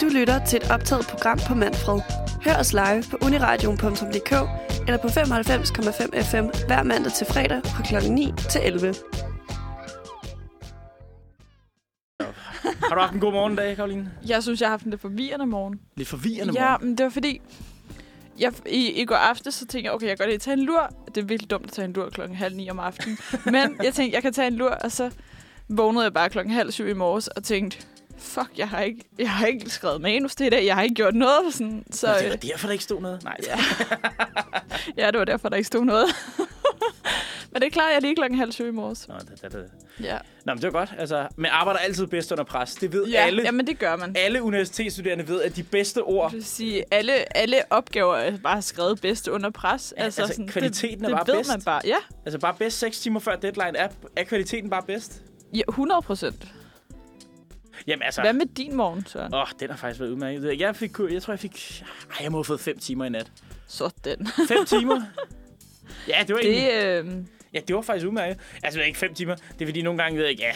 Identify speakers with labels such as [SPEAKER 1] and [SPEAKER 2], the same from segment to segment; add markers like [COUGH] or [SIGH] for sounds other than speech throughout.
[SPEAKER 1] Du lytter til et optaget program på Manfred. Hør os live på uniradion.dk eller på 95,5 FM hver mandag til fredag fra kl. 9 til 11.
[SPEAKER 2] Har du haft en god morgen i dag, Karoline?
[SPEAKER 3] Jeg synes, jeg har haft en lidt forvirrende morgen.
[SPEAKER 2] Lidt forvirrende
[SPEAKER 3] Ja,
[SPEAKER 2] morgen.
[SPEAKER 3] men det var fordi... Jeg, i, I går aftes, så tænkte jeg, okay, jeg kan godt lige tage en lur. Det er virkelig dumt at tage en lur klokken halv ni om
[SPEAKER 2] [LAUGHS]
[SPEAKER 3] aftenen. Men jeg tænkte, jeg kan tage en lur, og så vågnede jeg bare klokken halv syv i morges og tænkte, fuck, jeg har ikke, jeg har ikke skrevet manus til i dag. Jeg har ikke gjort noget. Sådan, så,
[SPEAKER 2] Nå, det var
[SPEAKER 3] øh,
[SPEAKER 2] derfor, der ikke stod noget. Nej,
[SPEAKER 3] ja. ja, det var derfor, der ikke stod noget. [LAUGHS] men det klarede jeg lige klokken halv syv i morges.
[SPEAKER 2] Nå, det, det, det.
[SPEAKER 3] Ja,
[SPEAKER 2] Nå men det var godt. Altså, man arbejder altid bedst under pres. Det ved
[SPEAKER 3] ja
[SPEAKER 2] alle.
[SPEAKER 3] jamen det gør man.
[SPEAKER 2] Alle universitetsstuderende ved, at de bedste ord...
[SPEAKER 3] Jeg vil sige, alle, alle opgaver er bare skrevet bedst under pres.
[SPEAKER 2] Ja, altså, kvaliteten
[SPEAKER 3] det,
[SPEAKER 2] er
[SPEAKER 3] det
[SPEAKER 2] bare
[SPEAKER 3] ved
[SPEAKER 2] bedst.
[SPEAKER 3] man bare. Ja,
[SPEAKER 2] Altså bare bedst 6 timer før deadline. Er, er kvaliteten bare bedst?
[SPEAKER 3] ja 100 procent.
[SPEAKER 2] Jamen altså...
[SPEAKER 3] Hvad med din morgen, Søren?
[SPEAKER 2] Åh, oh, den har faktisk været udmærket. Jeg, fik, jeg tror, jeg fik... Ej, jeg må have fået 5 timer i nat.
[SPEAKER 3] Sådan.
[SPEAKER 2] [LAUGHS] 5
[SPEAKER 3] [LAUGHS]
[SPEAKER 2] timer? Ja, det var
[SPEAKER 3] Det,
[SPEAKER 2] egentlig...
[SPEAKER 3] øh,
[SPEAKER 2] Ja, det var faktisk udmærket. Altså, det er ikke 5 timer. Det er fordi, nogle gange ved jeg ikke, ja...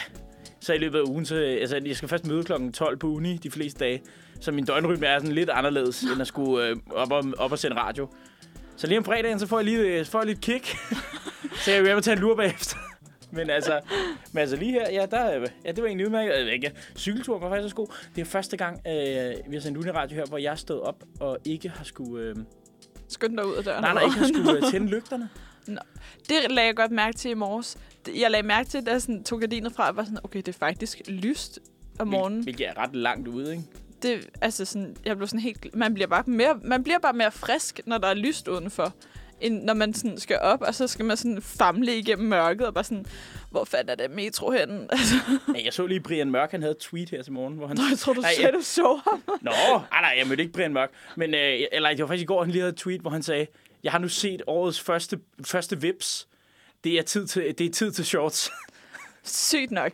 [SPEAKER 2] Så i løbet af ugen, så... Altså, jeg skal først møde klokken 12 på uni de fleste dage. Så min døgnrytme er sådan lidt anderledes, end at skulle øh, op, og, op og sende radio. Så lige om fredagen, så får jeg lige, øh, får jeg lige et kick. [LAUGHS] så jeg vil hjem tage en lur bagefter. Men altså, men altså lige her, ja, der, øh, ja, det var egentlig udmærket. Jeg ved ikke, ja, Cykelturen var faktisk også god. Det er første gang, øh, vi har sendt uniradio her, hvor jeg stod op og ikke har skulle... Øh,
[SPEAKER 3] skynd dig ud af døren.
[SPEAKER 2] nej, nej, ikke har skulle øh, tænde lygterne.
[SPEAKER 3] [LAUGHS] Det lagde jeg godt mærke til i morges. Det- Jeg lagde mærke til, da jeg sådan, tog gardinet fra, og var sådan, okay, det er faktisk lyst om
[SPEAKER 2] Hvil-
[SPEAKER 3] morgenen.
[SPEAKER 2] Hvilket er ret langt ude, ikke?
[SPEAKER 3] Det, altså sådan, jeg blev sådan helt... gl- Man bliver, bare mere, man bliver bare mere frisk, når der er lyst udenfor, end når man sådan skal op, og så skal man sådan famle igennem mørket, og bare sådan, hvor fanden er det metro henne? [LAUGHS] Altså,
[SPEAKER 2] Nej, jeg så lige Brian Mørk, han havde et tweet her til morgen, hvor han...
[SPEAKER 3] Nå, jeg tror, du
[SPEAKER 2] Nej,
[SPEAKER 3] sagde, du så ham.
[SPEAKER 2] Nå, ej, nej, jeg mødte ikke Brian Mørk. Men, øh, eller det var faktisk i går, han lige havde et tweet, hvor han sagde, jeg har nu set årets første, første vips. Det er tid til, det er tid til shorts.
[SPEAKER 3] [LAUGHS] Sygt nok.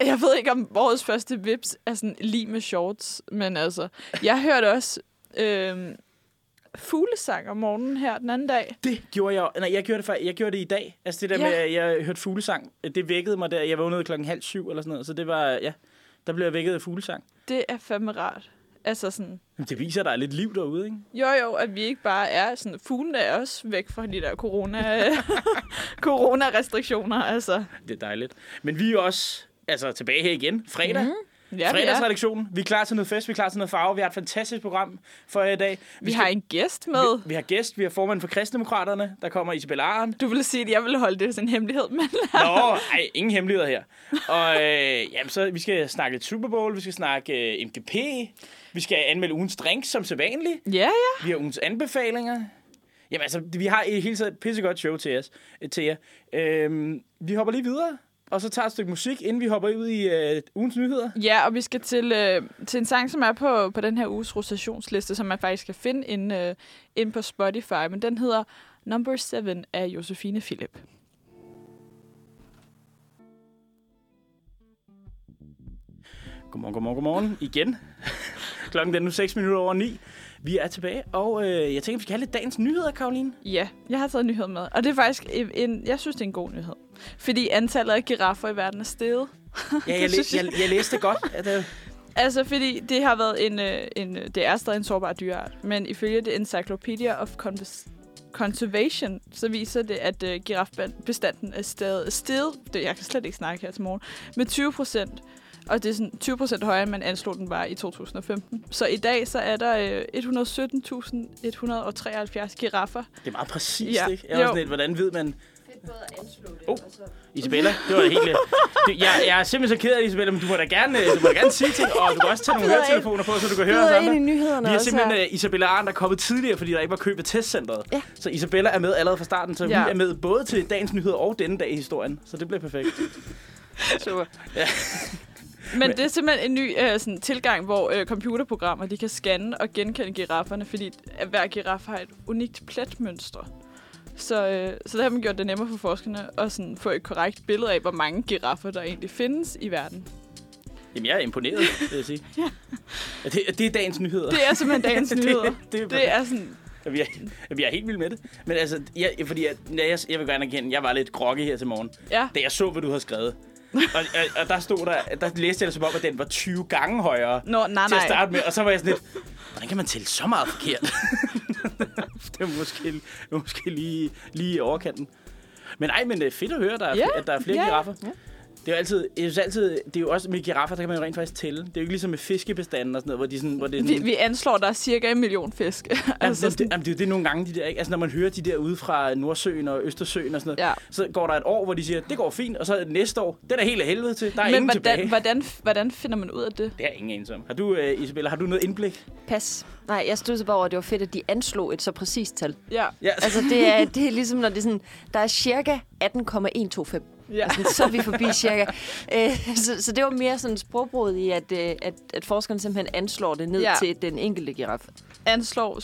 [SPEAKER 3] Jeg ved ikke, om vores første vips er sådan lige med shorts, men altså, jeg hørte også øh, fuglesang om morgenen her den anden dag.
[SPEAKER 2] Det gjorde jeg. jo- Nej, jeg gjorde det, for, jeg gjorde det i dag. Altså det der
[SPEAKER 3] Ja.
[SPEAKER 2] med, at jeg hørte fuglesang, det vækkede mig der. Jeg vågnede klokken halv syv eller sådan noget, så det var, ja, der blev jeg vækket af fuglesang.
[SPEAKER 3] Det er fandme rart. Altså sådan,
[SPEAKER 2] Jamen, Det viser, at der er lidt liv derude, ikke?
[SPEAKER 3] jo jo, at vi ikke bare er sådan, fuglene er også væk fra de der corona, [LAUGHS] corona-restriktioner, altså.
[SPEAKER 2] Det er dejligt. Men vi er også altså, tilbage her igen. Fredag. Mm.
[SPEAKER 3] Ja, vi, er.
[SPEAKER 2] Fredagsredaktionen. Vi er klar til noget fest, vi er klar til noget farve. Vi har et fantastisk program for jer i dag.
[SPEAKER 3] vi har en gæst med.
[SPEAKER 2] Vi, vi har gæst, vi har formand for Kristdemokraterne, der kommer Isabel
[SPEAKER 3] [LAUGHS]
[SPEAKER 2] Arendt.
[SPEAKER 3] Du ville sige, at jeg ville holde det som en hemmelighed, men
[SPEAKER 2] Nå, ej, ingen hemmeligheder her. Og øh, jamen, så, vi skal snakke lidt Super Bowl, vi skal snakke øh, MGP, vi skal anmelde ugens drinks som sædvanligt,
[SPEAKER 3] ja, ja.
[SPEAKER 2] vi har ugens anbefalinger. Jamen altså, vi har i hele taget et pissegodt show til, os, øh, til jer. Øhm, vi hopper lige videre, og så tager et stykke musik, inden vi hopper ud i øh, ugens nyheder.
[SPEAKER 3] Ja, og vi skal til, øh, til en sang, som er på, på den her uges rotationsliste, som man faktisk kan finde inde, øh, inde på Spotify, men den hedder Number 7 af Josefine Philip.
[SPEAKER 2] Godmorgen, godmorgen, godmorgen. Igen. [LAUGHS] Klokken den er nu 6 minutter over 9. Vi er tilbage, og øh, jeg tænker, vi skal have lidt dagens nyheder, Karoline.
[SPEAKER 1] [LAUGHS]
[SPEAKER 3] Ja, jeg har taget en nyhed med, og det er faktisk en, en, jeg synes, det er en god nyhed. Fordi antallet af giraffer i verden er steget.
[SPEAKER 2] Ja, jeg,
[SPEAKER 3] Det
[SPEAKER 2] læ-
[SPEAKER 3] synes
[SPEAKER 2] jeg,
[SPEAKER 3] jeg.
[SPEAKER 2] jeg læste det godt. At, øh,
[SPEAKER 3] Altså, fordi det har været en, øh, en øh, det er stadig en sårbar dyreart, men ifølge The Encyclopedia of Convers- Conservation, så viser det, at øh, girafbestanden er stadig steget, det, jeg kan slet ikke snakke her til morgen, med 20 procent. Og det er sådan 20 procent højere, end man anslog den var i 2015. Så i dag, så er der øh, 117.173 giraffer.
[SPEAKER 2] det er meget præcist,
[SPEAKER 3] Ja.
[SPEAKER 2] ikke? Jeg var
[SPEAKER 3] Jo.
[SPEAKER 2] sådan lidt, hvordan ved man...
[SPEAKER 4] Fedt både at anslå det,
[SPEAKER 2] Oh.
[SPEAKER 4] og så...
[SPEAKER 2] Isabella, det var da helt... øh, Det, jeg, jeg er simpelthen så ked af det, Isabella, men du må da gerne, øh, du må da gerne sige ting, og du kan også tage nogle
[SPEAKER 1] Bider ind.
[SPEAKER 2] høretelefoner på, så du kan høre os
[SPEAKER 1] Byder ind i
[SPEAKER 2] andre.
[SPEAKER 1] nyhederne
[SPEAKER 2] Vi har
[SPEAKER 1] også
[SPEAKER 2] simpelthen
[SPEAKER 1] her.
[SPEAKER 2] øh, Isabella Arndt, der er kommet tidligere, fordi der ikke var kø ved testcenteret.
[SPEAKER 1] Ja.
[SPEAKER 2] Så Isabella er med allerede fra starten, så ja.
[SPEAKER 3] Ja.
[SPEAKER 2] hun er med både til dagens nyheder og denne dag i historien. Så det bliver perfekt.
[SPEAKER 3] Super. Men det er simpelthen en ny øh, sådan, tilgang, hvor øh, computerprogrammer de kan scanne og genkende girafferne, fordi at hver giraf har et unikt pletmønster. Så, øh, så der har man gjort det nemmere for forskerne at sådan, få et korrekt billede af, hvor mange giraffer der egentlig findes i verden.
[SPEAKER 2] Jamen, jeg er imponeret, vil jeg sige.
[SPEAKER 3] [LAUGHS] Ja.
[SPEAKER 2] Ja, det, det er dagens nyheder.
[SPEAKER 3] Det
[SPEAKER 2] [LAUGHS]
[SPEAKER 3] er simpelthen dagens
[SPEAKER 2] Det-
[SPEAKER 3] nyheder.
[SPEAKER 2] det er
[SPEAKER 3] det er sådan,
[SPEAKER 2] Ja, Vi er, ja, vi er helt vilde med det. Men altså, jeg, fordi jeg, jeg, jeg vil gerne erkende, jeg var lidt groggy her til morgen.
[SPEAKER 3] ja,
[SPEAKER 2] Da jeg så, hvad du havde skrevet, Og, og, og der stod der, der læste jeg det som om, at den var 20 gange højere
[SPEAKER 3] Nå, nej,
[SPEAKER 2] til at
[SPEAKER 3] Ah, nej.
[SPEAKER 2] starte med. Og så var jeg sådan
[SPEAKER 3] [LAUGHS]
[SPEAKER 2] lidt, hvordan kan man tælle så meget forkert? det er måske, det er måske lige, lige i overkanten. Men ej, men det er fedt at høre, der er,
[SPEAKER 3] Ja,
[SPEAKER 2] at der er flere
[SPEAKER 3] ja, ja.
[SPEAKER 2] giraffer.
[SPEAKER 4] Ja.
[SPEAKER 2] Det er jo altid, jeg synes altid, det er jo også med giraffer, der kan man jo rent faktisk tælle. Det er jo ikke ligesom med fiskebestanden og sådan noget, hvor, de sådan, hvor det er sådan,
[SPEAKER 3] Vi, vi anslår, der er cirka en million fisk. [LAUGHS]
[SPEAKER 2] Jamen,
[SPEAKER 3] altså,
[SPEAKER 2] det, det,
[SPEAKER 3] sådan,
[SPEAKER 2] jamen, det er jo det nogle gange, de der, ikke? Altså, når man hører de der ude fra Nordsøen og Østersøen og sådan noget,
[SPEAKER 3] Ja.
[SPEAKER 2] så går der et år, hvor de siger, det går fint, og så næste år, det er da helt af helvede til, der er
[SPEAKER 3] men
[SPEAKER 2] ingen
[SPEAKER 3] hvordan,
[SPEAKER 2] tilbage.
[SPEAKER 3] hvordan, hvordan finder man ud af det?
[SPEAKER 2] Det er ingen ensom. Har du, uh, Isabella, har du noget indblik?
[SPEAKER 3] Pas.
[SPEAKER 4] Nej, jeg stod så bare over, at det var fedt, at de anslog et så præcist tal.
[SPEAKER 3] Ja.
[SPEAKER 2] Ja,
[SPEAKER 4] Altså, det er, det er ligesom, når det er sådan, der er cirka 18,125.
[SPEAKER 3] ja.
[SPEAKER 4] Altså, Så er vi forbi cirka. Øh, så, så det var mere sådan sprogbruget i, at, øh, at, at forskerne simpelthen anslår det ned
[SPEAKER 3] Ja.
[SPEAKER 4] ja. til den enkelte giraf.
[SPEAKER 3] Anslår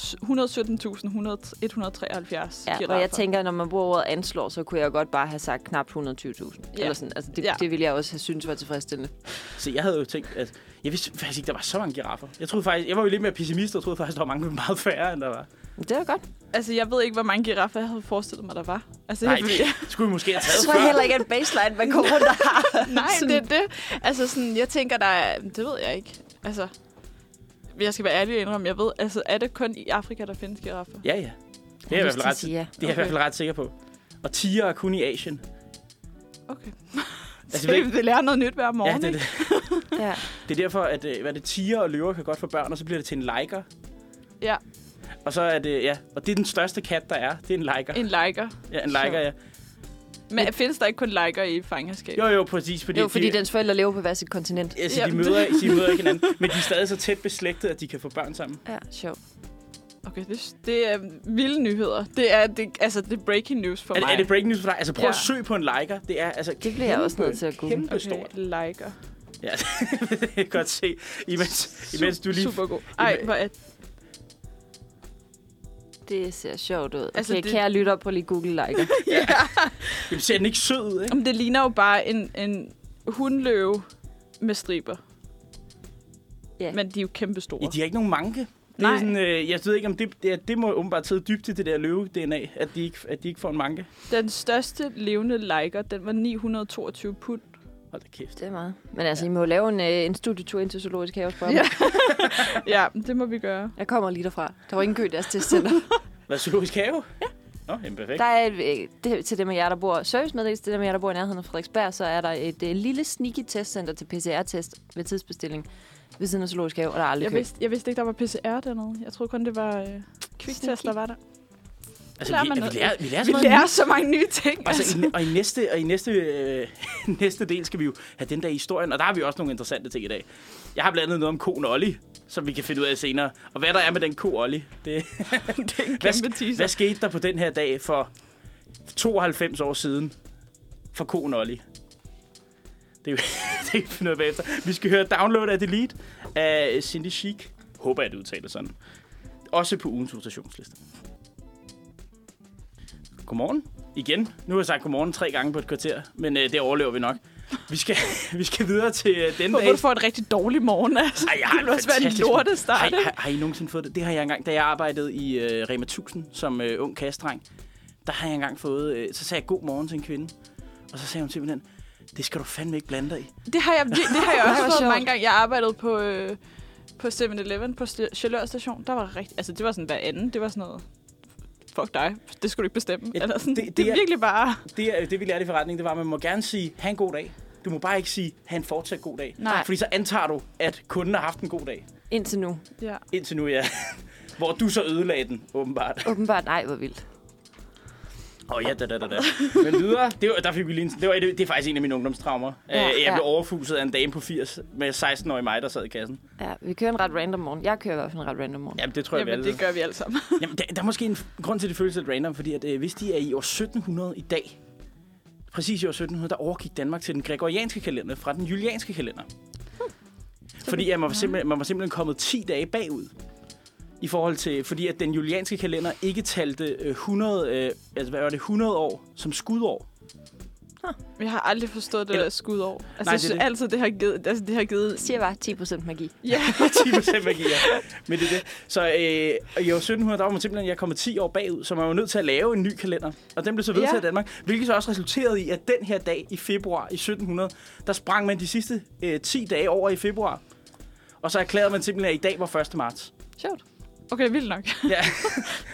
[SPEAKER 3] 117.173
[SPEAKER 4] Ja, og jeg tænker, når man bruger ordet anslår, så kunne jeg godt bare have sagt knap 120.000.
[SPEAKER 3] Ja.
[SPEAKER 4] Ja. Eller sådan. Altså, det,
[SPEAKER 3] Ja.
[SPEAKER 4] ja. det ville jeg også have syntes var tilfredsstillende.
[SPEAKER 2] så jeg havde jo tænkt, at jeg vidste faktisk ikke, der var så mange giraffer. Jeg troede faktisk, jeg var jo lidt mere pessimist, og troede faktisk, der var mange meget færre, end der var.
[SPEAKER 4] Men det var godt.
[SPEAKER 3] Altså, jeg ved ikke, hvor mange giraffer jeg havde forestillet mig, der var. Altså,
[SPEAKER 2] Nej,
[SPEAKER 3] jeg,
[SPEAKER 2] [LAUGHS] det skulle vi måske have
[SPEAKER 4] Jeg
[SPEAKER 2] taget
[SPEAKER 4] tror jeg
[SPEAKER 2] før.
[SPEAKER 4] heller ikke, at baseline, man går rundt og har.
[SPEAKER 3] nej
[SPEAKER 4] Sådan-
[SPEAKER 3] det er det. Altså, sådan, jeg tænker, der er... Det ved jeg ikke. Altså, jeg skal være ærlig og indrømme, jeg ved, altså, er det kun i Afrika, der findes giraffer?
[SPEAKER 2] Ja, ja. Det er jeg i hvert fald ret, det er
[SPEAKER 4] Ja.
[SPEAKER 2] jeg i hvert fald ret sikker på. Og tiger er kun i Asien.
[SPEAKER 3] Okay.
[SPEAKER 2] Altså,
[SPEAKER 3] Altså,
[SPEAKER 2] jeg ved
[SPEAKER 3] vi, vi lærer noget nyt hver morgen,
[SPEAKER 2] ja, det, er det.
[SPEAKER 4] ja.
[SPEAKER 2] Det er derfor, at øh, hvad er det tiger og løver kan godt få børn, og så bliver det til en liker.
[SPEAKER 3] Ja.
[SPEAKER 2] Og så er det, ja, og det er den største kat, der er. Det er en liker.
[SPEAKER 3] En liker.
[SPEAKER 2] ja, en liker, ja.
[SPEAKER 3] Men findes der ikke kun liker i fangenskab?
[SPEAKER 2] Jo, jo, præcis. Fordi,
[SPEAKER 4] Jo, fordi
[SPEAKER 2] de,
[SPEAKER 4] dens forældre lever på hver sit kontinent.
[SPEAKER 2] altså, de,
[SPEAKER 3] Jamen, det-
[SPEAKER 2] møder,
[SPEAKER 4] [LAUGHS]
[SPEAKER 2] de møder ikke hinanden, men de er stadig så tæt beslægtet, at de kan få børn sammen.
[SPEAKER 4] Ja, sjovt.
[SPEAKER 3] Okay, det, det er vilde nyheder. Det er, det, altså, det er breaking news for
[SPEAKER 2] Er,
[SPEAKER 3] mig.
[SPEAKER 2] er det breaking news for dig? Altså, prøv ja. at
[SPEAKER 3] Ja.
[SPEAKER 2] søge på en liker. Det er altså
[SPEAKER 4] Det bliver jeg også nødt til at google.
[SPEAKER 2] Kæmpe stort. [LAUGHS]
[SPEAKER 3] Okay, liker.
[SPEAKER 2] Ja, det kan jeg godt se. Imens, imens du lige...
[SPEAKER 3] Super god. Ej, hvor er
[SPEAKER 4] Det ser sjovt ud. Okay,
[SPEAKER 3] Altså,
[SPEAKER 4] altså,
[SPEAKER 3] det-
[SPEAKER 4] det... kære lytter på lige Google like.
[SPEAKER 2] Jamen, ser den ikke sød ud, ikke?
[SPEAKER 3] Jamen, det ligner jo bare en, en hundløve med striber.
[SPEAKER 4] Ja.
[SPEAKER 3] Men de er jo kæmpe store.
[SPEAKER 2] Ja, de har ikke nogen manke. Det
[SPEAKER 3] Nej.
[SPEAKER 2] er sådan, øh, jeg ved ikke, om det, det, er- det må åbenbart sidde dybt i det der løve-DNA, at de ikke, at de ikke får en manke.
[SPEAKER 3] Den største levende liker, den var 922 pund.
[SPEAKER 2] Hold da kæft.
[SPEAKER 4] [LAUGHS] Det er meget. Men altså, ja. I må jo lave en, øh, en studietur ind til Zoologisk Have og spørge
[SPEAKER 3] Ja.
[SPEAKER 4] ja.
[SPEAKER 3] Ja, det må vi gøre.
[SPEAKER 4] Jeg kommer lige derfra. Der var ingen kø i deres testcenter.
[SPEAKER 2] Hvad, zoologisk have? Ja. Nå, jamen perfekt.
[SPEAKER 4] [LAUGHS] der er, øh, det, til dem af jer, der bor servicemeddelelse, til dem af jer, der bor i nærheden af Frederiksberg, så er der et øh, lille sneaky testcenter til PCR-test ved tidsbestilling ved siden af Zoologisk Have, og der er aldrig
[SPEAKER 3] Jeg
[SPEAKER 4] kø.
[SPEAKER 3] vidste, jeg vidste ikke, der var PCR dernede. Jeg troede kun, det var øh, kviktest,
[SPEAKER 4] Sneaky.
[SPEAKER 3] der var der.
[SPEAKER 2] altså,
[SPEAKER 3] lærer
[SPEAKER 2] vi,
[SPEAKER 3] man
[SPEAKER 2] vi,
[SPEAKER 3] noget.
[SPEAKER 2] lærer, vi lærer sådan
[SPEAKER 3] Vi
[SPEAKER 2] noget.
[SPEAKER 3] lærer så mange nye ting.
[SPEAKER 2] Og, så,
[SPEAKER 3] Altså,
[SPEAKER 2] i, og, i næste, og i næste, øh, [LAUGHS] næste del skal vi jo have den der i historien, og der har vi også nogle interessante ting i dag. Jeg har blandt andet noget om koen Olli, som vi kan finde ud af senere. Og hvad der er med den ko Olli, det, [LAUGHS]
[SPEAKER 3] det er en
[SPEAKER 2] hvad,
[SPEAKER 3] kæmpe
[SPEAKER 2] sk- hvad
[SPEAKER 3] teaser.
[SPEAKER 2] skete der på den her dag for 92 år siden for koen Olli? Det er jo- [LAUGHS] det kan vi finde ud af bagefter. Vi skal høre Download af Delete af Cindy Chic. Håber jeg, det udtaler sådan. Også på ugens rotationsliste. Godmorgen. Igen. Nu har jeg sagt godmorgen tre gange på et kvarter, men øh, det overlever vi nok. Vi skal, [LAUGHS] vi skal videre til øh, den
[SPEAKER 3] Hvorfor
[SPEAKER 2] dag.
[SPEAKER 3] du får en rigtig dårlig morgen, altså.
[SPEAKER 2] Ej, jeg har
[SPEAKER 3] det ville også være en
[SPEAKER 2] fantastisk-
[SPEAKER 3] lortestart.
[SPEAKER 2] Har, I-
[SPEAKER 3] ikke?
[SPEAKER 2] har, har I nogensinde fået det? Det har jeg engang, da jeg arbejdede i øh, Rema 1000 som øh, ung kastdreng. Der har jeg engang fået, øh, så sagde jeg god morgen til en kvinde. Og så sagde hun simpelthen, det skal du fandme ikke blande dig i.
[SPEAKER 3] Det har jeg, det, det
[SPEAKER 4] [LAUGHS]
[SPEAKER 3] har jeg
[SPEAKER 4] Ej,
[SPEAKER 3] også
[SPEAKER 4] hvor
[SPEAKER 3] fået
[SPEAKER 4] sjovt.
[SPEAKER 3] mange gange. Jeg arbejdede på, øh, på 7-Eleven på St- Chalør station. Der var rigtig, altså det var sådan hver anden. Det var sådan noget, fuck dig, det skulle du ikke bestemme.
[SPEAKER 2] Ja,
[SPEAKER 3] Eller sådan,
[SPEAKER 2] det-
[SPEAKER 3] det,
[SPEAKER 2] det
[SPEAKER 3] det, det er
[SPEAKER 2] er-
[SPEAKER 3] virkelig bare...
[SPEAKER 2] Det, øh, det vi lærte i forretningen, det var, at man må gerne sige, have en god dag. Du må bare ikke sige, have en fortsat god dag.
[SPEAKER 3] Nej.
[SPEAKER 2] Fordi så antager du, at kunden har haft en god dag.
[SPEAKER 4] Indtil nu.
[SPEAKER 3] Ja.
[SPEAKER 2] Indtil nu, ja. [LAUGHS] Hvor du så ødelagde den, åbenbart.
[SPEAKER 4] Åbenbart, nej, hvor vildt.
[SPEAKER 2] Åh oh, ja, da, da, da, da. Men videre, det var, der fik vi lige en, det, var, det, det er faktisk en af mine ungdomstraumer. Ja,
[SPEAKER 4] Ja,
[SPEAKER 2] jeg blev
[SPEAKER 4] ja.
[SPEAKER 2] overfuset af en dame på 80 med 16-årig mig, der sad i kassen.
[SPEAKER 4] Ja, vi kører en ret random morgen. Jeg kører i hvert fald en ret random morgen.
[SPEAKER 2] Jamen, det tror jeg, vi
[SPEAKER 3] Jamen,
[SPEAKER 2] alle
[SPEAKER 3] det gør vi alle sammen. [LAUGHS]
[SPEAKER 2] Jamen, der, der er måske en f- grund til, at det føles lidt random, fordi at, øh, hvis de er i år 1700 i dag, præcis i år 1700, der overgik Danmark til den gregorianske kalender fra den julianske kalender. Fordi at man, var simpelthen, man var simpelthen kommet 10 dage bagud. I forhold til, fordi at den julianske kalender ikke talte øh, 100, øh, altså, hvad var det, 100 år som skudår.
[SPEAKER 3] Jeg har aldrig forstået det
[SPEAKER 2] Eller-
[SPEAKER 3] der skud over. Altså, Nej,
[SPEAKER 2] det er
[SPEAKER 3] jeg synes
[SPEAKER 2] det.
[SPEAKER 3] altid, det har givet... Altså, det har givet...
[SPEAKER 4] Siger bare 10% magi.
[SPEAKER 3] Ja.
[SPEAKER 2] 10% magi, ja. Men det er det. Så øh, i år 1700, der var man simpelthen, jeg kommer 10 år bagud, så man var nødt til at lave en ny kalender. Og den blev så vedtaget
[SPEAKER 3] Ja.
[SPEAKER 2] ja. i Danmark, hvilket så også resulterede i, at den her dag i februar i 1700, der sprang man de sidste øh, 10 dage over i februar. Og så erklærede man simpelthen, at i dag var 1. marts.
[SPEAKER 4] Sjovt.
[SPEAKER 3] Okay, vildt nok.
[SPEAKER 2] Ja.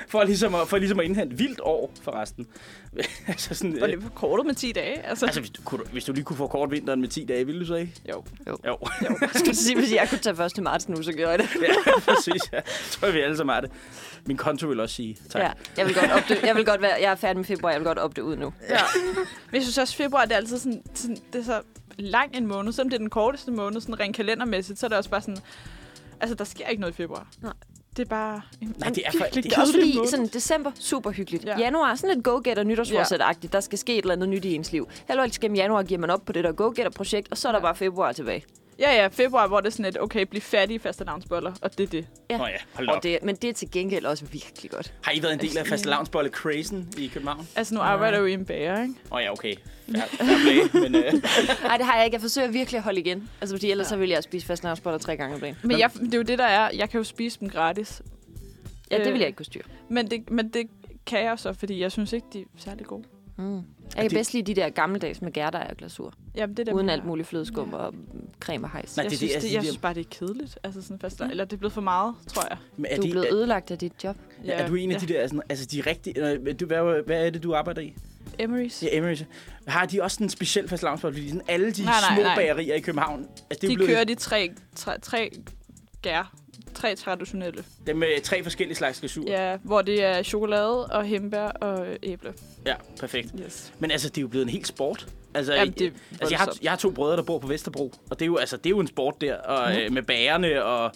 [SPEAKER 2] For ligesom at, for ligesom at indhente vildt år for resten. [LAUGHS] altså sådan,
[SPEAKER 3] Var
[SPEAKER 2] øh,
[SPEAKER 3] det forkortet med 10 dage? Altså,
[SPEAKER 2] altså hvis du, kunne, du- hvis du lige kunne få kort vinteren med 10 dage, ville du så ikke?
[SPEAKER 3] jo.
[SPEAKER 2] [LAUGHS] Jo.
[SPEAKER 4] Jeg skulle sige, hvis jeg kunne tage 1. marts nu, så gjorde jeg det.
[SPEAKER 2] ja, præcis. Ja. Så tror jeg, vi alle sammen har det. Min konto vil også sige tak.
[SPEAKER 4] Ja, jeg vil godt opdø. Jeg vil godt være, jeg er færdig med februar, jeg vil godt opdø ud nu.
[SPEAKER 3] Ja. Men jeg synes også, februar det er altid sådan, sådan, det er så lang en måned. Selvom det er den korteste måned, sådan rent kalendermæssigt, så er det også bare sådan... Altså, der sker ikke noget i februar.
[SPEAKER 4] Nej.
[SPEAKER 3] Det er bare en
[SPEAKER 2] Nej, det er
[SPEAKER 3] virkelig
[SPEAKER 2] for- det er
[SPEAKER 4] Det er også
[SPEAKER 3] kedelig
[SPEAKER 4] fordi,
[SPEAKER 3] måned.
[SPEAKER 4] sådan december, super hyggeligt.
[SPEAKER 3] Ja.
[SPEAKER 4] Ja. Januar er sådan lidt go-getter nytårsforsæt-agtigt. Der skal ske et eller andet nyt i ens liv. Halvårligt skal i januar giver man op på det der go-getter-projekt, og så er der bare februar tilbage.
[SPEAKER 3] Ja, ja, februar, hvor det er sådan et, okay, bliv fattig, faste navnsboller, og det er det.
[SPEAKER 4] Ja.
[SPEAKER 2] Nå ja, hold
[SPEAKER 4] Og
[SPEAKER 2] op.
[SPEAKER 4] det, men det er til gengæld også virkelig godt.
[SPEAKER 2] Har I været en del af fastelavnsbolle Crazen i København?
[SPEAKER 3] Altså, nu arbejder jeg jo i en bager, ikke?
[SPEAKER 2] Åh oh, ja, [LAUGHS] okay. Fair, fair play, men øh,
[SPEAKER 4] Nej, det har jeg ikke. Jeg forsøger virkelig at holde igen. Altså, fordi ellers ja. så ville jeg spise fast navnsboller tre gange om dagen.
[SPEAKER 3] Men jeg, det er jo det, der er. Jeg kan jo spise dem gratis.
[SPEAKER 4] Ja,
[SPEAKER 3] Øh.
[SPEAKER 4] det ville jeg ikke kunne styre.
[SPEAKER 3] Men det, men det kan jeg så, fordi jeg synes ikke, de er særlig gode.
[SPEAKER 4] Mm. Jeg kan
[SPEAKER 2] det-
[SPEAKER 4] bedst lide de der gammeldags med gærter og glasur.
[SPEAKER 3] Jamen, det er dem,
[SPEAKER 4] Uden
[SPEAKER 3] jeg-
[SPEAKER 4] alt muligt flødeskum og mm, creme og hejs.
[SPEAKER 2] Nej,
[SPEAKER 3] Jeg,
[SPEAKER 2] det er
[SPEAKER 3] synes,
[SPEAKER 2] det, altså,
[SPEAKER 3] det, jeg
[SPEAKER 2] de der-
[SPEAKER 3] synes bare, det er kedeligt. Altså sådan fast, eller det er blevet for meget, tror jeg.
[SPEAKER 2] men er,
[SPEAKER 4] Du er
[SPEAKER 2] de,
[SPEAKER 4] blevet
[SPEAKER 2] er,
[SPEAKER 4] ødelagt af dit job.
[SPEAKER 2] er, du en af de der, sådan, altså de rigtige, øh, du, hvad, hvad er det, du arbejder i?
[SPEAKER 3] der? Emery's.
[SPEAKER 2] Det er Emirates. Har de også sådan en speciel fastelavnsbolle? Fordi sådan alle de
[SPEAKER 3] Nej, nej,
[SPEAKER 2] små
[SPEAKER 3] nej.
[SPEAKER 2] bagerier i København, altså det er
[SPEAKER 3] De
[SPEAKER 2] blevet
[SPEAKER 3] kører de tre, tre, tre gær. Tre traditionelle.
[SPEAKER 2] dem med tre forskellige slags glasur.
[SPEAKER 3] Ja, hvor det er chokolade og hembær og øh, æble.
[SPEAKER 2] ja, perfekt.
[SPEAKER 3] Yes.
[SPEAKER 2] Men altså, det er jo blevet en helt sport. Altså,
[SPEAKER 3] Jamen, det er
[SPEAKER 2] altså jeg, har,
[SPEAKER 3] voldsomt.
[SPEAKER 2] jeg har to brødre, der bor på Vesterbro, og det er jo, altså, det er jo en sport der, og,
[SPEAKER 4] Mhm.
[SPEAKER 2] mm. øh, med bærerne og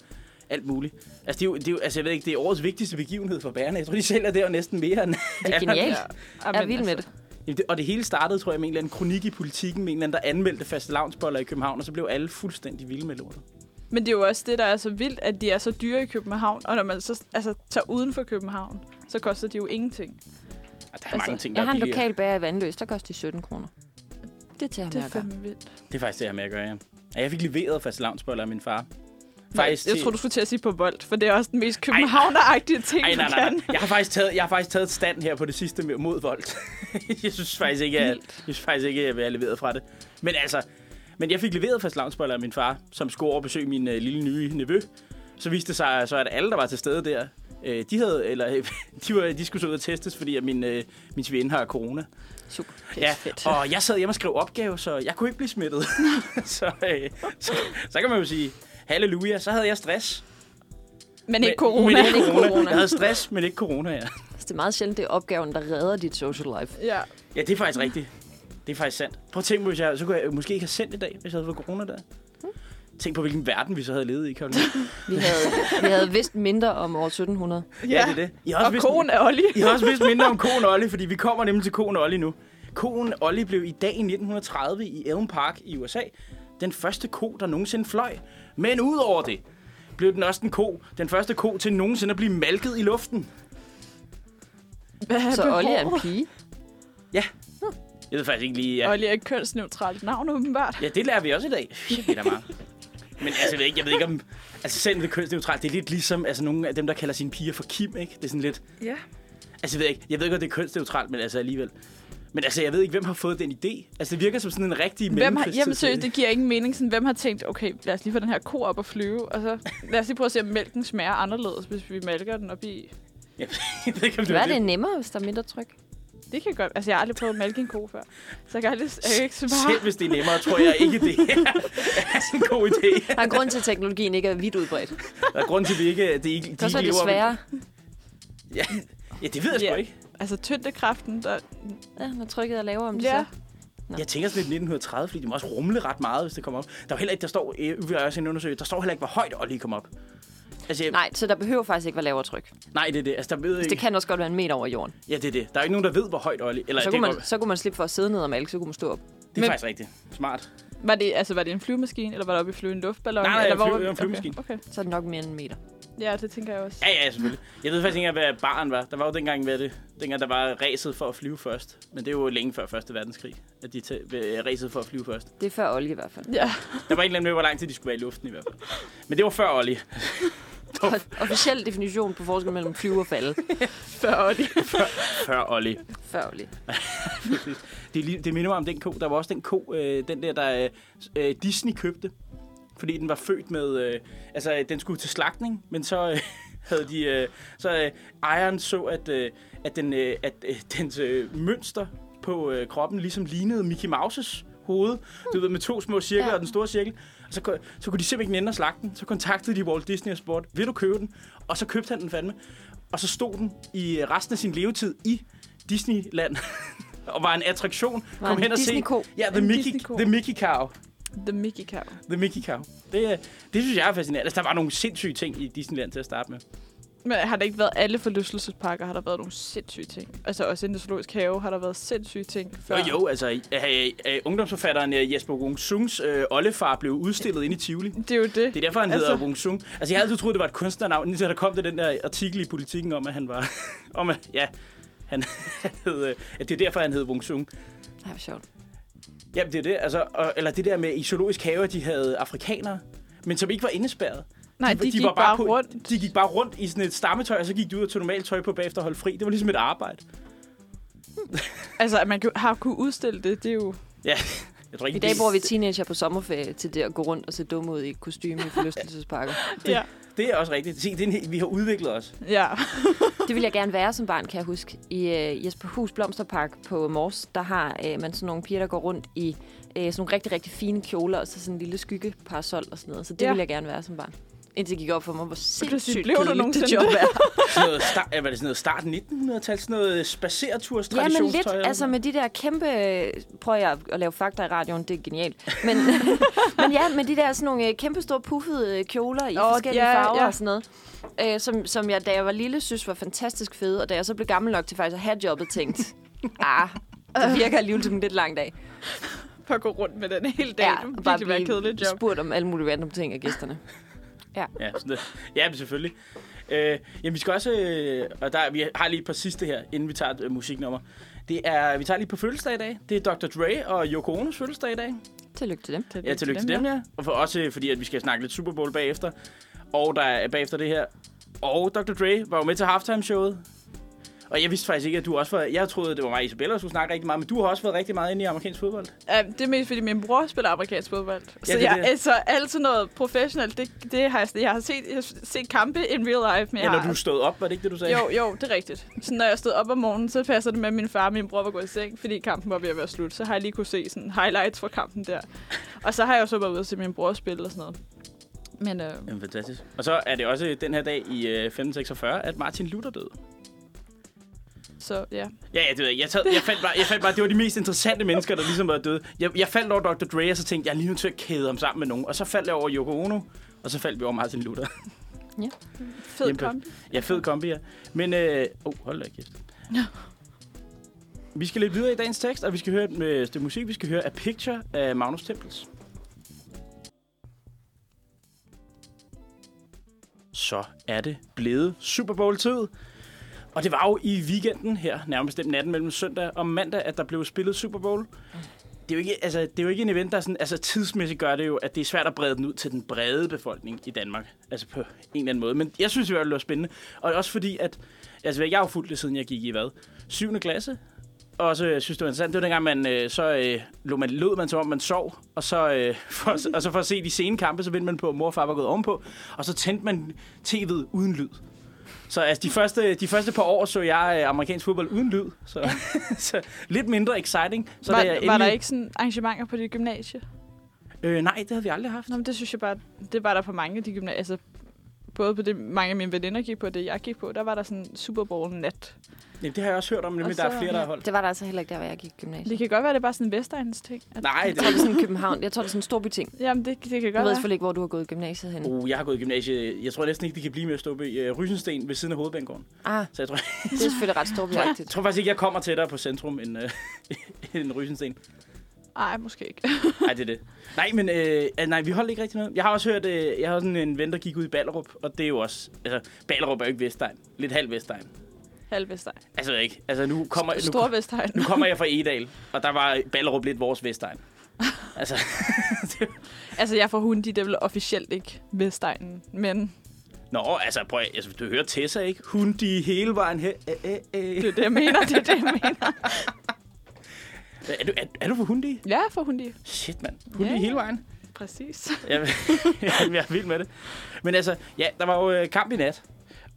[SPEAKER 2] alt muligt. Altså, det er jo, det er jo, altså, jeg ved ikke, det er årets vigtigste begivenhed for bærerne. Jeg tror, de sælger det jo næsten mere end...
[SPEAKER 4] Det er genialt.
[SPEAKER 3] Ja.
[SPEAKER 4] [LAUGHS]
[SPEAKER 3] altså.
[SPEAKER 4] Jeg er vild
[SPEAKER 2] altså,
[SPEAKER 4] med det.
[SPEAKER 2] [LAUGHS] Jamen, det- og det hele startede, tror jeg, med en eller anden kronik i politikken, med en eller anden, der anmeldte faste i København, og så blev alle fuldstændig vilde med lortet.
[SPEAKER 3] Men det er jo også det, der er så vildt, at de er så dyre i København. Og når man så altså, tager uden for København, så koster de jo ingenting.
[SPEAKER 2] Og der er altså, mange ting, der
[SPEAKER 4] jeg har
[SPEAKER 2] er
[SPEAKER 4] en
[SPEAKER 2] billigere.
[SPEAKER 4] lokal bager i Vandløs, der koster de 17 kroner. Det er til ham,
[SPEAKER 3] Det er
[SPEAKER 4] jeg gør.
[SPEAKER 3] fandme vildt.
[SPEAKER 2] Det er faktisk det, jeg har med at gøre, ja. Og jeg fik leveret faste af min far. Faktisk
[SPEAKER 3] jeg
[SPEAKER 2] til-
[SPEAKER 3] tror, du skulle til at sige på vold, for det er også den mest københavneragtige ting,
[SPEAKER 2] Ej, nej,
[SPEAKER 3] man
[SPEAKER 2] nej,
[SPEAKER 3] kan.
[SPEAKER 2] nej. Jeg har faktisk taget, jeg har faktisk taget et stand her på det sidste med- mod vold. [LAUGHS] jeg synes faktisk ikke, at jeg, jeg synes faktisk ikke, at jeg vil have leveret fra det. Men altså, men jeg fik leveret fast lavnsboller af min far, som skulle over og besøge min øh, lille nye nevø. Så viste det sig så, at alle, der var til stede der, øh, de, havde, eller, [LAUGHS] øh, de, var, de skulle så ud og testes, fordi at min, øh, min svigerinde har corona.
[SPEAKER 4] Super. Det er
[SPEAKER 2] Ja,
[SPEAKER 4] fedt.
[SPEAKER 2] og jeg sad hjemme og skrev opgave, så jeg kunne ikke blive smittet. [LAUGHS] så, øh, så, så kan man jo sige, halleluja, så havde jeg stress.
[SPEAKER 3] Men ikke corona.
[SPEAKER 2] Men ikke
[SPEAKER 4] [LAUGHS] Ikke
[SPEAKER 2] corona.
[SPEAKER 4] corona.
[SPEAKER 2] Jeg havde stress, men ikke corona, ja.
[SPEAKER 4] Altså, Det er meget sjældent, det er opgaven, der redder dit social life.
[SPEAKER 3] [LAUGHS] Ja.
[SPEAKER 2] Ja, det er faktisk rigtigt. Det er faktisk sandt. Prøv at tænke på, hvis jeg, så kunne jeg måske ikke have sendt i dag, hvis jeg havde fået corona der. Tænk på, hvilken verden vi så havde levet i, kan du ja.
[SPEAKER 4] Vi havde, vi havde vidst mindre om år 1700.
[SPEAKER 2] ja, det er det. I har
[SPEAKER 3] Og
[SPEAKER 2] vidst,
[SPEAKER 3] konen er Olli.
[SPEAKER 2] I har også vidst mindre om koen Olli, fordi vi kommer nemlig til koen Olli nu. Koen Olli blev i dag i 1930 i Elm Park i USA den første ko, der nogensinde fløj. Men udover det blev den også en ko, den første ko til nogensinde at blive malket i luften.
[SPEAKER 3] Hvad er
[SPEAKER 4] Så Olli er en
[SPEAKER 3] behovet?
[SPEAKER 4] pige.
[SPEAKER 2] Jeg ved faktisk ikke lige... Ja.
[SPEAKER 3] Olli er et kønsneutralt navn, åbenbart.
[SPEAKER 2] Ja, det lærer vi også i dag. Shit, det er da meget. Men altså, jeg ved ikke, jeg ved ikke om... Altså, selv det er kønsneutralt, det er lidt ligesom altså, nogle af dem, der kalder sine piger for Kim, ikke? Det er sådan lidt...
[SPEAKER 3] Ja.
[SPEAKER 2] Altså, jeg ved ikke, jeg ved ikke, om det er kønsneutralt, men altså alligevel. Men altså, jeg ved ikke, hvem har fået den idé. Altså, det virker som sådan en rigtig
[SPEAKER 3] Hvem har,
[SPEAKER 2] mellemkrigstid-
[SPEAKER 3] jamen seriøst, det giver ingen mening. Sådan, hvem har tænkt, okay, lad os lige få den her ko op og flyve, og så lad os lige prøve at se, om mælken smager anderledes, hvis vi mælker den op i.
[SPEAKER 2] Jeg ved ikke, om det
[SPEAKER 4] Hvad
[SPEAKER 2] var
[SPEAKER 4] er det
[SPEAKER 2] det.
[SPEAKER 4] nemmere, hvis der er mindre tryk?
[SPEAKER 3] Det kan godt. Altså, jeg har aldrig prøvet at mælke en ko før, så jeg kan aldrig jeg kan ikke svare.
[SPEAKER 2] Selv hvis det er nemmere, tror jeg ikke, det er [LAUGHS] en god
[SPEAKER 3] [LAUGHS]
[SPEAKER 2] idé.
[SPEAKER 4] Der er en grund til, at teknologien ikke er vidt udbredt.
[SPEAKER 2] Der er grund til, at vi ikke, det ikke,
[SPEAKER 4] Det
[SPEAKER 2] de
[SPEAKER 4] er så
[SPEAKER 2] ikke
[SPEAKER 4] er det
[SPEAKER 2] lever...
[SPEAKER 4] sværere.
[SPEAKER 2] Ja, ja, det ved jeg sgu
[SPEAKER 3] Ja.
[SPEAKER 2] ikke.
[SPEAKER 3] Altså, tyndekræften, der...
[SPEAKER 4] Ja, når trykket er lavere, om det
[SPEAKER 3] Ja.
[SPEAKER 4] ja.
[SPEAKER 2] Jeg tænker sådan lidt 1930, fordi de må også rumle ret meget, hvis det kommer op. Der er jo heller ikke, der står, øh, vi har også en undersøgelse, der står heller ikke, hvor højt Olli kom op. Altså, jeg,
[SPEAKER 4] så... Nej, så der behøver faktisk ikke være lavere tryk.
[SPEAKER 2] nej, det er det. Altså, der ved
[SPEAKER 4] Det
[SPEAKER 2] ikke,
[SPEAKER 4] kan også godt være en meter over jorden.
[SPEAKER 2] Ja, det er det. Der er ikke nogen, der ved, hvor højt Olli... Eller,
[SPEAKER 4] Så
[SPEAKER 2] det,
[SPEAKER 4] kunne,
[SPEAKER 2] man...
[SPEAKER 4] man, så kunne man slippe for at sidde ned og mælke, så kunne man stå op.
[SPEAKER 2] det er
[SPEAKER 3] Men-
[SPEAKER 2] faktisk rigtigt. Smart.
[SPEAKER 3] Var det, altså, var det en flyvemaskine, eller var det oppe i flyve en luftballon?
[SPEAKER 2] Nej, nej,
[SPEAKER 3] eller
[SPEAKER 2] en flyve-
[SPEAKER 3] var-
[SPEAKER 2] en flyvemaskine.
[SPEAKER 3] Okay, okay.
[SPEAKER 4] Så er det nok mere end en meter.
[SPEAKER 3] Ja, det tænker jeg også.
[SPEAKER 2] Ja, ja, selvfølgelig. Jeg ved faktisk ikke engang, hvad barn var. Der var jo dengang, hvad det, dengang der var ræset for at flyve først. Men det er jo længe før Første Verdenskrig, at de tæ- øh, ræset for at flyve først.
[SPEAKER 4] Det er før Olli i hvert fald.
[SPEAKER 3] Ja,
[SPEAKER 2] Der var en eller anden med, hvor lang tid de skulle være i luften i hvert fald. Men det var før Olli.
[SPEAKER 4] [LAUGHS] Og officiel definition på forskel mellem flyve og
[SPEAKER 2] [LAUGHS]
[SPEAKER 4] falde.
[SPEAKER 3] før Olli.
[SPEAKER 2] Før Olli.
[SPEAKER 4] Før Olli.
[SPEAKER 2] Det, er lige- det minder mig om den ko. Der var også den ko, øh, den der, der øh, øh, Disney købte. Fordi den var født med... Øh, altså, øh, den skulle til slagtning, men så... Øh, [LAUGHS] havde de, øh, så øh, ejeren så, at, øh, at, den, øh, at øh, dens øh, mønster på øh, kroppen ligesom lignede Mickey Mouses hoved. Du ved, med to små cirkler ja.
[SPEAKER 4] Ja.
[SPEAKER 2] og den store cirkel. Og så, kunne- så kunne de simpelthen ikke nænde at slagte den. Så kontaktede de Walt Disney og spurgte, vil du købe den? Og så købte han den fandme. Og så stod den i øh, resten af sin levetid i Disneyland. [LAUGHS] og var en attraktion.
[SPEAKER 4] Var
[SPEAKER 2] Kom
[SPEAKER 4] en
[SPEAKER 2] hen og se.
[SPEAKER 4] Disney-ko.
[SPEAKER 2] Ja, The
[SPEAKER 3] En
[SPEAKER 2] Mickey,
[SPEAKER 3] Disney-ko.
[SPEAKER 2] the Mickey Cow.
[SPEAKER 3] The Mickey Cow.
[SPEAKER 2] The Mickey Cow. Det, øh, det synes jeg er fascinerende. Altså, der var nogle sindssyge ting i Disneyland til at starte med.
[SPEAKER 3] Men har der ikke været alle forlystelsesparker, har der været nogle sindssyge ting. Altså også inden zoologisk have har der været sindssyge ting før.
[SPEAKER 2] Jo, jo, altså øh, øh, ungdomsforfatteren øh, Jesper Wung Sungs øh, oldefar blev udstillet inde i Tivoli.
[SPEAKER 3] Det er jo det.
[SPEAKER 2] Det er derfor, han altså... hedder
[SPEAKER 3] Altså-
[SPEAKER 2] Wung Sung. Altså, jeg havde altid troet, det var et kunstnernavn, indtil der kom til den der artikel i Politiken om, at han var... [LAUGHS] om at, ja, han, [LAUGHS] han hed, øh, at det er derfor, han hed Wung Sung.
[SPEAKER 4] Ej, hvor sjovt.
[SPEAKER 2] Jamen, det er det. Altså, og, eller det der med, i zoologisk have, at de havde afrikanere, men som ikke var indespærret.
[SPEAKER 3] Nej, de, de gik bare,
[SPEAKER 2] på,
[SPEAKER 3] rundt.
[SPEAKER 2] De gik bare rundt i sådan et stammetøj, og så gik de ud og tog normalt tøj på bagefter og holdt fri. Det var ligesom et arbejde.
[SPEAKER 3] Altså, at man kan- har kunne udstille det, det er jo...
[SPEAKER 2] Ja, jeg tror ikke,
[SPEAKER 4] I dag bruger vi teenager på sommerferie til det at gå rundt og se dumme ud i kostume i [LAUGHS] forlystelsesparker.
[SPEAKER 2] Det-
[SPEAKER 3] Ja.
[SPEAKER 2] det er også rigtigt. Se, det er en, hel- vi har udviklet os.
[SPEAKER 3] ja.
[SPEAKER 4] Det ville jeg gerne være som barn, kan jeg huske. I øh, Jesper Hus Blomsterpark på Mors, der har øh, man sådan nogle piger, der går rundt i øh, sådan nogle rigtig, rigtig fine kjoler, og så sådan en lille skyggeparasol og sådan noget. Så det
[SPEAKER 3] Ja.
[SPEAKER 4] ja. ville jeg gerne være som barn. Indtil det gik op for mig, hvor sindssygt
[SPEAKER 3] blev du
[SPEAKER 4] kedeligt
[SPEAKER 3] nogensinde
[SPEAKER 4] det job er.
[SPEAKER 2] Sådan
[SPEAKER 4] [LAUGHS]
[SPEAKER 2] noget start, var det sådan noget start 1900-tal? Sådan noget øh, spacerturs
[SPEAKER 4] Ja, men lidt.
[SPEAKER 2] traditionstøj?
[SPEAKER 4] Altså med de der kæmpe... Prøv at, at lave fakta i radioen, det er genialt. Men, [LAUGHS] men ja, med de der sådan nogle øh, kæmpe store puffede øh, kjoler i
[SPEAKER 3] Åh,
[SPEAKER 4] oh, forskellige
[SPEAKER 3] ja,
[SPEAKER 4] yeah, farver
[SPEAKER 3] ja.
[SPEAKER 4] yeah. og sådan noget. Øh, som, som jeg, da jeg var lille, synes var fantastisk fede. Og da jeg så blev gammel nok til faktisk at have jobbet,
[SPEAKER 3] [LAUGHS]
[SPEAKER 4] tænkte... Ah, det virker alligevel som en lidt lang dag.
[SPEAKER 3] [LAUGHS] For at gå rundt med den hele dag. Ja, det må virkelig være et kedeligt job.
[SPEAKER 4] spurgt om alle mulige random ting af gæsterne.
[SPEAKER 2] Ja, sådan noget. ja men selvfølgelig. Øh, jamen, vi skal også... Øh, og der, vi har lige et par sidste her, inden vi tager et øh, musiknummer. Det er, vi tager lige på fødselsdag i dag. Det er Dr. Dre og Yoko Onos fødselsdag i dag.
[SPEAKER 4] Tillykke til dem.
[SPEAKER 2] Ja, tillykke til dem, ja. Og for, også øh, fordi, at vi skal snakke lidt Super Bowl bagefter. Og der er bagefter det her. Og Dr. Dre var jo med til halftime-showet. Og jeg vidste faktisk ikke, at du også var... Jeg troede, det var mig og Isabella, der skulle snakke rigtig meget, men du har også været rigtig meget inde i amerikansk fodbold.
[SPEAKER 3] Ja, det er mest, fordi min bror spiller amerikansk fodbold. så
[SPEAKER 2] det er
[SPEAKER 3] jeg,
[SPEAKER 2] det.
[SPEAKER 3] altså, alt sådan noget professionelt, det, det har jeg, jeg har set, jeg har set kampe in real life. Men
[SPEAKER 2] Ja.
[SPEAKER 3] jeg
[SPEAKER 2] Eller
[SPEAKER 3] har,
[SPEAKER 2] du stod op, var det ikke det, du sagde?
[SPEAKER 3] Jo, jo, det er rigtigt. Så når jeg stod op om morgenen, så passer det med, at min far og min bror var gået i seng, fordi kampen var ved at være slut. Så har jeg lige kunne se sådan highlights fra kampen der. Og så har jeg jo så været ude og se min bror spille og sådan noget. Men øh,
[SPEAKER 2] Jamen, fantastisk. Og så er det også den her dag i øh, 1546, at Martin Luther døde.
[SPEAKER 3] så ja.
[SPEAKER 2] Ja, ja, det ved jeg. ikke. Jeg, tager, jeg, fandt bare, jeg fandt bare, det var de mest interessante mennesker, der ligesom var døde. Jeg, jeg faldt over Dr. Dre, og så tænkte jeg, jeg er lige nødt til at kæde ham sammen med nogen. Og så faldt jeg over Yoko Ono, og så faldt vi over Martin Luther.
[SPEAKER 3] Fed
[SPEAKER 2] Jamen,
[SPEAKER 3] kamp.
[SPEAKER 2] Ja, fed kombi, ja. Men, øh, oh, hold da kæft.
[SPEAKER 3] Nå.
[SPEAKER 2] Vi skal lidt videre i dagens tekst, og vi skal høre et øh, stykke musik. Vi skal høre A Picture af Magnus Tempels. Så er det blevet Super Bowl-tid. Og det var jo i weekenden her, nærmest den natten mellem søndag og mandag, at der blev spillet Super Bowl. Det er, jo ikke, altså, det er jo ikke en event, der sådan, altså, tidsmæssigt gør det jo, at det er svært at brede den ud til den brede befolkning i Danmark. Altså på en eller anden måde. Men jeg synes i hvert fald, det var spændende. Og også fordi, at altså, jeg har jo fulgt det, siden jeg gik i hvad? 7. klasse. Og så øh, synes det var interessant, det var dengang, man, øh, så øh, lå man, lød man, som om man sov, og så, øh, [LAUGHS] for, og så for at se de sene kampe, så vendte man på, at mor og far var gået ovenpå, og så tændte man tv'et uden lyd. Så altså, de første, de første par år så jeg øh, amerikansk fodbold uden lyd, så, [LAUGHS] så lidt mindre exciting. Så
[SPEAKER 3] Så var,
[SPEAKER 2] da jeg
[SPEAKER 3] var der
[SPEAKER 2] endelig-
[SPEAKER 3] ikke sådan arrangementer på dit gymnasie?
[SPEAKER 2] Øh, nej, det havde vi aldrig haft.
[SPEAKER 3] Nå, men det synes jeg bare, det var der på mange af de gymnasier. Altså, både på det, mange af mine veninder gik på, og det jeg gik på, der var der sådan Super Bowl-nat.
[SPEAKER 2] Jamen, det har jeg også hørt om, nemlig
[SPEAKER 3] Og
[SPEAKER 2] der er
[SPEAKER 3] så-
[SPEAKER 2] flere, der har holdt.
[SPEAKER 4] Det var der altså heller ikke der, hvor jeg gik i
[SPEAKER 3] Det
[SPEAKER 4] gymnasiet.
[SPEAKER 3] kan godt være, det er bare sådan en Vestegns ting. At,
[SPEAKER 2] Nej, det
[SPEAKER 4] Jeg tror, det er sådan København. Jeg tror, det er sådan en storbyting.
[SPEAKER 3] Jamen, det, det kan
[SPEAKER 4] Jeg
[SPEAKER 3] godt
[SPEAKER 4] ved
[SPEAKER 3] være.
[SPEAKER 4] selvfølgelig ikke, hvor du har gået i gymnasiet henne.
[SPEAKER 2] Uh, jeg har gået i gymnasiet. Jeg tror næsten ikke, det kan blive med at stå i øh, Rysensten ved siden af hovedbanegården.
[SPEAKER 4] Ah,
[SPEAKER 2] Så jeg tror, jeg
[SPEAKER 4] det er selvfølgelig ret
[SPEAKER 2] [LAUGHS]
[SPEAKER 4] storbyagtigt.
[SPEAKER 2] tror faktisk ikke, jeg kommer tættere på centrum end, øh, end Rysensten.
[SPEAKER 3] Nej, måske ikke. [LAUGHS]
[SPEAKER 2] Nej, det er det. Nej, men øh, ah, nej, vi holdt ikke rigtig noget. Jeg har også hørt, øh, jeg har sådan en ven, der gik ud i Ballerup, og det er jo også... Altså, Ballerup er jo ikke Vestegn. Lidt halv Vestegn.
[SPEAKER 3] Halvvestegn.
[SPEAKER 2] Altså ikke. Altså nu kommer, nu,
[SPEAKER 3] Stor Vestegn.
[SPEAKER 2] nu kommer jeg fra Edal, og der var Ballerup lidt vores Vestegn. Altså,
[SPEAKER 3] [LAUGHS]
[SPEAKER 2] [LAUGHS]
[SPEAKER 3] Altså, jeg får hundi, det er vel officielt ikke Vestegnen, men
[SPEAKER 2] nå, altså prøv at- altså, du hører Tessa, ikke? Hun de hele vejen her. Æ, æ, æ.
[SPEAKER 3] det er det, jeg mener. Det er det, jeg mener.
[SPEAKER 2] Er, du, er, er du for hundi?
[SPEAKER 3] [LAUGHS] Ja, jeg får hundi.
[SPEAKER 2] Shit, mand. Hundi
[SPEAKER 3] Ja, ja.
[SPEAKER 2] hele vejen.
[SPEAKER 3] Præcis.
[SPEAKER 2] [LAUGHS] Jeg, jeg, jeg er vild med det. Men altså, ja, der var jo øh, kamp i nat.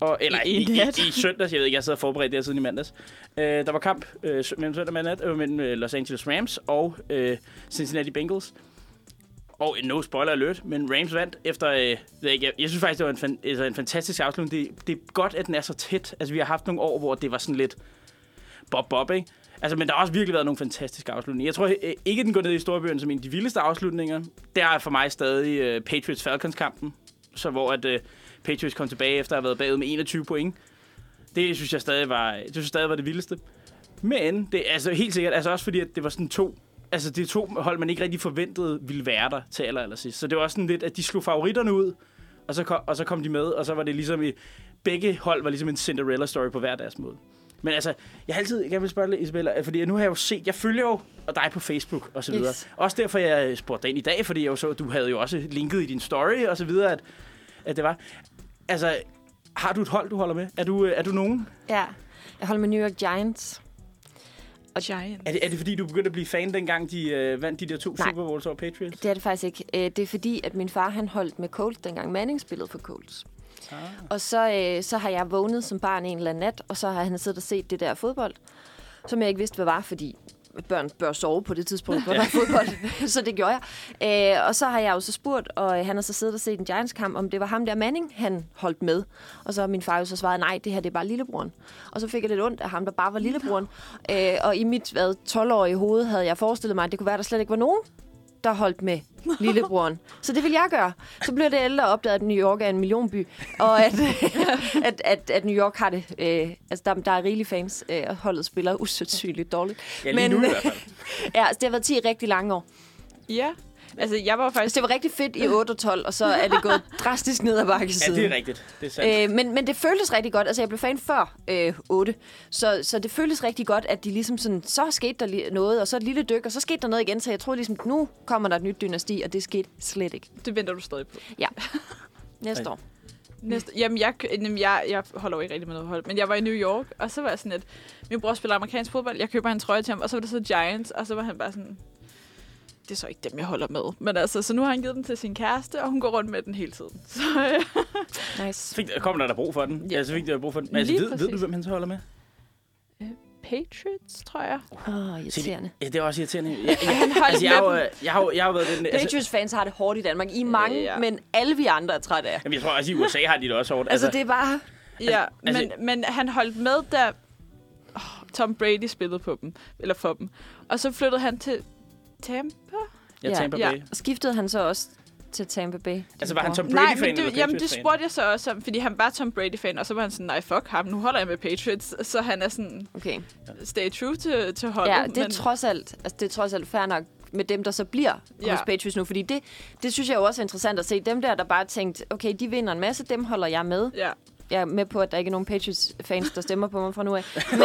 [SPEAKER 2] Og, eller
[SPEAKER 3] I
[SPEAKER 2] i, i,
[SPEAKER 3] nat.
[SPEAKER 2] i, i søndags, jeg ved ikke, jeg sad og forberedte det her siden i mandags. Øh, der var kamp øh, sø- mellem søndag og nat øh, mellem øh, Los Angeles Rams og øh, Cincinnati Bengals. Og øh, no spoiler alert, men Rams vandt efter... Øh, jeg, ved ikke, jeg, jeg synes faktisk, det var en, fan, altså, en fantastisk afslutning. Det, det er godt, at den er så tæt. Altså, vi har haft nogle år, hvor det var sådan lidt bob-bob, ikke? Altså, men der har også virkelig været nogle fantastiske afslutninger. Jeg tror øh, ikke, den går ned i storbyen som en af de vildeste afslutninger. Der er for mig stadig øh, Patriots-Falcons-kampen, så hvor at, øh, Patriots kom tilbage efter at have været bagud med 21 point. Det synes jeg stadig var, det synes jeg stadig var det vildeste. Men det er altså helt sikkert, altså også fordi, at det var sådan to, altså det er to hold, man ikke rigtig forventede ville være der til aller, aller sidst. Så det var også sådan lidt, at de slog favoritterne ud, og så, kom, og så kom de med, og så var det ligesom i, begge hold var ligesom en Cinderella-story på hver deres måde. Men altså, jeg har altid gerne vil spørge dig, Isabella, fordi nu har jeg jo set, jeg følger jo og dig på Facebook og så videre.
[SPEAKER 4] Yes.
[SPEAKER 2] Yes. Også derfor, jeg spurgte dig ind i dag, fordi jeg jo så, at du havde jo også linket i din story og så videre, at, at det var. Altså, har du et hold, du holder med? Er du, øh, er du nogen?
[SPEAKER 4] Ja. Jeg holder med New York Giants.
[SPEAKER 3] Og Giant.
[SPEAKER 2] Er det, er det fordi, du begyndte at blive fan, dengang de øh, vandt de der to
[SPEAKER 4] Nej.
[SPEAKER 2] Super Bowls over Patriots?
[SPEAKER 4] Det er det faktisk ikke. Øh, Det er fordi, at min far han holdt med Colts, dengang Manning spillede for Colts.
[SPEAKER 2] Ah.
[SPEAKER 4] Og så, øh, så har jeg vågnet som barn en eller anden nat, og så har han siddet og set det der fodbold, som jeg ikke vidste, hvad var, fordi børn bør sove på det tidspunkt, hvor der er fodbold. [LAUGHS] så det gjorde jeg. Øh, og så har jeg jo så spurgt, og øh, han har så siddet og set en Giants-kamp, om det var ham der Manning, han holdt med. Og så har min far jo så svaret, nej, det her det er bare lillebroren. Og så fik jeg lidt ondt af ham, der bare var lillebroren. Øh, og i mit hvad, 12-årige hoved havde jeg forestillet mig, at det kunne være, at der slet ikke var nogen, der holdt med lillebroren. Så det vil jeg gøre. Så blev det ældre og opdaget, at New York er en millionby, og at, [LAUGHS] at, at, at New York har det. Øh, altså, der, der er rigelige fans, øh, og holdet spiller usandsynligt dårligt.
[SPEAKER 2] Ja, lige nu i hvert fald.
[SPEAKER 4] [LAUGHS] ja, altså, det har været 10 rigtig lange år.
[SPEAKER 3] Ja. Altså, jeg var faktisk...
[SPEAKER 4] Altså, det var rigtig fedt i 8 og 12, og så er det gået drastisk ned ad bakke
[SPEAKER 2] Ja,
[SPEAKER 4] siden.
[SPEAKER 2] det er rigtigt. Det er sandt.
[SPEAKER 4] Øh, men, men det føltes rigtig godt. Altså, jeg blev fan før øh, 8. Så, så det føltes rigtig godt, at de ligesom sådan, så skete der lige noget, og så et lille dyk, og så skete der noget igen. Så jeg troede ligesom, nu kommer der et nyt dynasti, og det skete slet ikke.
[SPEAKER 3] Det venter du stadig på.
[SPEAKER 4] Ja. Næste år.
[SPEAKER 3] Næste, jamen, jeg, jamen jeg, jeg holder jo ikke rigtig med noget hold, men jeg var i New York, og så var jeg sådan, at min bror spiller amerikansk fodbold, jeg køber hans trøje til ham, og så var det så Giants, og så var han bare sådan, det er så ikke dem, jeg holder med. Men altså, så nu har han givet dem til sin kæreste, og hun går rundt med den hele tiden. Så øh,
[SPEAKER 4] Nice.
[SPEAKER 2] Fik, kom der der brug for den?
[SPEAKER 3] Ja.
[SPEAKER 2] Ja, så fik der brug for den. Men altså,
[SPEAKER 3] Lige
[SPEAKER 2] ved, ved du,
[SPEAKER 3] præcis.
[SPEAKER 2] hvem han så holder med?
[SPEAKER 3] Patriots, tror jeg.
[SPEAKER 4] Åh, oh,
[SPEAKER 2] Se,
[SPEAKER 4] irriterende.
[SPEAKER 2] det- Ja, det er også irriterende. Jeg, jeg,
[SPEAKER 3] Han holdt
[SPEAKER 2] altså, jeg, har
[SPEAKER 3] med
[SPEAKER 2] jo, øh, jeg, har, jo- jeg har jo været den... Altså,
[SPEAKER 4] Patriots-fans har det hårdt i Danmark. I er mange,
[SPEAKER 3] Ja.
[SPEAKER 4] ja. men alle vi andre er trætte af.
[SPEAKER 2] jamen, jeg tror også, i USA har de det også hårdt.
[SPEAKER 4] Altså, det er bare...
[SPEAKER 3] Ja,
[SPEAKER 2] altså-
[SPEAKER 3] men, men han holdt med, da oh, Tom Brady spillede på dem, eller for dem. Og så flyttede han til Tampa?
[SPEAKER 2] jeg
[SPEAKER 4] ja,
[SPEAKER 2] tænker
[SPEAKER 3] ja.
[SPEAKER 2] på det.
[SPEAKER 4] Skiftede han så også til Tampa Bay?
[SPEAKER 2] Altså, var han Tom
[SPEAKER 3] Nej,
[SPEAKER 2] Brady-fan
[SPEAKER 3] men
[SPEAKER 2] eller
[SPEAKER 3] det, jamen, det
[SPEAKER 2] Patriots-fan?
[SPEAKER 3] spurgte jeg så også om, fordi han var Tom Brady-fan, og så var han sådan, nej, fuck ham, nu holder jeg med Patriots. Så han er sådan,
[SPEAKER 4] Okay.
[SPEAKER 3] stay true til, til holdet.
[SPEAKER 4] Ja, det er, trods alt, altså, det er trods alt fair nok med dem, der så bliver
[SPEAKER 3] Ja.
[SPEAKER 4] ja. hos Patriots nu. Fordi det, det synes jeg jo også er interessant at se. Dem der, der bare tænkte, okay, de vinder en masse, dem holder jeg med.
[SPEAKER 3] Ja,
[SPEAKER 4] Jeg er med på, at der ikke er nogen Patriots-fans, der stemmer på mig fra nu af. Men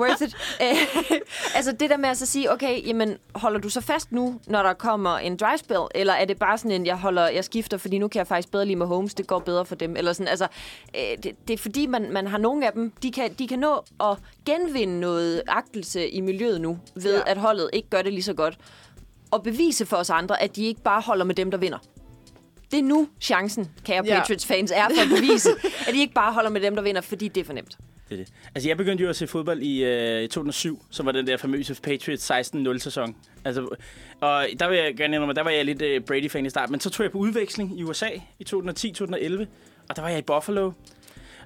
[SPEAKER 4] worth it. Øh, altså det der med at så sige, okay, jamen, holder du så fast nu, når der kommer en dry spell? Eller er det bare sådan en, jeg, holder, jeg skifter, fordi nu kan jeg faktisk bedre lide med Holmes, det går bedre for dem? Eller sådan, altså, øh, det, det, er fordi, man, man har nogle af dem, de kan, de kan nå at genvinde noget agtelse i miljøet nu, ved
[SPEAKER 3] Ja.
[SPEAKER 4] ja. at holdet ikke gør det lige så godt. Og bevise for os andre, at de ikke bare holder med dem, der vinder det er nu chancen, kære
[SPEAKER 3] Ja.
[SPEAKER 4] ja. Patriots-fans, er for at bevise,
[SPEAKER 2] [LAUGHS]
[SPEAKER 4] at I ikke bare holder med dem, der vinder, fordi det er for nemt.
[SPEAKER 2] Det er det. Altså, jeg begyndte jo at se fodbold i øh, 2007, som var den der famøse Patriots 16-0-sæson. Altså, og der vil jeg gerne indrømme, at der var jeg lidt øh, Brady-fan i starten, men så tog jeg på udveksling i USA i 2010-2011, og der var jeg i Buffalo.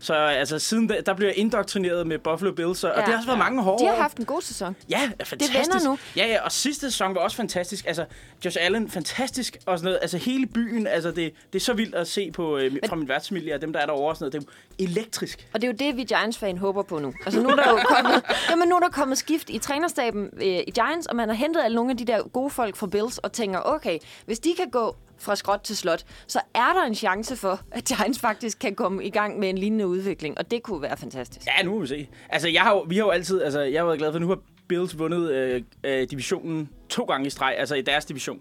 [SPEAKER 2] Så altså, siden da, der blev jeg indoktrineret med Buffalo Bills, og, ja, og det har også været
[SPEAKER 4] ja.
[SPEAKER 2] mange hårde
[SPEAKER 4] De har
[SPEAKER 2] år.
[SPEAKER 4] haft en god sæson.
[SPEAKER 2] Ja, er fantastisk.
[SPEAKER 4] vender nu.
[SPEAKER 2] Ja, ja, og sidste sæson var også fantastisk. Altså, Josh Allen, fantastisk og sådan noget. Altså, hele byen, altså, det, det er så vildt at se på, øh, fra min værtsfamilie og dem, der er derovre og sådan noget. Det er jo elektrisk.
[SPEAKER 4] Og det er jo det, vi Giants-fan håber på nu. Altså nu er der jo
[SPEAKER 2] [LAUGHS]
[SPEAKER 4] kommet, jamen, nu er der kommet skift i trænerstaben øh, i Giants, og man har hentet alle nogle af de der gode folk fra Bills og tænker, okay, hvis de kan gå fra skråt til slot, så er der en chance for, at Giants faktisk kan komme i gang med en lignende udvikling, og det kunne være fantastisk.
[SPEAKER 2] Ja, nu må vi se. Altså, jeg har, jo- vi har jo altid, altså, jeg har været glad for, at nu har Bills vundet øh, øh, divisionen to gange i streg, altså i deres division.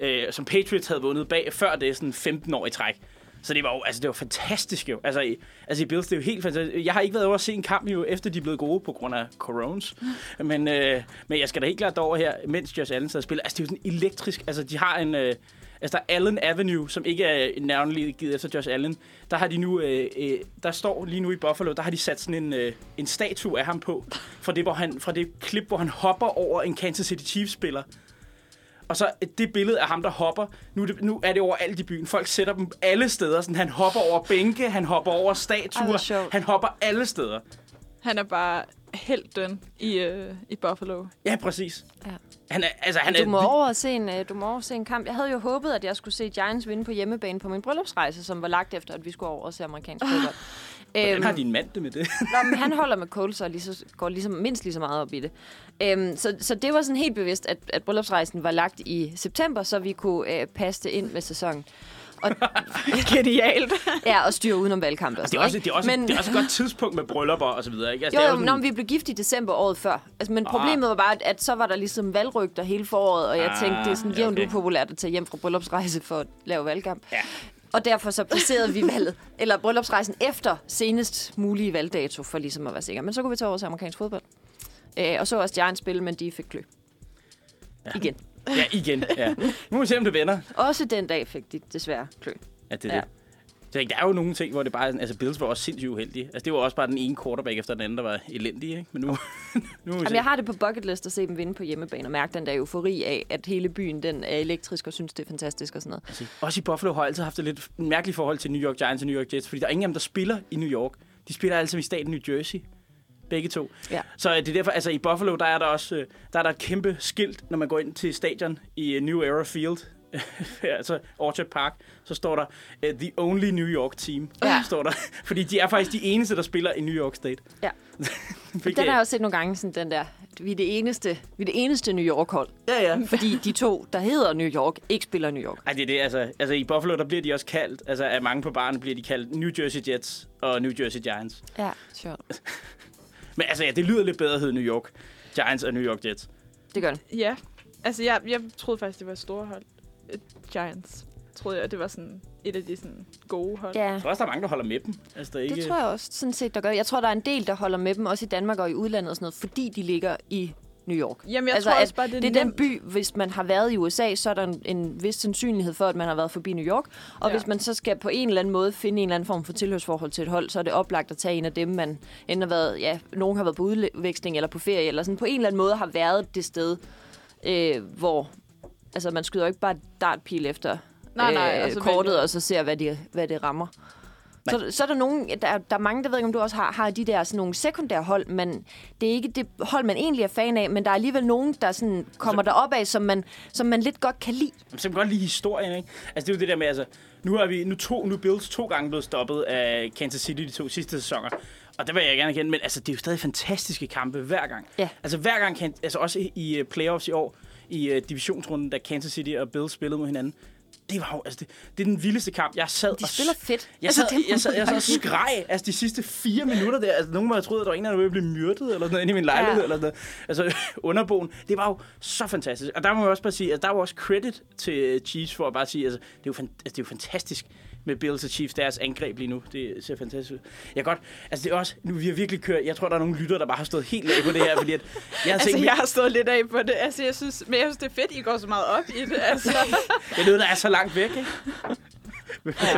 [SPEAKER 2] Øh, som Patriots havde vundet bag, før det sådan 15 år i træk. Så det var jo, altså det var fantastisk jo. Altså i, altså i Bills, det er jo helt fantastisk. Jeg har ikke været over at se en kamp jo, efter de er blevet gode på grund af corones. Men, øh, men jeg skal da helt klart over her, mens Josh Allen sad og spiller. Altså det er jo sådan elektrisk. Altså de har en... Øh, altså der er Allen Avenue, som ikke er navnlig givet efter Josh Allen. Der har de nu... Øh, øh, der står lige nu i Buffalo, der har de sat sådan en, øh, en statue af ham på. Fra det, hvor han, fra det klip, hvor han hopper over en Kansas City Chiefs-spiller. Og så det billede af ham, der hopper. Nu er det, nu er det overalt i byen. Folk sætter dem alle steder. Sådan, han hopper over bænke, han hopper over
[SPEAKER 4] Ej, hvor
[SPEAKER 2] statuer.
[SPEAKER 4] sjovt.
[SPEAKER 2] Han hopper alle steder.
[SPEAKER 3] Han er bare helten i, øh, i Buffalo.
[SPEAKER 2] Ja, præcis.
[SPEAKER 4] Ja.
[SPEAKER 2] Han er, altså, han
[SPEAKER 4] Du må,
[SPEAKER 2] er,
[SPEAKER 4] over og se en, øh, du må over og se en kamp. Jeg havde jo håbet, at jeg skulle se Giants vinde på hjemmebane på min bryllupsrejse, som var lagt efter, at vi skulle over og se amerikansk fodbold.
[SPEAKER 2] Ah. Hvordan
[SPEAKER 4] Øhm,
[SPEAKER 2] har din mand det med det? [LAUGHS]
[SPEAKER 4] Nå, men han holder med Coles og lige så, går ligesom, mindst lige så meget op i det. Øhm, så, så det var sådan helt bevidst, at, at bryllupsrejsen var lagt i september, så vi kunne øh, passe det ind med sæsonen. Og,
[SPEAKER 2] [LAUGHS]
[SPEAKER 3] Genialt.
[SPEAKER 4] ja, og styre udenom valgkamp og
[SPEAKER 2] Det
[SPEAKER 4] sådan
[SPEAKER 2] er også, det er også,
[SPEAKER 4] ikke?
[SPEAKER 2] men... det er også et godt tidspunkt med bryllupper og så videre. Ikke? Altså,
[SPEAKER 4] Jo,
[SPEAKER 2] det er Ah.
[SPEAKER 4] jo, men når vi blev gift i december året før. Altså, men problemet var bare, at, at så var der ligesom valgrygter hele foråret, og jeg
[SPEAKER 2] Ah,
[SPEAKER 4] tænkte, det er sådan
[SPEAKER 2] ja,
[SPEAKER 4] jævnt
[SPEAKER 2] okay.
[SPEAKER 4] upopulært at tage hjem fra bryllupsrejse for at lave valgkamp.
[SPEAKER 2] Ja.
[SPEAKER 4] Og derfor så placerede vi valget, eller bryllupsrejsen efter senest mulige valgdato, for ligesom at være sikker. Men så kunne vi tage over til amerikansk fodbold. Øh, og så også Giants spille, men de fik klø. Igen.
[SPEAKER 2] ja, igen. Ja. Nu må vi se, om det vender.
[SPEAKER 4] Også den dag fik de desværre klø.
[SPEAKER 2] Ja, det er
[SPEAKER 4] Ja.
[SPEAKER 2] ja. det. Så jeg tænkte, der er jo nogle ting, hvor det bare... er sådan- Altså, Bills var også sindssygt uheldige. Altså, det var også bare den ene quarterback efter den anden, der var elendig, ikke? Men nu... [LAUGHS] nu må vi
[SPEAKER 4] Jamen,
[SPEAKER 2] se.
[SPEAKER 4] jeg har det på bucket list at se dem vinde på hjemmebane og mærke den der eufori af, at hele byen den er elektrisk og synes, det er fantastisk og sådan noget.
[SPEAKER 2] Altså, også i Buffalo har jeg altid haft et lidt mærkeligt forhold til New York Giants og New York Jets, fordi der er ingen af dem, der spiller i New York. De spiller alle sammen i staten New Jersey. Begge to.
[SPEAKER 4] Ja.
[SPEAKER 2] Så øh, det er derfor, altså i Buffalo, der er der også øh, der er der et kæmpe skilt, når man går ind til stadion i øh, New Era Field, [LAUGHS] altså Orchard Park, så står der øh, The Only New York Team,
[SPEAKER 4] Ja.
[SPEAKER 2] står der. [LAUGHS] Fordi de er faktisk de eneste, der spiller i New York State.
[SPEAKER 4] Ja.
[SPEAKER 2] Hvilket-
[SPEAKER 4] Den har jeg også set nogle gange, sådan den der, vi er det eneste, vi er det eneste New York-hold.
[SPEAKER 2] Ja, ja.
[SPEAKER 4] Fordi de to, der hedder New York, ikke spiller New York.
[SPEAKER 2] Ej, det er det, altså, altså i Buffalo, der bliver de også kaldt, altså af mange på baren bliver de kaldt New Jersey Jets og New Jersey Giants.
[SPEAKER 4] Ja, sjovt.
[SPEAKER 2] Men altså, ja, det lyder lidt bedre at hedde New York Giants og New York Jets.
[SPEAKER 4] Det gør den.
[SPEAKER 3] Ja. Altså, jeg, jeg troede faktisk, det var store hold. Øh, Giants. Troede jeg, det var sådan et af de sådan, gode hold.
[SPEAKER 4] Ja.
[SPEAKER 2] Jeg tror også, der er mange, der holder med dem. Altså, der er ikke...
[SPEAKER 4] Det tror jeg også sådan set, der gør. Jeg tror, der er en del, der holder med dem, også i Danmark og i udlandet og sådan noget, fordi de ligger i New York. Altså,
[SPEAKER 3] Jamen, jeg tror
[SPEAKER 4] at
[SPEAKER 3] også bare, det er
[SPEAKER 4] det er den
[SPEAKER 3] nemt.
[SPEAKER 4] by, hvis man har været i USA, så er der en, en vis sandsynlighed for, at man har været forbi New York. Og
[SPEAKER 3] Ja.
[SPEAKER 4] ja. hvis man så skal på en eller anden måde finde en eller anden form for tilhørsforhold til et hold, så er det oplagt at tage en af dem, man enten har været, ja, nogen har været på udveksling eller på ferie, eller sådan på en eller anden måde har været det sted, øh, hvor altså, man skyder jo ikke bare dartpil efter øh,
[SPEAKER 3] Nej, altså, nej, og så
[SPEAKER 4] kortet,
[SPEAKER 3] vælger-
[SPEAKER 4] og så ser, hvad, de, hvad det rammer. Så, så er der nogen, der, er- der er mange, der ved ikke, om du også har, har de der sådan nogle sekundære hold, men det er ikke det hold, man egentlig er fan af, men der er alligevel nogen, der sådan kommer derop af, som man, som man lidt godt kan lide.
[SPEAKER 2] Jamen, så kan man godt lide historien, ikke? Altså, det er jo det der med, altså... Nu er vi nu to, nu er Bills to gange blevet stoppet af Kansas City de to sidste sæsoner. Og det vil jeg gerne kende, men altså, det er jo stadig fantastiske kampe hver gang.
[SPEAKER 4] Ja.
[SPEAKER 2] Altså, hver gang, kan, altså også i- i øh, playoffs i år, i øh, divisionsrunden, da Kansas City og Bills spillede mod hinanden. Det var jo, altså, det, det er den vildeste kamp. Jeg sad
[SPEAKER 4] De
[SPEAKER 2] og
[SPEAKER 4] spiller fedt.
[SPEAKER 2] Jeg
[SPEAKER 4] Altså,
[SPEAKER 2] sad,
[SPEAKER 4] det må
[SPEAKER 2] jeg sad,
[SPEAKER 4] man
[SPEAKER 2] jeg sad og
[SPEAKER 4] bare sige.
[SPEAKER 2] skreg altså, de sidste fire minutter der. Altså, nogen må have troet, at der var en, af dem, der ville blive myrdet eller sådan noget, inde i min lejlighed.
[SPEAKER 4] Ja.
[SPEAKER 2] Eller sådan noget. Altså, [LAUGHS] underboen. Det var jo så fantastisk. Og der må jeg også bare sige, at der var også credit til øh, Chiefs for at bare sige, altså, det er jo, fan, altså, det er jo fantastisk med Bills og Chiefs, deres angreb lige nu. Det ser fantastisk ud. Jeg kan godt, altså det er også, nu vi har virkelig kørt, jeg tror, der er nogle lytter, der bare har stået helt af på det her, fordi at, jeg har
[SPEAKER 3] Altså,
[SPEAKER 2] set,
[SPEAKER 3] jeg har stået lidt af på det. Altså, jeg synes, men jeg synes, det er fedt, I går så meget op i det. Altså,
[SPEAKER 2] det er noget, der er så langt væk, ikke?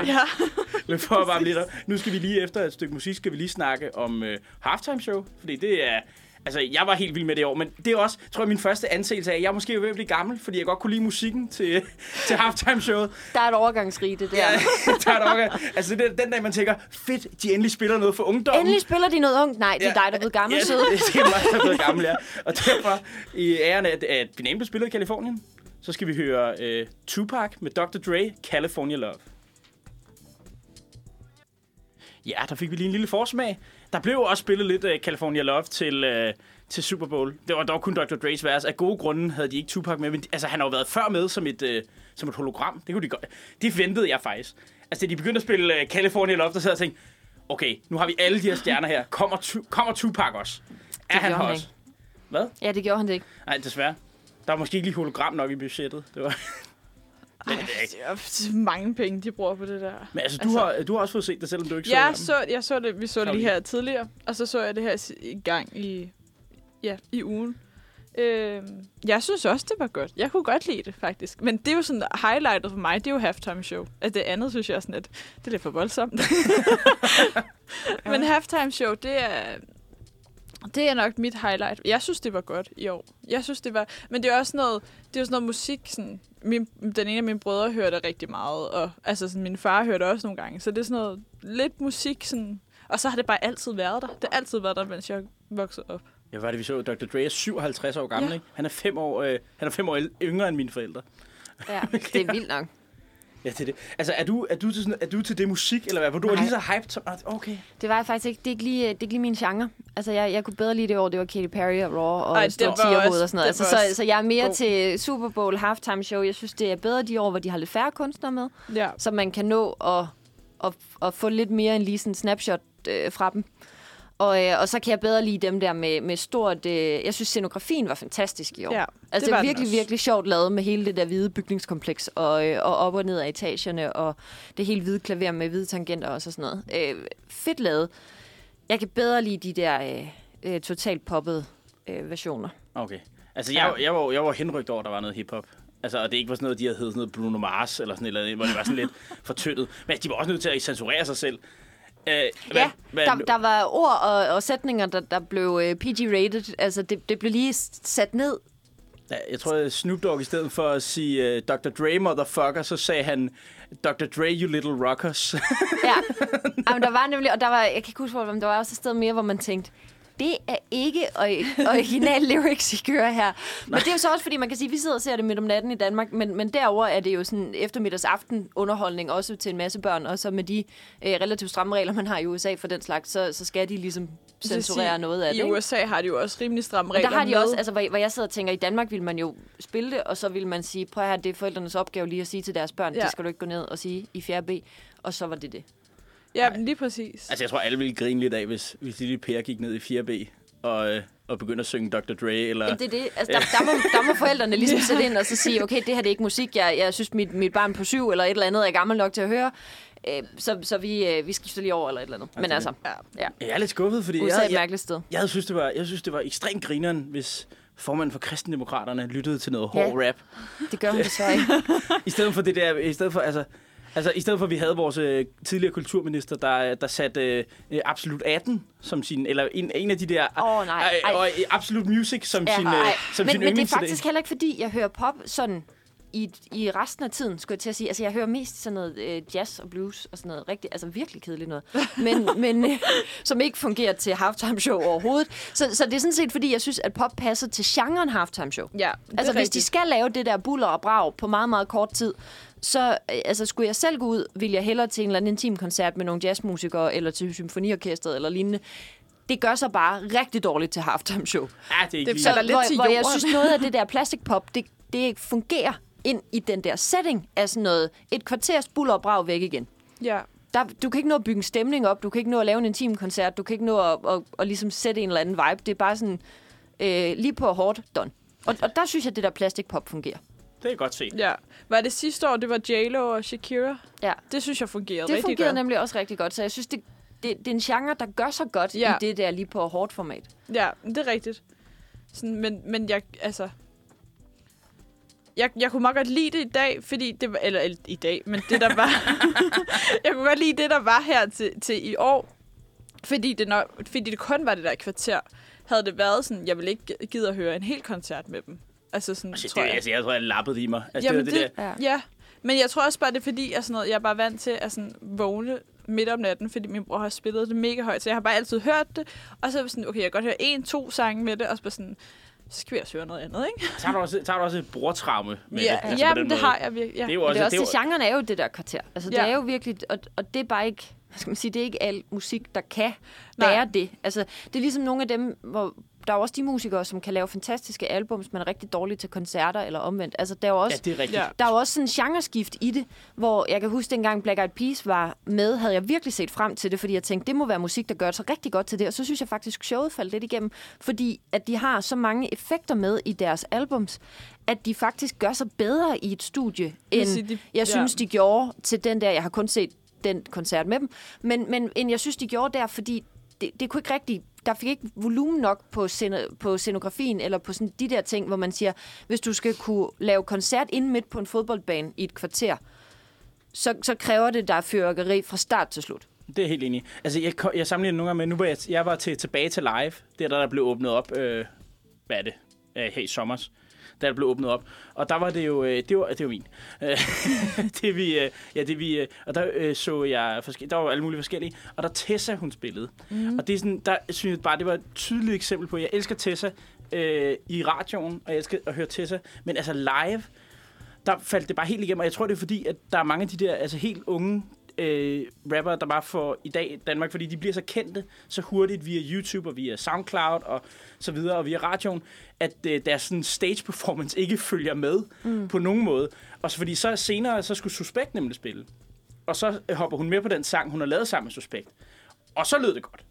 [SPEAKER 3] ja.
[SPEAKER 2] [LAUGHS] Men for at varme lidt op. Nu skal vi lige efter et stykke musik, skal vi lige snakke om øh, halftime show. Fordi det er... Altså, jeg var helt vild med det i år, men det er også, tror jeg, min første anseelse af, at jeg måske er ved at blive gammel, fordi jeg godt kunne lide musikken til, til halftime-showet.
[SPEAKER 4] Der er et overgangsrige, det der.
[SPEAKER 2] Ja,
[SPEAKER 4] Ja.
[SPEAKER 2] [LAUGHS] der er nok, altså, det er den dag, man tænker, fedt, de endelig spiller noget for ungdommen.
[SPEAKER 4] Endelig spiller de noget ungt. Nej, det er
[SPEAKER 2] Ja.
[SPEAKER 4] dig, der er blevet gammel,
[SPEAKER 2] Ja,
[SPEAKER 4] søde.
[SPEAKER 2] det, det er mig, der er blevet gammel, ja. Og derfor, i æren af, at finalen blev spillet i Kalifornien, så skal vi høre øh, Tupac med Dr. Dre, California Love. Ja, der fik vi lige en lille forsmag. Der blev jo også spillet lidt øh, California Love til, øh, til Super Bowl. Det var dog kun Dr. Dre's vers. Af gode grunde havde de ikke Tupac med, men de- altså, han har jo været før med som et, øh, som et hologram. Det kunne de godt. Det ventede jeg faktisk. Altså, da de begyndte at spille øh, California Love, der sad jeg og tænkte, okay, nu har vi alle de her stjerner her. Kommer, tu- kommer Tupac også? Er han
[SPEAKER 4] gjorde
[SPEAKER 2] her
[SPEAKER 4] han
[SPEAKER 2] også?
[SPEAKER 4] ikke.
[SPEAKER 2] Hvad?
[SPEAKER 4] Ja, det gjorde han
[SPEAKER 2] [LAUGHS]
[SPEAKER 4] det ikke.
[SPEAKER 2] Nej, desværre. Der var måske ikke lige hologram nok i budgettet. Det var... [LAUGHS] Men, det er ikke.
[SPEAKER 3] Det er f- [LAUGHS] mange penge, de bruger på det der.
[SPEAKER 2] Men altså, du,
[SPEAKER 3] Altså-
[SPEAKER 2] har, du har også fået set det, selvom du ikke
[SPEAKER 3] Ja,
[SPEAKER 2] så,
[SPEAKER 3] så, jeg så det, vi så det lige
[SPEAKER 2] Caroline.
[SPEAKER 3] her tidligere, og så så jeg det her si- i gang i, ja, i ugen. Øhm, jeg synes også, det var godt. Jeg kunne godt lide det, faktisk. Men det er jo sådan, highlightet for mig, det er jo halftime show. Altså det andet, synes jeg er sådan, at det er lidt for
[SPEAKER 2] [LAUGHS]
[SPEAKER 3] voldsomt. Men halftime show, det er, det er nok mit highlight. Jeg synes, det var godt i år. Jeg synes, det var... Men det er også noget, det er jo sådan noget musik, sådan, min, den ene af mine brødre hørte rigtig meget, og altså sådan, min far hørte også nogle gange, så det er sådan noget lidt musik, sådan, og så har det bare altid været der. Det har altid været der, mens jeg voksede op.
[SPEAKER 2] Ja, hvad er det, vi så? Dr. Dre er 57 år gammel,
[SPEAKER 3] Ja.
[SPEAKER 2] ikke? Han er fem år, øh, han er fem år æl- yngre end mine forældre.
[SPEAKER 4] Ja, det er vildt nok.
[SPEAKER 2] Ja, det er det. Altså, er du, er du, til, sådan, er du til det musik, eller hvad? Hvor du er
[SPEAKER 4] Nej.
[SPEAKER 2] lige så hyped som... Ah, Okay.
[SPEAKER 4] Det var jeg faktisk ikke. Det er ikke lige, det er ikke lige min genre. Altså, jeg, jeg kunne bedre lide det år. Det var Katy Perry og Raw og
[SPEAKER 3] Ej,
[SPEAKER 4] Ej,
[SPEAKER 3] det var
[SPEAKER 4] Stort Tierhoved
[SPEAKER 3] også-
[SPEAKER 4] og sådan noget.
[SPEAKER 3] det
[SPEAKER 4] Altså,
[SPEAKER 3] var
[SPEAKER 4] så,
[SPEAKER 3] også
[SPEAKER 4] så jeg er mere
[SPEAKER 3] god.
[SPEAKER 4] til Super Bowl, halftime show. Jeg synes, det er bedre de år, hvor de har lidt færre kunstnere med.
[SPEAKER 3] Ja.
[SPEAKER 4] Så man kan nå at, at, at få lidt mere end lige sådan en snapshot øh, fra dem. Og, øh, og så kan jeg bedre lide dem der med, med stort... Øh, jeg synes, scenografien var fantastisk i år.
[SPEAKER 3] Ja, det
[SPEAKER 4] altså, det
[SPEAKER 3] var
[SPEAKER 4] er
[SPEAKER 3] den
[SPEAKER 4] virkelig,
[SPEAKER 3] også.
[SPEAKER 4] virkelig sjovt lavet med hele det der hvide bygningskompleks, og, øh, og op og ned af etagerne, og det hele hvide klaver med hvide tangenter også og sådan noget. Øh, fedt lavet. Jeg kan bedre lide de der øh, øh, totalt poppede øh, versioner.
[SPEAKER 2] Okay. Altså, jeg, jeg, var, jeg var henrygt over, at der var noget hiphop. Altså, og det ikke var sådan noget, de havde heddet sådan noget Bruno Mars, eller sådan et eller andet, hvor det var sådan
[SPEAKER 4] [LAUGHS]
[SPEAKER 2] lidt fortyndet. Men altså, de var også nødt til at censurere sig selv. Øh, ja,
[SPEAKER 4] Ja, der, der var ord og, og sætninger, der, der blev øh, PG-rated. Altså, det, det blev lige s- sat ned
[SPEAKER 2] Ja, jeg tror, at Snoop Dogg i stedet for at sige uh, Dr. Dre, motherfucker, så sagde han Dr. Dre, you little rockers. [LAUGHS]
[SPEAKER 4] Ja, Jamen, der var nemlig, og der var, jeg kan ikke huske, hvor, men der var også et sted mere, hvor man tænkte, det er ikke
[SPEAKER 3] [LAUGHS]
[SPEAKER 4] ori- original lyrics, I kører her. Men det er jo så også, fordi man kan sige, at vi sidder og ser det midt om natten i Danmark, men, men derover er det jo sådan eftermiddags aften underholdning, også til en masse børn, og så med de øh, relativt stramme regler, man har i USA for den slags, så, så skal de ligesom censurere noget af det.
[SPEAKER 3] I
[SPEAKER 4] ikke?
[SPEAKER 3] USA har de jo også rimelig stramme
[SPEAKER 4] Men
[SPEAKER 3] regler.
[SPEAKER 4] der har de
[SPEAKER 3] med-
[SPEAKER 4] også, altså, hvor, hvor jeg sidder og tænker, i Danmark vil man jo spille det, og så vil man sige, prøv at have det er forældrenes opgave lige at sige til deres børn,
[SPEAKER 3] Ja.
[SPEAKER 4] det skal du ikke gå ned og sige i 4. B, og så var det det.
[SPEAKER 3] Ja, men lige præcis.
[SPEAKER 2] altså, jeg tror, alle ville grine lidt af, hvis, hvis lille Per gik ned i 4B og, øh, og begyndte at synge Dr. Dre. Eller...
[SPEAKER 4] Jamen, det er det. Altså, der, der, må, der må forældrene [LAUGHS] ligesom sætte ind og så sige, okay, det her det er ikke musik, jeg, jeg synes, mit, mit barn på syv eller et eller andet er gammel nok til at høre, øh, så, så vi, øh, vi skifter lige over eller et eller andet. Men
[SPEAKER 2] det er
[SPEAKER 4] altså,
[SPEAKER 3] Ja.
[SPEAKER 4] ja,
[SPEAKER 2] Jeg er lidt skuffet, fordi
[SPEAKER 4] USA er
[SPEAKER 2] jeg,
[SPEAKER 4] et
[SPEAKER 2] jeg,
[SPEAKER 4] mærkeligt sted.
[SPEAKER 2] jeg, havde synes, det var, jeg synes, det var ekstremt grineren, hvis formanden for kristendemokraterne lyttede til noget
[SPEAKER 4] Ja.
[SPEAKER 2] hård rap.
[SPEAKER 4] Det gør hun desværre ikke.
[SPEAKER 2] I stedet for det der, i stedet for, altså, altså i stedet for, at vi havde vores øh, tidligere kulturminister, der, der satte øh, øh, Absolut 18 som sin, eller en, en af de der,
[SPEAKER 4] Åh, nej. Ej.
[SPEAKER 2] og øh, Absolut Music som
[SPEAKER 4] Ja,
[SPEAKER 2] sin, øh,
[SPEAKER 4] ej.
[SPEAKER 2] som sin
[SPEAKER 4] men, men det er
[SPEAKER 2] yndlings-
[SPEAKER 4] faktisk heller ikke, fordi jeg hører pop sådan i, i resten af tiden, skulle jeg til at sige. Altså, jeg hører mest sådan noget øh, jazz og blues og sådan noget rigtig, altså virkelig kedeligt noget,
[SPEAKER 2] [LAUGHS]
[SPEAKER 4] men, men øh, som ikke fungerer til halftime show overhovedet. Så, så det er sådan set, fordi jeg synes, at pop passer til genren halftime show.
[SPEAKER 3] Ja,
[SPEAKER 4] Altså, hvis de skal lave det der buller og brag på meget, meget kort tid, så øh, altså, skulle jeg selv gå ud, ville jeg hellere til en eller anden intim koncert med nogle jazzmusikere, eller til symfoniorkestret eller lignende. Det gør sig bare rigtig dårligt til halftime show.
[SPEAKER 2] Ja, det er ikke
[SPEAKER 3] Det
[SPEAKER 2] lige-
[SPEAKER 3] falder lidt
[SPEAKER 4] hvor,
[SPEAKER 3] til
[SPEAKER 4] hvor jeg
[SPEAKER 3] jorden.
[SPEAKER 4] synes, noget af det der plastikpop, det, det fungerer ind i den der setting af sådan noget. Et kvarters buller og brag væk igen.
[SPEAKER 3] Ja.
[SPEAKER 4] Der, du kan ikke nå at bygge en stemning op, du kan ikke nå at lave en intim koncert, du kan ikke nå at, at, at, at ligesom sætte en eller anden vibe. Det er bare sådan, øh, lige på og hårdt, done. Og, og der synes jeg, at det der plastikpop fungerer.
[SPEAKER 2] Det er godt set.
[SPEAKER 3] ja. Var det sidste år, det var J-Lo og Shakira?
[SPEAKER 4] Ja.
[SPEAKER 3] Det synes jeg fungerede
[SPEAKER 4] Det
[SPEAKER 3] rigtig
[SPEAKER 4] fungerede
[SPEAKER 3] godt.
[SPEAKER 4] nemlig også rigtig godt, så jeg synes, det, det, det er en genre, der gør sig godt ja.
[SPEAKER 3] Ja.
[SPEAKER 4] i det der lige på og hårdt format.
[SPEAKER 3] Ja, men det er rigtigt. Sådan, men, men jeg, altså... Jeg, jeg kunne meget godt lide det i dag, fordi det var... Eller, eller i dag, men det der
[SPEAKER 2] [LAUGHS]
[SPEAKER 3] var... jeg kunne godt lide det, der var her til, til i år. Fordi det, nok, fordi det kun var det der kvarter. havde det været sådan, jeg ville ikke gide at høre en hel koncert med dem. Altså sådan,
[SPEAKER 2] Altså,
[SPEAKER 3] tror
[SPEAKER 2] det,
[SPEAKER 3] jeg.
[SPEAKER 2] altså, jeg tror, jeg lappede i mig. Altså,
[SPEAKER 3] Jamen
[SPEAKER 2] det, var det,
[SPEAKER 3] det, det ja. ja. Men jeg tror også bare, det er fordi, at sådan noget, jeg er bare vant til at sådan vågne midt om natten, fordi min bror har spillet det mega højt, så jeg har bare altid hørt det. Og så er jeg sådan, okay, jeg kan godt høre en, to sange med det, og så bare sådan, så skal vi også høre noget andet, ikke?
[SPEAKER 2] der. Tager du også, tager du også et brortraume med
[SPEAKER 3] ja,
[SPEAKER 2] det? Altså, på
[SPEAKER 3] ja
[SPEAKER 2] den
[SPEAKER 3] men det
[SPEAKER 2] måde.
[SPEAKER 3] har jeg virkelig. Ja.
[SPEAKER 2] Det er jo
[SPEAKER 4] Men
[SPEAKER 2] også,
[SPEAKER 4] det er også,
[SPEAKER 2] det er
[SPEAKER 4] det, genren er jo det der kvarter. Altså, ja.
[SPEAKER 3] Ja.
[SPEAKER 4] det er jo virkelig, og, og det er bare ikke, hvad skal man sige, det er ikke al musik, der kan
[SPEAKER 3] Nej.
[SPEAKER 4] være det. Altså, det er ligesom nogle af dem, hvor der er jo også de musikere, som kan lave fantastiske albums, men er rigtig dårlige til koncerter eller omvendt. Altså, der er jo
[SPEAKER 2] jo, ja,
[SPEAKER 4] også,
[SPEAKER 2] det er rigtigt.
[SPEAKER 3] Ja.
[SPEAKER 4] der er jo også sådan en genreskift i det, hvor jeg kan huske, dengang Black Eyed Peas var med, havde jeg virkelig set frem til det, fordi jeg tænkte, det må være musik, der gør sig rigtig godt til det. Og så synes jeg faktisk, showet faldt lidt igennem, fordi at de har så mange effekter med i deres albums, at de faktisk gør sig bedre i et studie, end
[SPEAKER 3] sige, de-
[SPEAKER 4] jeg
[SPEAKER 3] ja.
[SPEAKER 4] synes, de gjorde til den der, jeg har kun set den koncert med dem, men, men end jeg synes, de gjorde der, fordi det, det kunne ikke rigtig der fik ikke volumen nok på, scene, på scenografien, eller på sådan de der ting, hvor man siger, hvis du skal kunne lave koncert inde midt på en fodboldbane i et kvarter, så, så kræver det, der er fyrværkeri fra start til slut.
[SPEAKER 2] Det er helt enig. i. Altså, jeg, ko- jeg sammenligner nogle gange med, nu var jeg, jeg var til, tilbage til live, der der blev åbnet op, øh, hvad er det, øh, her i sommers, der der blev åbnet op. Og der var det jo, øh, det var, det var min. Øh, [LAUGHS] det vi, øh, ja, det vi, øh, og der øh, så jeg, forske- der var alle mulige forskellige, og der Tessa, hun spillede. Mm. Og det er sådan, der synes jeg bare, det var et tydeligt eksempel på, jeg elsker Tessa øh, i radioen, og jeg elsker at høre Tessa, men altså live, der faldt det bare helt igennem, og jeg tror, det er fordi, at der er mange af de der altså helt unge øh, rapper, der bare får i dag i Danmark, fordi de bliver så kendte så hurtigt via YouTube og via SoundCloud og så videre, og via radioen, at øh, deres sådan, stage performance ikke [LAUGHS] følger med mm. på nogen måde. Og så fordi så senere, så skulle Suspekt nemlig spille. Og så øh, hopper hun med på den sang, hun har lavet sammen med Suspekt. Og så lød det godt.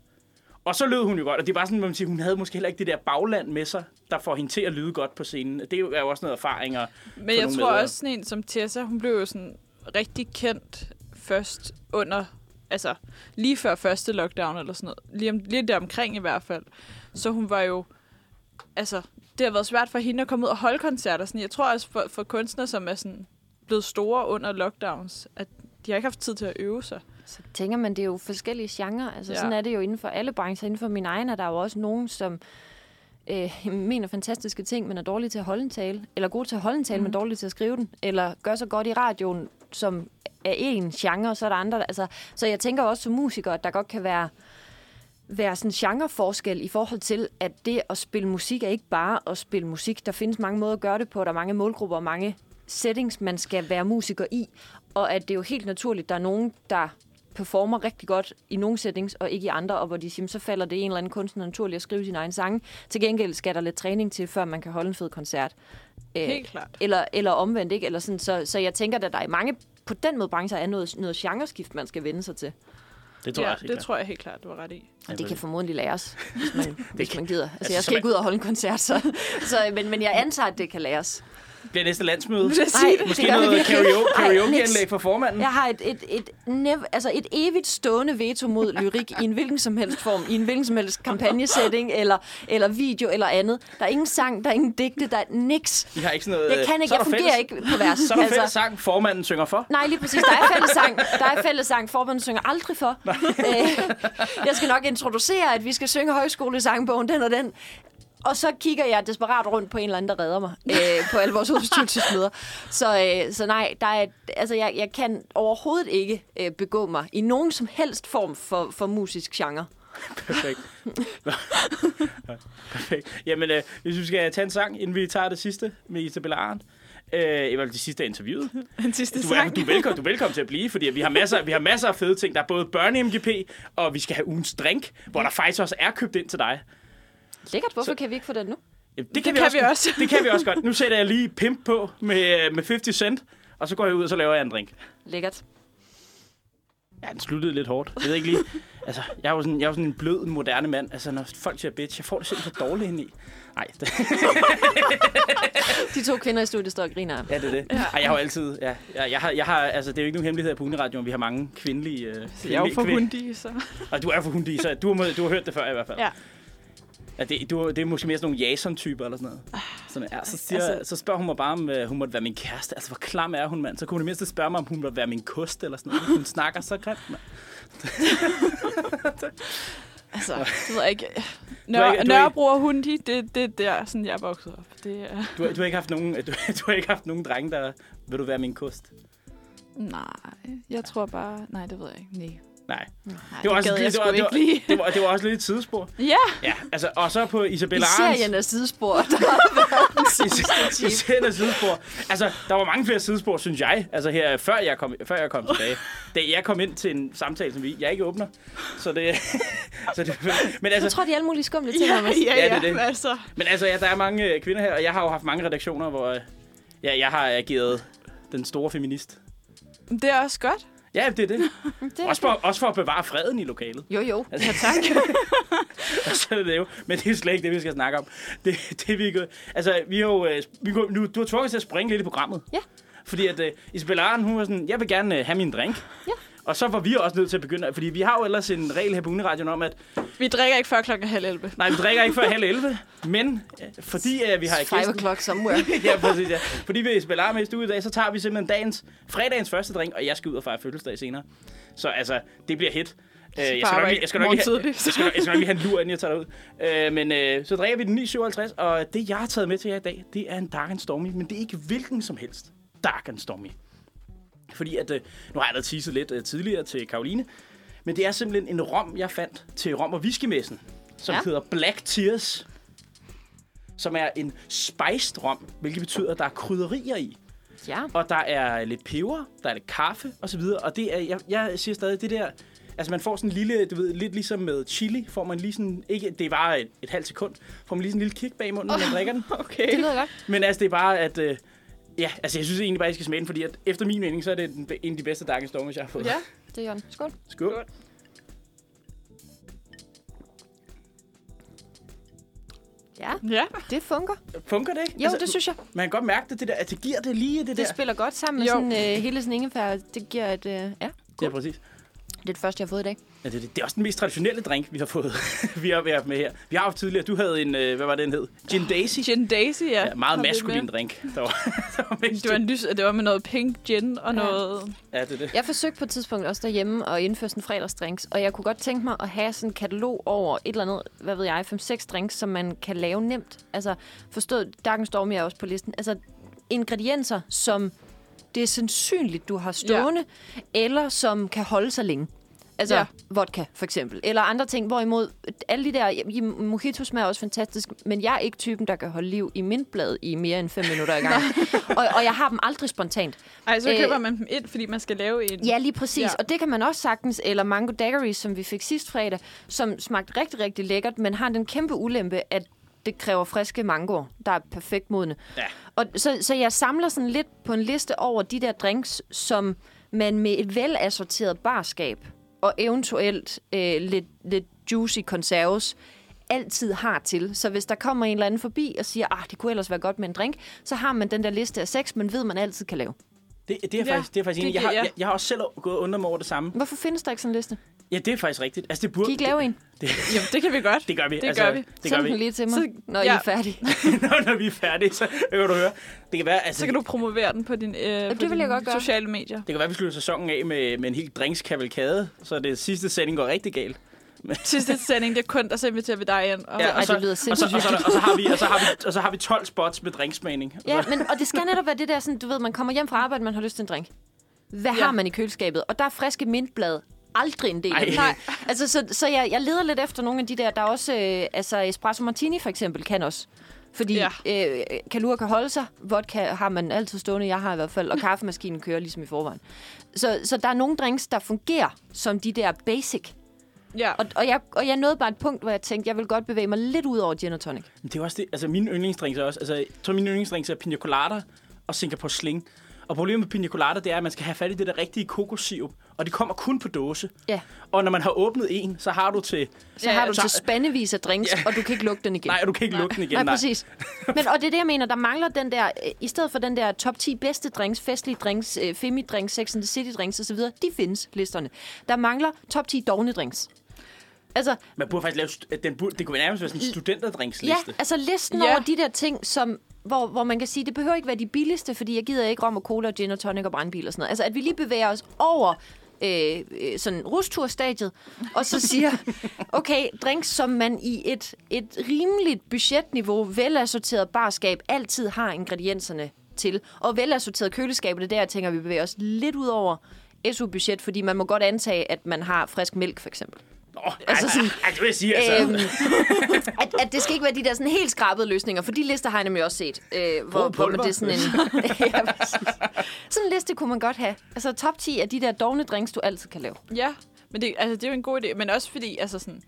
[SPEAKER 2] Og så lød hun jo godt, og det var sådan, hvor man siger, hun havde måske heller ikke det der bagland med sig, der får hende til at lyde godt på scenen. Det er jo er jo også noget erfaring. Og få
[SPEAKER 3] Men jeg
[SPEAKER 2] nogle
[SPEAKER 3] tror
[SPEAKER 2] med, og-
[SPEAKER 3] også sådan en som Tessa, hun blev jo sådan rigtig kendt først under, altså lige før første lockdown eller sådan noget. Lige, om, lige der omkring i hvert fald. Så hun var jo, altså det har været svært for hende at komme ud og holde koncerter. Sådan, jeg tror også for, for kunstnere, som er sådan blevet store under lockdowns, at de har ikke haft tid til at øve sig.
[SPEAKER 4] Så tænker man, det er jo forskellige genrer. Altså, ja.
[SPEAKER 3] Ja.
[SPEAKER 4] Sådan er det jo inden for alle brancher. Inden for min egen er der jo også nogen, som øh, mener fantastiske ting, men er dårlige til at holde en tale. Eller gode til at holde en tale, mm. men dårlige til at skrive den. Eller gør så godt i radioen, som er en genre, og så er der andre. der- Altså, så jeg tænker også som musiker, at der godt kan være være sådan genreforskel i forhold til, at det at spille musik er ikke bare at spille musik. Der findes mange måder at gøre det på, der er mange målgrupper og mange settings, man skal være musiker i, og at det er jo helt naturligt, der er nogen, der performer rigtig godt i nogle settings og ikke i andre, og hvor de siger, "Jamen, så falder det en eller anden kunstner naturligt at skrive sin egen sange. Til gengæld skal der lidt træning til, før man kan holde en fed koncert. Øh,
[SPEAKER 3] Helt klart.
[SPEAKER 4] Eller, eller omvendt, ikke? Eller sådan. Så, så jeg tænker, at der i mange på den måde brancher er noget, noget genreskift, man skal vende sig til.
[SPEAKER 2] Det tror
[SPEAKER 3] Ja,
[SPEAKER 2] jeg
[SPEAKER 3] det
[SPEAKER 2] også, helt klart.
[SPEAKER 3] tror jeg helt klart, du har
[SPEAKER 2] [LAUGHS]
[SPEAKER 3] ret i.
[SPEAKER 4] Og
[SPEAKER 2] ved
[SPEAKER 4] det kan
[SPEAKER 2] det.
[SPEAKER 4] formodentlig [LAUGHS] læres, hvis man, det hvis
[SPEAKER 2] kan-
[SPEAKER 4] man gider. Altså,
[SPEAKER 2] altså,
[SPEAKER 4] altså, jeg
[SPEAKER 2] så
[SPEAKER 4] skal
[SPEAKER 2] man-
[SPEAKER 4] ikke ud og holde en koncert, så, så men, men jeg antager, at det kan læres.
[SPEAKER 2] bliver næste landsmøde.
[SPEAKER 3] Vil jeg sige det?
[SPEAKER 2] Måske
[SPEAKER 4] det gør vi
[SPEAKER 2] noget
[SPEAKER 4] virkelig.
[SPEAKER 2] karaoke,
[SPEAKER 4] Ej,
[SPEAKER 2] karaokeanlæg
[SPEAKER 4] niks.
[SPEAKER 2] for formanden.
[SPEAKER 4] Jeg har et, et, et, nev, altså et evigt stående veto mod lyrik i en hvilken som helst form, i en hvilken som helst kampagnesetting, eller, eller video eller andet. Der er ingen sang, der er ingen digte, der er niks.
[SPEAKER 2] I har ikke sådan noget...
[SPEAKER 4] Jeg kan ikke,
[SPEAKER 2] Øh, så er
[SPEAKER 4] jeg
[SPEAKER 2] der
[SPEAKER 4] fungerer
[SPEAKER 2] fælles- Altså.
[SPEAKER 4] ikke på vers.
[SPEAKER 2] [LAUGHS]
[SPEAKER 4] Altså,
[SPEAKER 2] Så er der fælles sang, formanden synger for.
[SPEAKER 4] Nej, lige præcis. Der er fællesang. Der er fællesang. Forbundet synger aldrig for. Øh, jeg skal nok introducere, at vi skal synge højskolesangbogen, den og den. Og så kigger jeg desperat rundt på en eller anden, der redder mig øh, på alle vores udstyrelsesmøder. Så, øh, så nej, der er, altså, jeg, jeg kan overhovedet ikke øh, begå mig i nogen som helst form for, for musisk genre.
[SPEAKER 2] Perfekt. [LAUGHS] Nå. Perfekt. Jamen, øh, hvis vi skal tage en sang, inden vi tager det sidste med Isabella Arndt. Øh, i hvert fald det sidste af interviewet.
[SPEAKER 3] Den sidste
[SPEAKER 2] Du er, du, er velkommen, du er velkommen til at blive, fordi vi har masser, vi har masser af fede ting. Der er både børne-MGP, og vi skal have ugens drink, hvor der faktisk også er købt ind til dig.
[SPEAKER 4] Lækkert. Hvorfor så... kan vi ikke få den nu?
[SPEAKER 2] Jamen, det,
[SPEAKER 3] kan vi
[SPEAKER 2] godt.
[SPEAKER 3] også.
[SPEAKER 2] Det kan vi også
[SPEAKER 3] [LAUGHS]
[SPEAKER 2] godt. Nu sætter jeg lige pimp på med, med 50 cent, og så går jeg ud, og så laver jeg en drink.
[SPEAKER 4] Lækkert.
[SPEAKER 2] Ja, den sluttede lidt hårdt. Jeg ved ikke
[SPEAKER 3] [LAUGHS]
[SPEAKER 2] lige. Altså, jeg er jo sådan, jeg er jo sådan en blød, moderne mand. Altså, når folk siger bitch, jeg får det simpelthen for dårligt ind i. Nej, [LAUGHS] det,
[SPEAKER 4] De to kvinder i studiet står og griner.
[SPEAKER 2] ja, det er det. Ej, jeg har jo altid... Ja, jeg, jeg, har, jeg har, altså, det er jo ikke nogen hemmelighed her på Uniradioen. Vi har mange kvindelige... Øh,
[SPEAKER 3] Jeg er jo
[SPEAKER 2] kvindelige-
[SPEAKER 3] for
[SPEAKER 2] kvin-
[SPEAKER 3] hundige, så...
[SPEAKER 2] Og du er for hundige, så du har, mød- du har hørt det før i hvert fald.
[SPEAKER 3] Ja.
[SPEAKER 2] Ja, det, du, det er måske mere sådan nogle jason-typer eller sådan noget. Sådan, ja, så, siger,
[SPEAKER 3] Ah, altså-
[SPEAKER 2] så spørger hun mig bare, om øh, hun måtte være min kæreste. Altså, hvor klam er hun, mand? Så kunne hun i det mindste spørge mig, om hun måtte være min kost eller sådan noget. Hun snakker så grimt, mand.
[SPEAKER 3] Altså, det ved jeg ikke.
[SPEAKER 2] har
[SPEAKER 3] Nør-
[SPEAKER 2] ikke-
[SPEAKER 3] ikke,
[SPEAKER 2] du har
[SPEAKER 3] Nørrebro og Hundi, det, det, det er sådan, jeg er vokset op. Det er...
[SPEAKER 2] Du, har- du, har ikke haft nogen, du, [LAUGHS] du har ikke haft nogen drenge, der vil du være min kost.
[SPEAKER 3] Nej, jeg tror bare... Nej, det ved jeg ikke. Nej.
[SPEAKER 2] Nej.
[SPEAKER 3] Nej,
[SPEAKER 2] Det var også
[SPEAKER 3] gad
[SPEAKER 2] lidt-
[SPEAKER 3] jeg
[SPEAKER 2] det
[SPEAKER 3] sgu
[SPEAKER 2] var- det
[SPEAKER 3] ikke
[SPEAKER 2] var-
[SPEAKER 3] lige.
[SPEAKER 2] Det var, det var også lidt et sidespor.
[SPEAKER 3] Ja,
[SPEAKER 2] Ja, altså, og så på
[SPEAKER 4] I
[SPEAKER 2] Isabella Arns.
[SPEAKER 4] serien af
[SPEAKER 2] [LAUGHS]
[SPEAKER 4] sidespor, der har været
[SPEAKER 2] I
[SPEAKER 4] den sidste time.
[SPEAKER 2] serien af sidespor. Altså, der var mange flere sidespor, synes jeg. Altså her, før jeg kom, før jeg kom tilbage. Da jeg kom ind til en samtale, som vi, jeg ikke åbner. Så det... [LAUGHS] så det men
[SPEAKER 4] Jeg
[SPEAKER 2] altså,
[SPEAKER 4] tror, de er alle mulige skumle ting, Thomas.
[SPEAKER 2] Ja, det er det.
[SPEAKER 3] men altså.
[SPEAKER 2] men altså ja, der er mange øh, kvinder her, og jeg har jo haft mange redaktioner, hvor øh, ja, jeg har ageret den store feminist.
[SPEAKER 3] Det er også godt.
[SPEAKER 2] Ja, det er det.
[SPEAKER 4] Det er
[SPEAKER 2] Også for, også for at bevare freden i lokalet.
[SPEAKER 4] Jo, jo.
[SPEAKER 2] Altså, ja, tak. [LAUGHS] så er det det jo. Men det er jo slet ikke det, vi skal snakke om. Det, det vi ikke... Altså, vi har jo... øh, Vi kunne, nu, du har tvunget os til at springe lidt i programmet.
[SPEAKER 4] Ja.
[SPEAKER 2] Fordi at uh, Isabella Arden, hun var sådan, jeg vil gerne uh, have min drink.
[SPEAKER 4] Ja.
[SPEAKER 2] Og så var vi også nødt til at begynde, fordi vi har jo ellers en regel her på Uniradioen om, at
[SPEAKER 3] Vi drikker ikke før klokken halv 11.
[SPEAKER 2] nej, vi drikker ikke før halv 11, men øh, fordi uh, vi har
[SPEAKER 4] It's five
[SPEAKER 2] gæsten,
[SPEAKER 4] o'clock somewhere.
[SPEAKER 2] [LAUGHS] ja, præcis, ja. fordi vi er Isabella Arden med i studiet i dag, så tager vi simpelthen dagens, fredagens første drink, og jeg skal ud og fejre fødselsdag senere. Så altså, det bliver hit. Øh, jeg, skal nok, lige- jeg, skal nok lige have,
[SPEAKER 3] have...
[SPEAKER 2] jeg skal, nok, jeg skal nok lige have en lur, inden jeg tager derud. Øh, men øh, så drikker vi den 9.57, og det, jeg har taget med til jer i dag, det er en Dark and Stormy, men det er ikke hvilken som helst Dark and Stormy. Fordi at, øh, nu har jeg da teaset lidt øh, tidligere til Karoline, men det er simpelthen en rom, jeg fandt til rom- og whiskymessen, som ja.
[SPEAKER 4] Ja.
[SPEAKER 2] hedder Black Tears, som er en spiced rom, hvilket betyder, at der er krydderier i.
[SPEAKER 4] Ja.
[SPEAKER 2] Og der er lidt peber, der er lidt kaffe og så videre. Og det er, jeg, jeg siger stadig, det der... Altså man får sådan en lille, du ved, lidt ligesom med chili, får man lige sådan, ikke, det er bare et, et halvt sekund, får man lige sådan en lille kick bag i munden, når man drikker den.
[SPEAKER 3] Okay.
[SPEAKER 4] Det lyder godt.
[SPEAKER 2] Men altså det er bare, at, øh, ja, altså jeg synes egentlig bare, I skal smage den, fordi at, efter min mening, så er det den, en af de bedste Dark Storms, jeg har fået.
[SPEAKER 3] Ja.
[SPEAKER 4] Det er Jørgen. Skål.
[SPEAKER 2] Skål.
[SPEAKER 4] Ja,
[SPEAKER 3] Ja.
[SPEAKER 4] det funker. Altså,
[SPEAKER 2] Funker det ikke? Altså,
[SPEAKER 4] Jo, det synes jeg.
[SPEAKER 2] Man kan godt mærke det, det der, at det giver det lige det,
[SPEAKER 4] Det
[SPEAKER 2] der.
[SPEAKER 4] spiller godt sammen med
[SPEAKER 3] Jo.
[SPEAKER 4] sådan, øh, hele sådan ingefær. Det giver et... Øh, ja,
[SPEAKER 2] Ja, præcis. det
[SPEAKER 4] det er det første, jeg har fået i dag.
[SPEAKER 2] Ja, det, er det, det er også den mest traditionelle drink, vi har fået, [LAUGHS] vi har været med her. Vi har haft tidligere, du havde en, øh, hvad var det, den hed? Gin Daisy.
[SPEAKER 3] Gin Daisy, ja.
[SPEAKER 2] Ja, meget
[SPEAKER 3] Har vi
[SPEAKER 2] maskulin
[SPEAKER 3] med.
[SPEAKER 2] drink. Der var, [LAUGHS] der var mest
[SPEAKER 3] Det var, en lys, det var med noget pink gin og
[SPEAKER 4] Ja.
[SPEAKER 3] noget...
[SPEAKER 2] Ja, det er det.
[SPEAKER 4] Jeg forsøgte på et tidspunkt også derhjemme at indføre sådan fredagsdrinks, og jeg kunne godt tænke mig at have sådan en katalog over et eller andet, hvad ved jeg, 5-6 drinks, som man kan lave nemt. Altså forstået, Dark and Stormy er også på listen. Altså ingredienser, som det er sandsynligt, du har stående, ja. eller som kan holde sig længe. Altså
[SPEAKER 3] Ja.
[SPEAKER 4] ja. vodka, for eksempel. Eller andre ting, hvorimod alle de der... i- Mojito smager også fantastisk, men jeg er ikke typen, der kan holde liv i mintblad i mere end 5 minutter i gang. og, og jeg har dem aldrig spontant.
[SPEAKER 3] Ej, så
[SPEAKER 4] Øh.
[SPEAKER 3] køber man dem ind, fordi man skal lave en...
[SPEAKER 4] Ja, lige præcis.
[SPEAKER 3] Ja.
[SPEAKER 4] Ja. Og det kan man også sagtens. Eller mango daiquiri, som vi fik sidst fredag, som smagte rigtig, rigtig lækkert, men har den kæmpe ulempe, at det kræver friske mangoer, der er perfekt modne.
[SPEAKER 2] Ja.
[SPEAKER 4] Og så, så jeg samler sådan lidt på en liste over de der drinks, som man med et velassorteret barskab og eventuelt øh, lidt, lidt juicy konserves altid har til. Så hvis der kommer en eller anden forbi og siger, at det kunne ellers være godt med en drink, så har man den der liste af seks, man ved, man altid kan lave.
[SPEAKER 2] Det, det er
[SPEAKER 3] Ja,
[SPEAKER 2] faktisk, det er faktisk
[SPEAKER 3] det
[SPEAKER 2] enig. Jeg
[SPEAKER 3] giver-
[SPEAKER 2] har,
[SPEAKER 3] ja.
[SPEAKER 2] jeg, jeg har også selv gået under mig over det samme.
[SPEAKER 4] Hvorfor findes der ikke sådan en liste?
[SPEAKER 2] Ja, det er faktisk rigtigt. Altså, det burde...
[SPEAKER 4] Kan I ikke lave en?
[SPEAKER 3] Jamen, det kan vi godt.
[SPEAKER 2] Det gør vi. Altså,
[SPEAKER 3] Det gør vi.
[SPEAKER 2] Det gør
[SPEAKER 4] Send
[SPEAKER 2] vi.
[SPEAKER 4] den lige til mig,
[SPEAKER 3] Så-
[SPEAKER 4] så, når
[SPEAKER 3] ja.
[SPEAKER 4] I er færdige.
[SPEAKER 2] [LAUGHS] Når, når vi er færdige, så kan du høre. Det kan være, altså,
[SPEAKER 3] Så kan du promovere den på din, øh, på
[SPEAKER 4] det vil
[SPEAKER 3] dine
[SPEAKER 4] jeg godt gøre.
[SPEAKER 3] sociale medier.
[SPEAKER 2] det kan være, vi slutter sæsonen af med, med en helt drinkskavalkade, så det sidste sending går rigtig galt.
[SPEAKER 3] Sidste sending, det er kun, der så inviterer vi dig ind. Og,
[SPEAKER 4] ej, det lyder
[SPEAKER 2] og så, og, så, og, så, og, så, har vi, og, så har vi, og så har vi 12 spots med drinksmagning. Og
[SPEAKER 4] [LAUGHS] Ja,
[SPEAKER 2] så-
[SPEAKER 4] men, og det skal netop være det der, sådan, du ved, man kommer hjem fra arbejde, man har lyst til en drink. Hvad
[SPEAKER 3] Ja.
[SPEAKER 4] ja. har man i køleskabet? Og der er friske mintblade aldrig en del
[SPEAKER 2] Ej.
[SPEAKER 4] af det.
[SPEAKER 2] Nej.
[SPEAKER 4] Altså, så, så jeg, jeg leder lidt efter nogle af de der, der er også, øh, altså espresso martini for eksempel, kan også. Fordi
[SPEAKER 3] Ja.
[SPEAKER 4] ja. øh, kalur kan holde sig, vodka har man altid stående, jeg har i hvert fald, og kaffemaskinen kører ligesom i forvejen. Så, så der er nogle drinks, der fungerer som de der basic.
[SPEAKER 3] ja.
[SPEAKER 4] Og, og, jeg, og jeg nåede bare et punkt, hvor jeg tænkte, jeg vil godt bevæge mig lidt ud over gin og tonic.
[SPEAKER 2] Men Det er jo også det. Altså, mine yndlingsdrinks er også... Altså, jeg tror, mine yndlingsdrinks er pina colada og Singapore Sling. Og problemet med pina colada, det er, at man skal have fat i det der rigtige kokossirup. Og det kommer kun på dåse.
[SPEAKER 4] Ja.
[SPEAKER 2] Og når man har åbnet en, så har du til...
[SPEAKER 4] Så
[SPEAKER 3] Ja,
[SPEAKER 4] har du
[SPEAKER 2] så-
[SPEAKER 4] til spandevis af drinks,
[SPEAKER 2] Ja.
[SPEAKER 4] og du kan ikke lukke den igen.
[SPEAKER 2] Nej, og du kan ikke lukke den igen.
[SPEAKER 4] Nej, præcis. Men, og det er det, jeg mener, der mangler den der, øh, i stedet for den der top 10 bedste drinks, festlige drinks, øh, femi drinks, sex and the city drinks osv., de findes, listerne. Der mangler top 10 dogne drinks. Altså,
[SPEAKER 2] Man burde faktisk lave... st- Den burde, det kunne nærmest være sådan en
[SPEAKER 4] ja,
[SPEAKER 2] studenterdrinksliste.
[SPEAKER 4] altså listen
[SPEAKER 3] Ja.
[SPEAKER 4] over de der ting, som, hvor, hvor man kan sige, det behøver ikke være de billigste, fordi jeg gider ikke rom og cola og gin og tonic og brandbil og sådan noget. Altså, at vi lige bevæger os over øh, øh, øh, sådan rusturstadiet, og så siger, okay, drinks, som man i et, et rimeligt budgetniveau, velassorteret barskab, altid har ingredienserne til. Og velassorteret køleskab, det er der, jeg tænker, vi bevæger os lidt ud over SU-budget, fordi man må godt antage, at man har frisk mælk, for eksempel.
[SPEAKER 2] Nå,
[SPEAKER 4] altså
[SPEAKER 2] altså,
[SPEAKER 4] sådan-
[SPEAKER 2] sådan, ej, det vil jeg sige, altså.
[SPEAKER 4] Øhm, at, at det skal ikke være de der sådan helt skrabede løsninger, for de lister har jeg nemlig også set. Øh, hvor,
[SPEAKER 5] Brug
[SPEAKER 4] hvor
[SPEAKER 5] pulver.
[SPEAKER 4] det er sådan en... ja, præcis. sådan en liste kunne man godt have. Altså top 10 af de der dogne drinks, du altid kan lave.
[SPEAKER 3] Ja, men det, altså, det er jo en god idé. Men også fordi, altså sådan...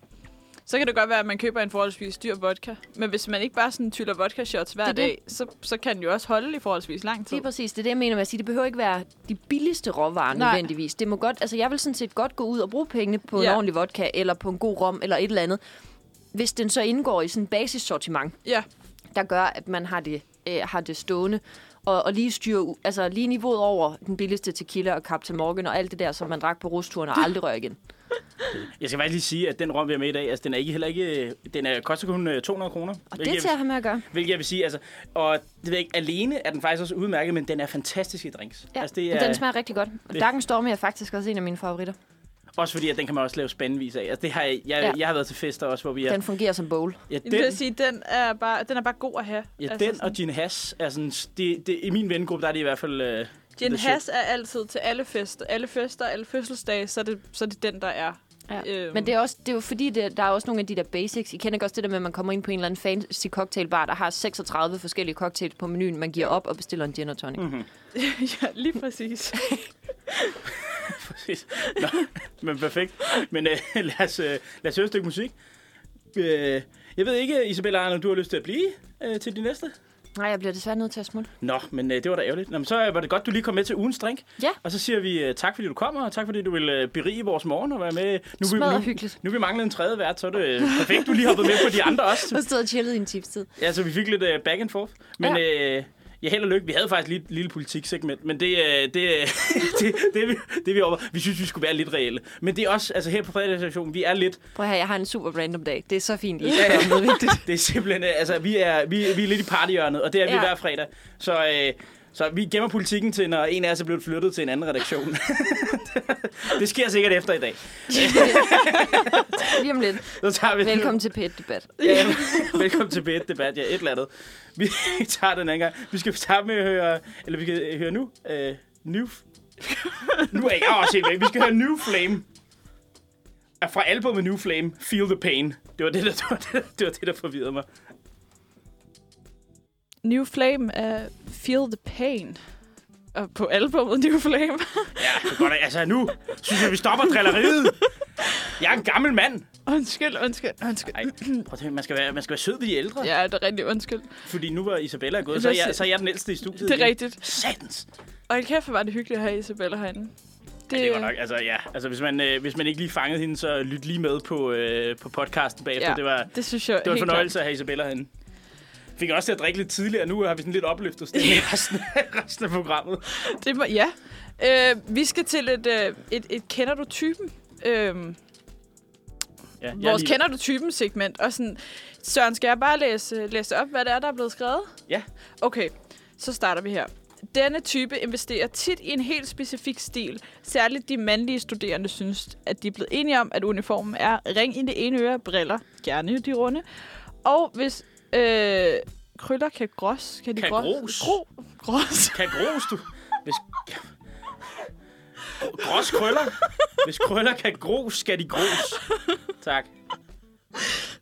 [SPEAKER 3] Så kan det godt være, at man køber en forholdsvis dyr vodka. Men hvis man ikke bare sådan tyller vodka shots hver
[SPEAKER 4] Det er
[SPEAKER 3] det
[SPEAKER 4] det.
[SPEAKER 3] dag, så, så kan den jo også holde i forholdsvis lang tid.
[SPEAKER 4] Lige præcis, det er det, jeg mener med at sige. Det behøver ikke være de billigste råvarer Nej.
[SPEAKER 3] Nej.
[SPEAKER 4] nødvendigvis. Det må godt, altså jeg vil sådan set godt gå ud og bruge pengene på ja. en
[SPEAKER 3] Ja.
[SPEAKER 4] ordentlig vodka, eller på en god rom, eller et eller andet. Hvis den så indgår i sådan en basissortiment,
[SPEAKER 3] Ja,
[SPEAKER 4] der gør, at man har det, øh, har det stående. Og, og lige styre, u- altså lige niveauet over den billigste tequila og Captain Morgan og alt det der, som man drak på rusturen og aldrig rører igen.
[SPEAKER 2] Jeg skal faktisk lige sige, at den rom, vi har med i dag, altså, den er ikke heller ikke... Den er, koster kun øh, 200 kroner.
[SPEAKER 4] Og
[SPEAKER 2] hvilket
[SPEAKER 4] det
[SPEAKER 2] jeg-
[SPEAKER 4] tager han med at gøre.
[SPEAKER 2] Hvilket jeg vil sige, altså, og det ved jeg ikke, alene er den faktisk også udmærket, men den er fantastisk i drinks.
[SPEAKER 4] Ja,
[SPEAKER 2] altså, det er,
[SPEAKER 4] Den smager rigtig godt. Og
[SPEAKER 2] det-
[SPEAKER 4] Darken Stormy er faktisk også en af mine favoritter.
[SPEAKER 2] Også fordi, at den kan man også lave spandvis af. Altså, det har jeg, jeg,
[SPEAKER 4] Ja.
[SPEAKER 2] ja. jeg har været til fester også, hvor vi
[SPEAKER 4] Ja.
[SPEAKER 2] er...
[SPEAKER 4] Den fungerer som bowl.
[SPEAKER 2] ja,
[SPEAKER 3] det vil jeg sige, den er bare, den er bare god at have.
[SPEAKER 2] ja,
[SPEAKER 3] Altså
[SPEAKER 2] den
[SPEAKER 3] sådan-
[SPEAKER 2] og Gin Hass er sådan... Det, det, I min vennegruppe, der er det i hvert fald... Øh,
[SPEAKER 3] Gin
[SPEAKER 2] the shit.
[SPEAKER 3] Hass er altid til alle fester, alle fester, alle fødselsdage, så er det, så er det den, der er.
[SPEAKER 4] Ja.
[SPEAKER 3] Øhm.
[SPEAKER 4] Men det er, også, det er jo fordi, det, der er også nogle af de der basics. I kender ikke også det der med, at man kommer ind på en eller anden fancy cocktailbar, der har 36 forskellige cocktails på menuen. Man giver op og bestiller en gin og tonic.
[SPEAKER 2] Mhm.
[SPEAKER 4] Mm.
[SPEAKER 3] [LAUGHS] ja, lige præcis.
[SPEAKER 2] [LAUGHS] Præcis. Nå, men perfekt. Men øh, [LAUGHS] lad, os, øh, lad os høre et stykke musik. Øh, jeg ved ikke, Isabella Arne, om du har lyst til at blive øh, til de næste?
[SPEAKER 4] Nej, jeg bliver desværre nødt til at smutte.
[SPEAKER 2] Nå, men øh, det var da ærgerligt. Nå, men så øh, var det godt, du lige kom med til ugens drink.
[SPEAKER 4] Ja.
[SPEAKER 2] Og så siger vi øh, tak, fordi du kommer, og tak, fordi du vil øh, berige vores morgen og være med. Nu, vi,
[SPEAKER 4] Smadret
[SPEAKER 2] nu,
[SPEAKER 4] hyggeligt.
[SPEAKER 2] nu vi mangler en tredje vært, så er det øh, perfekt, du lige hoppede med på de andre også.
[SPEAKER 4] [LAUGHS]
[SPEAKER 2] [LAUGHS]
[SPEAKER 4] Og stod og chillede i en tipstid.
[SPEAKER 2] Ja, så vi fik lidt uh, back and forth. Men ja. øh, ja, held og lykke. Vi havde faktisk lige et lille politiksegment, men det, øh, det, øh, [LAUGHS] det, det, er vi, det er vi over. Vi synes, vi skulle være lidt reelle. Men det er også, altså her på fredagsstationen, vi er lidt,
[SPEAKER 4] Prøv at høre, jeg har en super random dag. Det er så
[SPEAKER 2] [LAUGHS]
[SPEAKER 4] fint. I.
[SPEAKER 2] Ja, ja. det er simpelthen, øh, altså vi er, vi, vi er lidt i partyhjørnet, og det er vi
[SPEAKER 4] Ja.
[SPEAKER 2] hver fredag. Så, øh, så vi gemmer politikken til, når en af os er blevet flyttet til en anden redaktion. [LAUGHS] det sker sikkert efter i dag.
[SPEAKER 4] [LAUGHS] Lige om lidt.
[SPEAKER 2] Så tager vi
[SPEAKER 4] Velkommen til PET-debat.
[SPEAKER 2] Ja, Øhm, [LAUGHS] velkommen til Bed Debat, ja, et eller andet. Vi [LAUGHS] tager den anden gang. Vi skal starte med at høre, eller vi skal høre nu, uh, New... nu er jeg også helt væk. Vi skal høre New Flame. Er fra albumet New Flame, Feel the Pain. Det var det, der, det var det, det, var det, der forvirrede mig.
[SPEAKER 3] New Flame er Feel the Pain. Og på albumet New Flame. [LAUGHS]
[SPEAKER 2] Ja, det går da, altså nu synes jeg, vi stopper drilleriet. Jeg er en gammel mand.
[SPEAKER 3] undskyld, undskyld, undskyld.
[SPEAKER 2] Ej, prøv at tænke, man skal være, man skal være sød ved de ældre. Ja.
[SPEAKER 3] Ja, det er rigtig undskyld.
[SPEAKER 2] Fordi nu var Isabella gået, så er, jeg, så er jeg den ældste i studiet.
[SPEAKER 3] Det er
[SPEAKER 2] igen.
[SPEAKER 3] rigtigt.
[SPEAKER 2] Satans.
[SPEAKER 3] Og hold kæft, hvor var det hyggeligt at have Isabella herinde.
[SPEAKER 2] Det, det var
[SPEAKER 3] Øh.
[SPEAKER 2] nok, altså ja. Altså, hvis, man, øh, hvis man ikke lige fangede hende, så lyt lige med på, øh, på podcasten bagefter. Ja. Det var,
[SPEAKER 3] det synes jeg
[SPEAKER 2] det var en
[SPEAKER 3] helt
[SPEAKER 2] fornøjelse at have Isabella herinde. Fik også til at drikke lidt tidligere, nu har vi sådan lidt opløftet
[SPEAKER 3] [LAUGHS]
[SPEAKER 2] stemning i resten, resten af [LAUGHS] programmet.
[SPEAKER 3] klart. Det var, ja. Øh, vi skal til et, øh, et, et kender du typen? Øhm,
[SPEAKER 2] Ja, jeg er
[SPEAKER 3] vores
[SPEAKER 2] lige-
[SPEAKER 3] kender du typen segment. Og sådan, Søren, skal jeg bare læse, øh, læse op, hvad det er, der er blevet skrevet?
[SPEAKER 2] Ja.
[SPEAKER 3] Okay, så starter vi her. Denne type investerer tit i en helt specifik stil. Særligt de mandlige studerende synes, at de er blevet enige om, at uniformen er ring i det ene øre, briller, gerne de runde. Og hvis øh, krøller kan grås, kan de
[SPEAKER 2] Kan
[SPEAKER 3] grås?
[SPEAKER 2] gros.
[SPEAKER 3] Gro, grås. [LAUGHS]
[SPEAKER 2] Kan gros, du? Hvis... Gros krøller. Hvis krøller kan gros, skal de gros. Tak.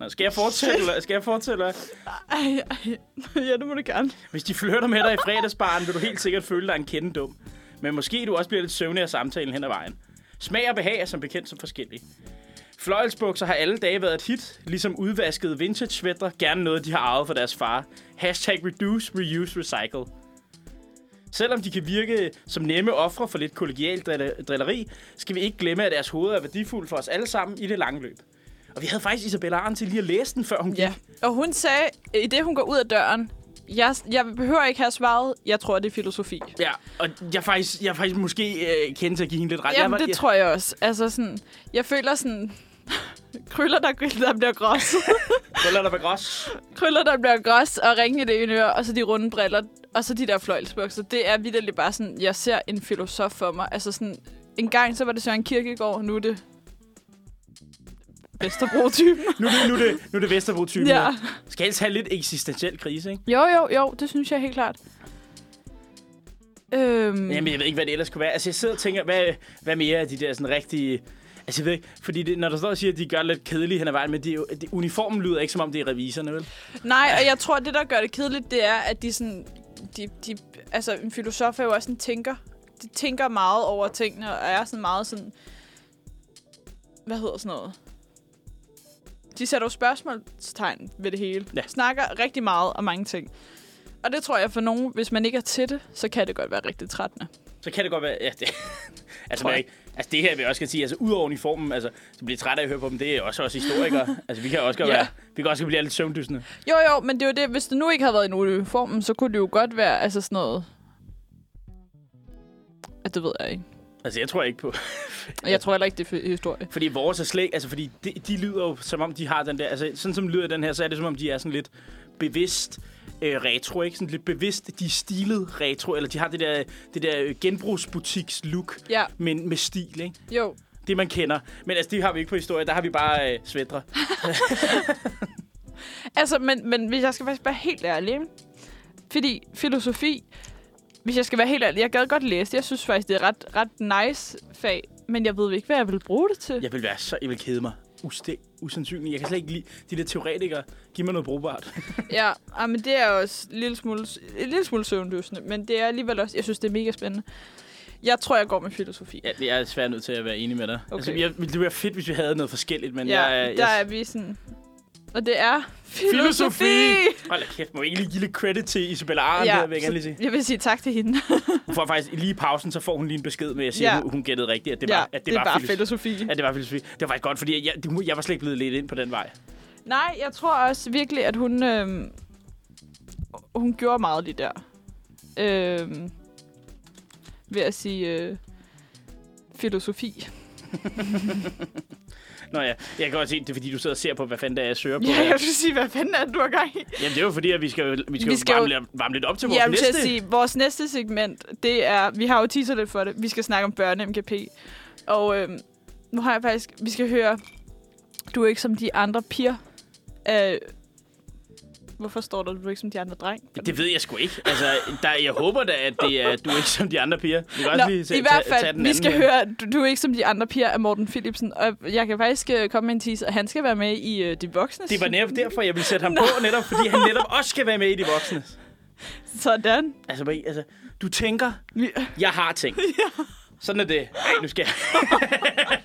[SPEAKER 2] Nå, skal jeg fortælle, eller- skal jeg fortælle? eller-
[SPEAKER 3] Ej, ej. Ja, det må du gerne.
[SPEAKER 2] Hvis de flytter med dig i fredagsbaren, vil du helt sikkert føle dig en kende dum. Men måske du også bliver lidt søvnig af samtalen hen ad vejen. Smag og behag er som bekendt så forskellige. Fløjelsbukser har alle dage været et hit, ligesom udvaskede vintage-svætter, gerne noget, de har arvet fra deres far. Hashtag reduce, reuse, recycle. Selvom de kan virke som nemme ofre for lidt kollegialt drille- drilleri, skal vi ikke glemme, at deres hoveder er værdifulde for os alle sammen i det lange løb. Og vi havde faktisk Isabella Arn til lige at læse den, før hun gik.
[SPEAKER 3] Ja. Og hun sagde, i det hun går ud af døren, jeg, jeg behøver ikke have svaret, jeg tror, det er filosofi.
[SPEAKER 2] Ja, og jeg er faktisk, jeg er faktisk måske øh, kendt til at give hende lidt ret. jeg
[SPEAKER 3] Jamen,
[SPEAKER 2] var,
[SPEAKER 3] det
[SPEAKER 2] jeg,
[SPEAKER 3] tror jeg også. Altså sådan, jeg føler sådan... [LAUGHS] Krøller, der, der bliver grås. [LAUGHS]
[SPEAKER 2] Krøller der var grås.
[SPEAKER 3] krøller, der bliver grås, og ringe i det ene øre, og så de runde briller, og så de der fløjlsbukser. Det er vidderligt bare sådan, jeg ser en filosof for mig. Altså sådan, en gang så var det Søren Kirkegaard, nu er det
[SPEAKER 2] [LAUGHS]
[SPEAKER 3] Vesterbro-typen.
[SPEAKER 2] Nu, er det, nu, er det, nu er det Vesterbro-typen.
[SPEAKER 3] ja.
[SPEAKER 2] Ja. Skal helst have lidt eksistentiel krise, ikke?
[SPEAKER 3] Jo, jo, jo, det synes jeg helt klart. Øhm,
[SPEAKER 2] Mm. Jamen, jeg ved ikke, hvad det ellers kunne være. Altså, jeg sidder og tænker, hvad, hvad mere af de der sådan rigtige... Altså, jeg ved ikke, fordi det, når der står og siger, at de gør det lidt kedelige hen ad vejen, men det, er jo- det, uniformen lyder ikke, som om det er reviserne, vel?
[SPEAKER 3] Nej, og jeg tror, det, der gør det kedeligt, det er, at de sådan... De, de, altså, en filosof er jo også en tænker. De tænker meget over tingene, og er sådan meget sådan... Hvad hedder sådan noget? De sætter jo spørgsmålstegn ved det hele.
[SPEAKER 2] Ja.
[SPEAKER 3] Snakker rigtig meget om mange ting. Og det tror jeg for nogen, hvis man ikke er til det, så kan det godt være rigtig trættende.
[SPEAKER 2] Så kan det godt være... Ja, det, [LAUGHS] altså,
[SPEAKER 3] Tror
[SPEAKER 2] man,
[SPEAKER 3] jeg.
[SPEAKER 2] ikke, altså, det her vil jeg også kan sige, altså, ud over uniformen, altså, så bliver jeg træt af at høre på dem, det er også os
[SPEAKER 3] [LAUGHS]
[SPEAKER 2] historikere. altså, vi kan også godt
[SPEAKER 3] Ja.
[SPEAKER 2] ja. være... Vi kan også godt blive lidt søvndysende.
[SPEAKER 3] Jo, jo, men det er jo det. Hvis det nu ikke havde været en uniform, så kunne det jo godt være altså sådan noget... At det ved jeg ikke.
[SPEAKER 2] Altså, jeg tror ikke på...
[SPEAKER 3] Og Jeg tror heller ikke, det er historie.
[SPEAKER 2] Fordi vores er slet ikke- altså fordi de, de lyder jo, som om de har den der, altså sådan som lyder den her, så er det som om, de er sådan lidt bevidst øh, retro, ikke? Sådan lidt bevidst, de er stilet retro, eller de har det der, det der øh, genbrugsbutiks-look,
[SPEAKER 3] Ja,
[SPEAKER 2] men med stil, ikke?
[SPEAKER 3] jo.
[SPEAKER 2] Det man kender. Men altså, det har vi ikke på historie, der har vi bare øh, svætre.
[SPEAKER 3] Altså, men, men hvis jeg skal faktisk være helt ærlig, ikke? fordi filosofi, hvis jeg skal være helt ærlig, jeg gad godt læse det. Jeg synes faktisk, det er ret, ret nice fag, men jeg ved ikke, hvad jeg vil bruge det til.
[SPEAKER 2] Jeg vil være så, jeg vil kede mig. Uste, usandsynligt. Jeg kan slet ikke lide de der teoretikere. Giv mig noget brugbart.
[SPEAKER 3] Ja, ja men det er også en lille smule, en lille smule søvnløsende, men det er alligevel også, jeg synes, det er mega spændende. Jeg tror, jeg går med filosofi.
[SPEAKER 2] Ja, jeg er svært nødt til at være enig med dig. Okay. Altså,
[SPEAKER 3] Okay.
[SPEAKER 2] jeg, det ville være fedt, hvis vi havde noget forskelligt, men
[SPEAKER 3] ja,
[SPEAKER 2] jeg, jeg,
[SPEAKER 3] der er vi sådan... Og det er filosofi!
[SPEAKER 2] Filosofi! Hold da kæft, må vi ikke lige give lidt credit til Isabella Arendt ja, her, vil jeg gerne lige sige.
[SPEAKER 3] så jeg vil sige tak til hende.
[SPEAKER 2] Hun får faktisk lige i pausen, så får hun lige en besked med at sige,
[SPEAKER 3] Ja.
[SPEAKER 2] ja. hun, hun gættede rigtigt, at det, ja, var, at det,
[SPEAKER 3] det er
[SPEAKER 2] var,
[SPEAKER 3] bare
[SPEAKER 2] filosofi.
[SPEAKER 3] filosofi.
[SPEAKER 2] At det var filosofi. Det var faktisk godt, fordi jeg, det- jeg var slet ikke blevet lidt ind på den vej.
[SPEAKER 3] Nej, jeg tror også virkelig, at hun, øh, hun gjorde meget lige der. Øh, ved at sige øh, filosofi.
[SPEAKER 2] Nå ja, jeg kan godt se, det er fordi, du sidder og ser på, hvad fanden det er, jeg søger på.
[SPEAKER 3] Ja, jeg skulle sige, hvad fanden er det, du har gang i?
[SPEAKER 2] Jamen, det er jo fordi, at vi skal, jo- vi skal,
[SPEAKER 3] Vi
[SPEAKER 2] vi
[SPEAKER 3] skal
[SPEAKER 2] skal
[SPEAKER 3] jo-
[SPEAKER 2] varme, lidt- varme, lidt op til vores
[SPEAKER 3] Jeg vil til
[SPEAKER 2] næste.
[SPEAKER 3] at sige, vores næste segment, det er, vi har jo teaser lidt for det, vi skal snakke om børne-MGP. Og øh, nu har jeg faktisk, vi skal høre, du er ikke som de andre piger. Øh, hvorfor står der, du er ikke som de andre dreng?
[SPEAKER 2] Det ved jeg sgu ikke. Altså, der, jeg håber da, at det er, du er ikke som de andre piger. Vi kan
[SPEAKER 3] Nå,
[SPEAKER 2] også lige tage,
[SPEAKER 3] i hvert
[SPEAKER 2] tage- tage
[SPEAKER 3] fald,
[SPEAKER 2] den
[SPEAKER 3] vi
[SPEAKER 2] anden
[SPEAKER 3] skal
[SPEAKER 2] her.
[SPEAKER 3] høre, du, du er ikke som de andre piger af Morten Philipsen, og jeg kan faktisk øh, komme med en teaser, han skal være med i øh, De Voksne.
[SPEAKER 2] Det var netop derfor, jeg ville sætte ham på, netop fordi han netop også skal være med i de voksne.
[SPEAKER 3] Sådan.
[SPEAKER 2] Altså, Marie, altså du tænker,
[SPEAKER 3] Vi-
[SPEAKER 2] Jeg har
[SPEAKER 3] [LAUGHS]
[SPEAKER 2] tænkt. ja. Sådan er det. Ej, nu skal jeg,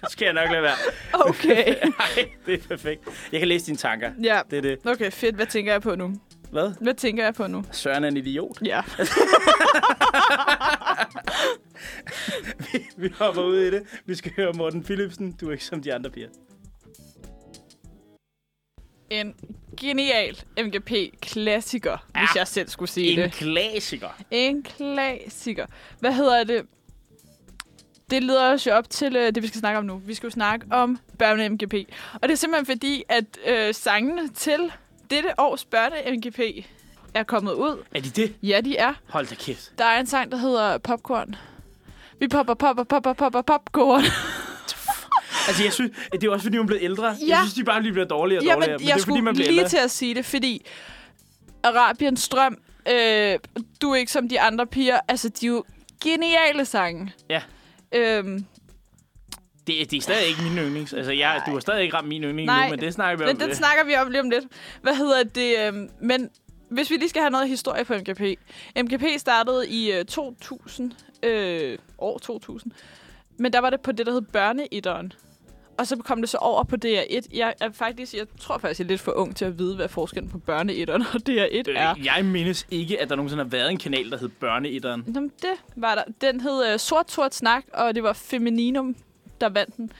[SPEAKER 2] nu skal jeg [LAUGHS] nok lade være. [LAUGHS]
[SPEAKER 3] Okay.
[SPEAKER 2] Ej, det er perfekt. Jeg kan læse dine tanker.
[SPEAKER 3] ja.
[SPEAKER 2] Det er det.
[SPEAKER 3] Okay, fedt. Hvad tænker jeg på nu?
[SPEAKER 2] Hvad?
[SPEAKER 3] Hvad tænker jeg på nu?
[SPEAKER 2] Søren er en idiot.
[SPEAKER 3] Ja.
[SPEAKER 2] Vi hopper ud i det. Vi skal høre Morten Philipsen. Du er ikke som de andre piger.
[SPEAKER 3] En genial MGP-klassiker, ja. hvis jeg selv skulle sige
[SPEAKER 2] En
[SPEAKER 3] det.
[SPEAKER 2] klassiker.
[SPEAKER 3] En klassiker. Hvad hedder det? Det leder os jo op til øh, det, vi skal snakke om nu. Vi skal jo snakke om børne-MGP. Og det er simpelthen fordi, at øh, sangene til dette års børne-MGP er kommet ud.
[SPEAKER 2] Er de det?
[SPEAKER 3] Ja, de er.
[SPEAKER 2] Hold da kæft.
[SPEAKER 3] Der er en sang, der hedder Popcorn. Vi popper, popper, popper, popper, popcorn.
[SPEAKER 2] Altså, jeg synes, at det er også fordi, man bliver ældre. Ja.
[SPEAKER 3] Ja.
[SPEAKER 2] Jeg synes, de bare lige bliver dårligere og
[SPEAKER 3] Ja,
[SPEAKER 2] dårligere. det
[SPEAKER 3] men jeg
[SPEAKER 2] er, fordi,
[SPEAKER 3] skulle
[SPEAKER 2] man bliver
[SPEAKER 3] lige
[SPEAKER 2] ældre.
[SPEAKER 3] til at sige det, fordi Arabiens strøm, øh, du er ikke som de andre piger, altså de er jo geniale sange.
[SPEAKER 2] Ja.
[SPEAKER 3] Øhm,
[SPEAKER 2] Det, det er stadig ikke min yndlings. Altså, jeg, du har stadig ikke ramt min yndling
[SPEAKER 3] Nej.
[SPEAKER 2] nu, men det snakker vi om. Øh,
[SPEAKER 3] men den snakker vi om lige om lidt. Hvad hedder det? øhm, Men hvis vi lige skal have noget historie på MGP. MGP startede i øh, 2000, øh, år 2000, men der var det på det, der hed børneitteren. Og så kom det så over på DR1. Jeg, er faktisk, jeg tror faktisk, jeg er lidt for ung til at vide, hvad forskellen på børneitteren og DR1 er.
[SPEAKER 2] Øh, Jeg mindes ikke, at der nogensinde har været en kanal, der hed Børneitteren.
[SPEAKER 3] Nå, men det var der. Den hed øh, Sort Sort Snak, og det var Femininum, der vandt den.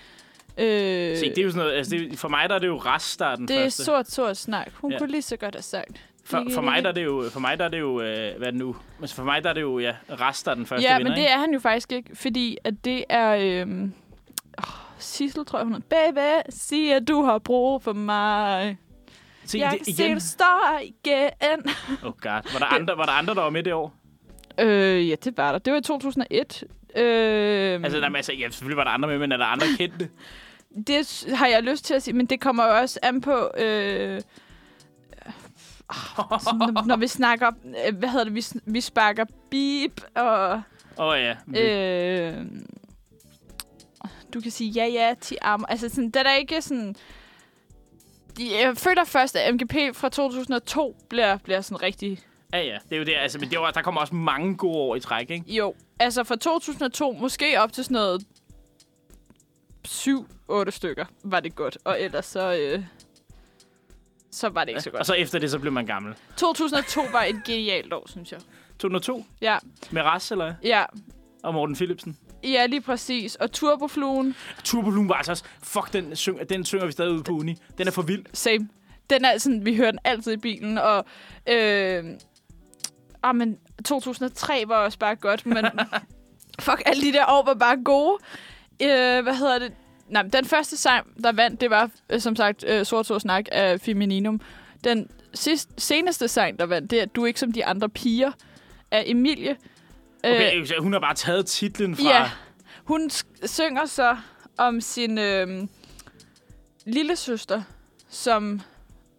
[SPEAKER 3] Øh,
[SPEAKER 2] Se, det er jo sådan noget, altså det, for mig der er det jo rest, der er den
[SPEAKER 3] det er
[SPEAKER 2] første.
[SPEAKER 3] Sort Sort Snak. Hun ja.
[SPEAKER 2] Ja.
[SPEAKER 3] kunne lige så godt have sagt.
[SPEAKER 2] For, for, mig der er det jo, for mig der er det jo, øh, hvad er det nu? Altså for mig der er det jo, ja, rest, der er den første
[SPEAKER 3] Ja,
[SPEAKER 2] vinder,
[SPEAKER 3] men det er han jo faktisk ikke, fordi at det er... Øh, oh, Sissel, tror jeg, hun hedder. Baby, sig at du har brug for mig.
[SPEAKER 2] ikke? Se,
[SPEAKER 3] jeg
[SPEAKER 2] det,
[SPEAKER 3] kan se, du
[SPEAKER 2] igen.
[SPEAKER 3] står igen.
[SPEAKER 2] Oh god. Var der, andre, var der andre, der var med det år?
[SPEAKER 3] Øh, ja, det var der. Det var i 2001. Øh,
[SPEAKER 2] Altså, der er masser, ja, selvfølgelig var der andre med, men er der andre kendte?
[SPEAKER 3] det s- har jeg lyst til at sige, men det kommer jo også an på... Øh, ah, sådan, når- når vi snakker, øh, hvad hedder det, vi, sn- vi sparker beep, og
[SPEAKER 2] Åh oh, ja. Øh.
[SPEAKER 3] øh, du kan sige ja, ja, ti armer. Altså, sådan, det er da ikke sådan... De, jeg føler først, at MGP fra 2002 bliver, bliver sådan rigtig
[SPEAKER 2] Ja, ja. Det er jo det. Altså, men det var, der kommer også mange gode år i træk, ikke?
[SPEAKER 3] Jo, altså fra 2002 måske op til sådan noget 7-8 stykker var det godt. Og ellers så, øh, så var det ikke så
[SPEAKER 2] Og
[SPEAKER 3] godt.
[SPEAKER 2] så efter det, så blev man gammel.
[SPEAKER 3] 2002 var et genialt år, synes jeg.
[SPEAKER 2] 2002
[SPEAKER 3] Ja,
[SPEAKER 2] med Ras, eller hvad?
[SPEAKER 3] ja,
[SPEAKER 2] Og Morten Philipsen.
[SPEAKER 3] ja lige præcis. Og turbofluen,
[SPEAKER 2] Turboloom var altså også... Fuck, den, syng, den synger vi stadig ude på uni. Den er for vild.
[SPEAKER 3] same. Den er sådan, vi hører den altid i bilen, og... Øh, ah, men 2003 var også bare godt, men... fuck, alle de der år var bare gode. Øh, hvad hedder det? Nej, men den første sang, der vandt, det var øh, som sagt øh, Sort Sort Snak af Femininum. Den sidste, seneste sang, der vandt, det er Du er ikke som de andre piger af Emilie.
[SPEAKER 2] Okay, øh. hun har bare taget titlen fra...
[SPEAKER 3] Ja. Hun sk- synger så om sin øh, lille søster, som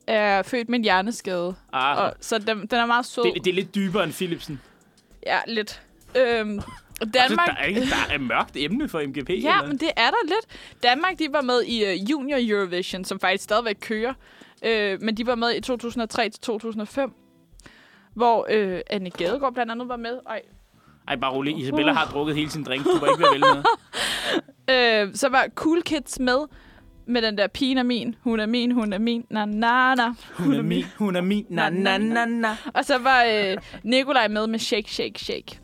[SPEAKER 3] er født med en hjerneskade.
[SPEAKER 2] Ah,
[SPEAKER 3] Og, så den, den er meget sød.
[SPEAKER 2] det, det, er lidt dybere end Philipsen.
[SPEAKER 3] Ja, lidt. Øhm, og Danmark...
[SPEAKER 2] Altså, der, er ikke, der er et mørkt emne for MGP.
[SPEAKER 3] Ja,
[SPEAKER 2] eller?
[SPEAKER 3] men det er der lidt. Danmark, de var med i uh, Junior Eurovision, som faktisk stadigvæk kører. Uh, men de var med i 2003 til 2005, hvor uh, Anne Gadegaard blandt andet var med. Ej,
[SPEAKER 2] Ej, bare rolig. Isabella har drukket hele sin drink. Du må ikke være vel med.
[SPEAKER 3] Øh, så var Cool Kids med med den der pigen er min, hun er min, hun er min, na na na.
[SPEAKER 2] [LAUGHS] Hun er min, hun er min, na na na na.
[SPEAKER 3] Og så var øh, Nikolaj med med Shake, Shake, Shake.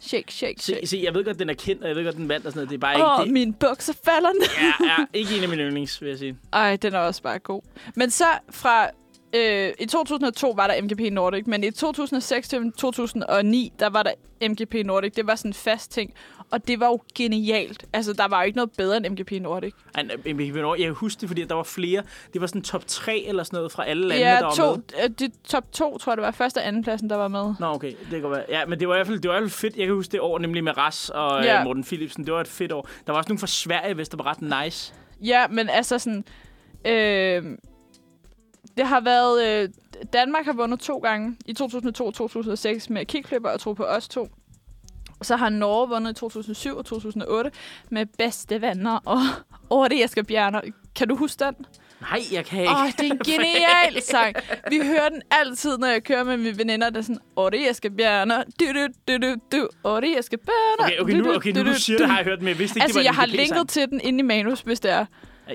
[SPEAKER 3] Shake, Shake,
[SPEAKER 2] Se,
[SPEAKER 3] Shake.
[SPEAKER 2] se, jeg ved godt, den er kendt, og jeg ved godt, den vandt og sådan noget. Det er bare
[SPEAKER 3] Åh,
[SPEAKER 2] ikke
[SPEAKER 3] oh,
[SPEAKER 2] det.
[SPEAKER 3] min bukser falder ned.
[SPEAKER 2] Ja, ja, ikke en af mine yndlings, vil jeg sige.
[SPEAKER 3] Ej, den er også bare god. Men så fra... Øh, I 2002 var der MGP Nordic, men i 2006 til 2009, der var der MGP Nordic. Det var sådan en fast ting, og det var jo genialt. Altså, der var jo ikke noget bedre end MGP Nordic.
[SPEAKER 2] Ej, men Jeg kan- jeg kan huske det, fordi der var flere. Det var sådan top 3 eller sådan noget fra alle lande,
[SPEAKER 3] ja,
[SPEAKER 2] der var
[SPEAKER 3] to,
[SPEAKER 2] med.
[SPEAKER 3] øh, det top to, tror jeg, det var første og anden pladsen, der var med.
[SPEAKER 2] Nå, okay. Det kan godt være. Ja, men det var i hvert fald, det var i hvert fald fedt. Jeg kan huske det år, nemlig med Ras og
[SPEAKER 3] Ja.
[SPEAKER 2] ja. Morten Philipsen. Det var et fedt år. Der var også nogle fra Sverige, hvis der var ret nice.
[SPEAKER 3] Ja, men altså sådan... Øh, det har været... Øh, Danmark har vundet to gange i 2002 og 2006 med kickflipper og tro på os to. Så har Norge vundet i 2007 og 2008 med bedste venner og [LAUGHS] over det, jeg skal bjerner. Kan du huske den?
[SPEAKER 2] Nej, jeg kan ikke.
[SPEAKER 3] Åh, oh, det
[SPEAKER 2] [LAUGHS]
[SPEAKER 3] er en genial sang. Vi hører den altid, når jeg kører med mine veninder. Der er sådan, åh, det er jeg skal bjerner. Du, du, du, du, du. Åh, det er jeg skal bjerner.
[SPEAKER 2] Okay, okay, nu, okay, nu du siger det, har jeg hørt, men jeg vidste ikke,
[SPEAKER 3] Altså,
[SPEAKER 2] det var
[SPEAKER 3] jeg
[SPEAKER 2] en
[SPEAKER 3] har
[SPEAKER 2] MGP -sang.
[SPEAKER 3] linket til den inde i manus, hvis det er.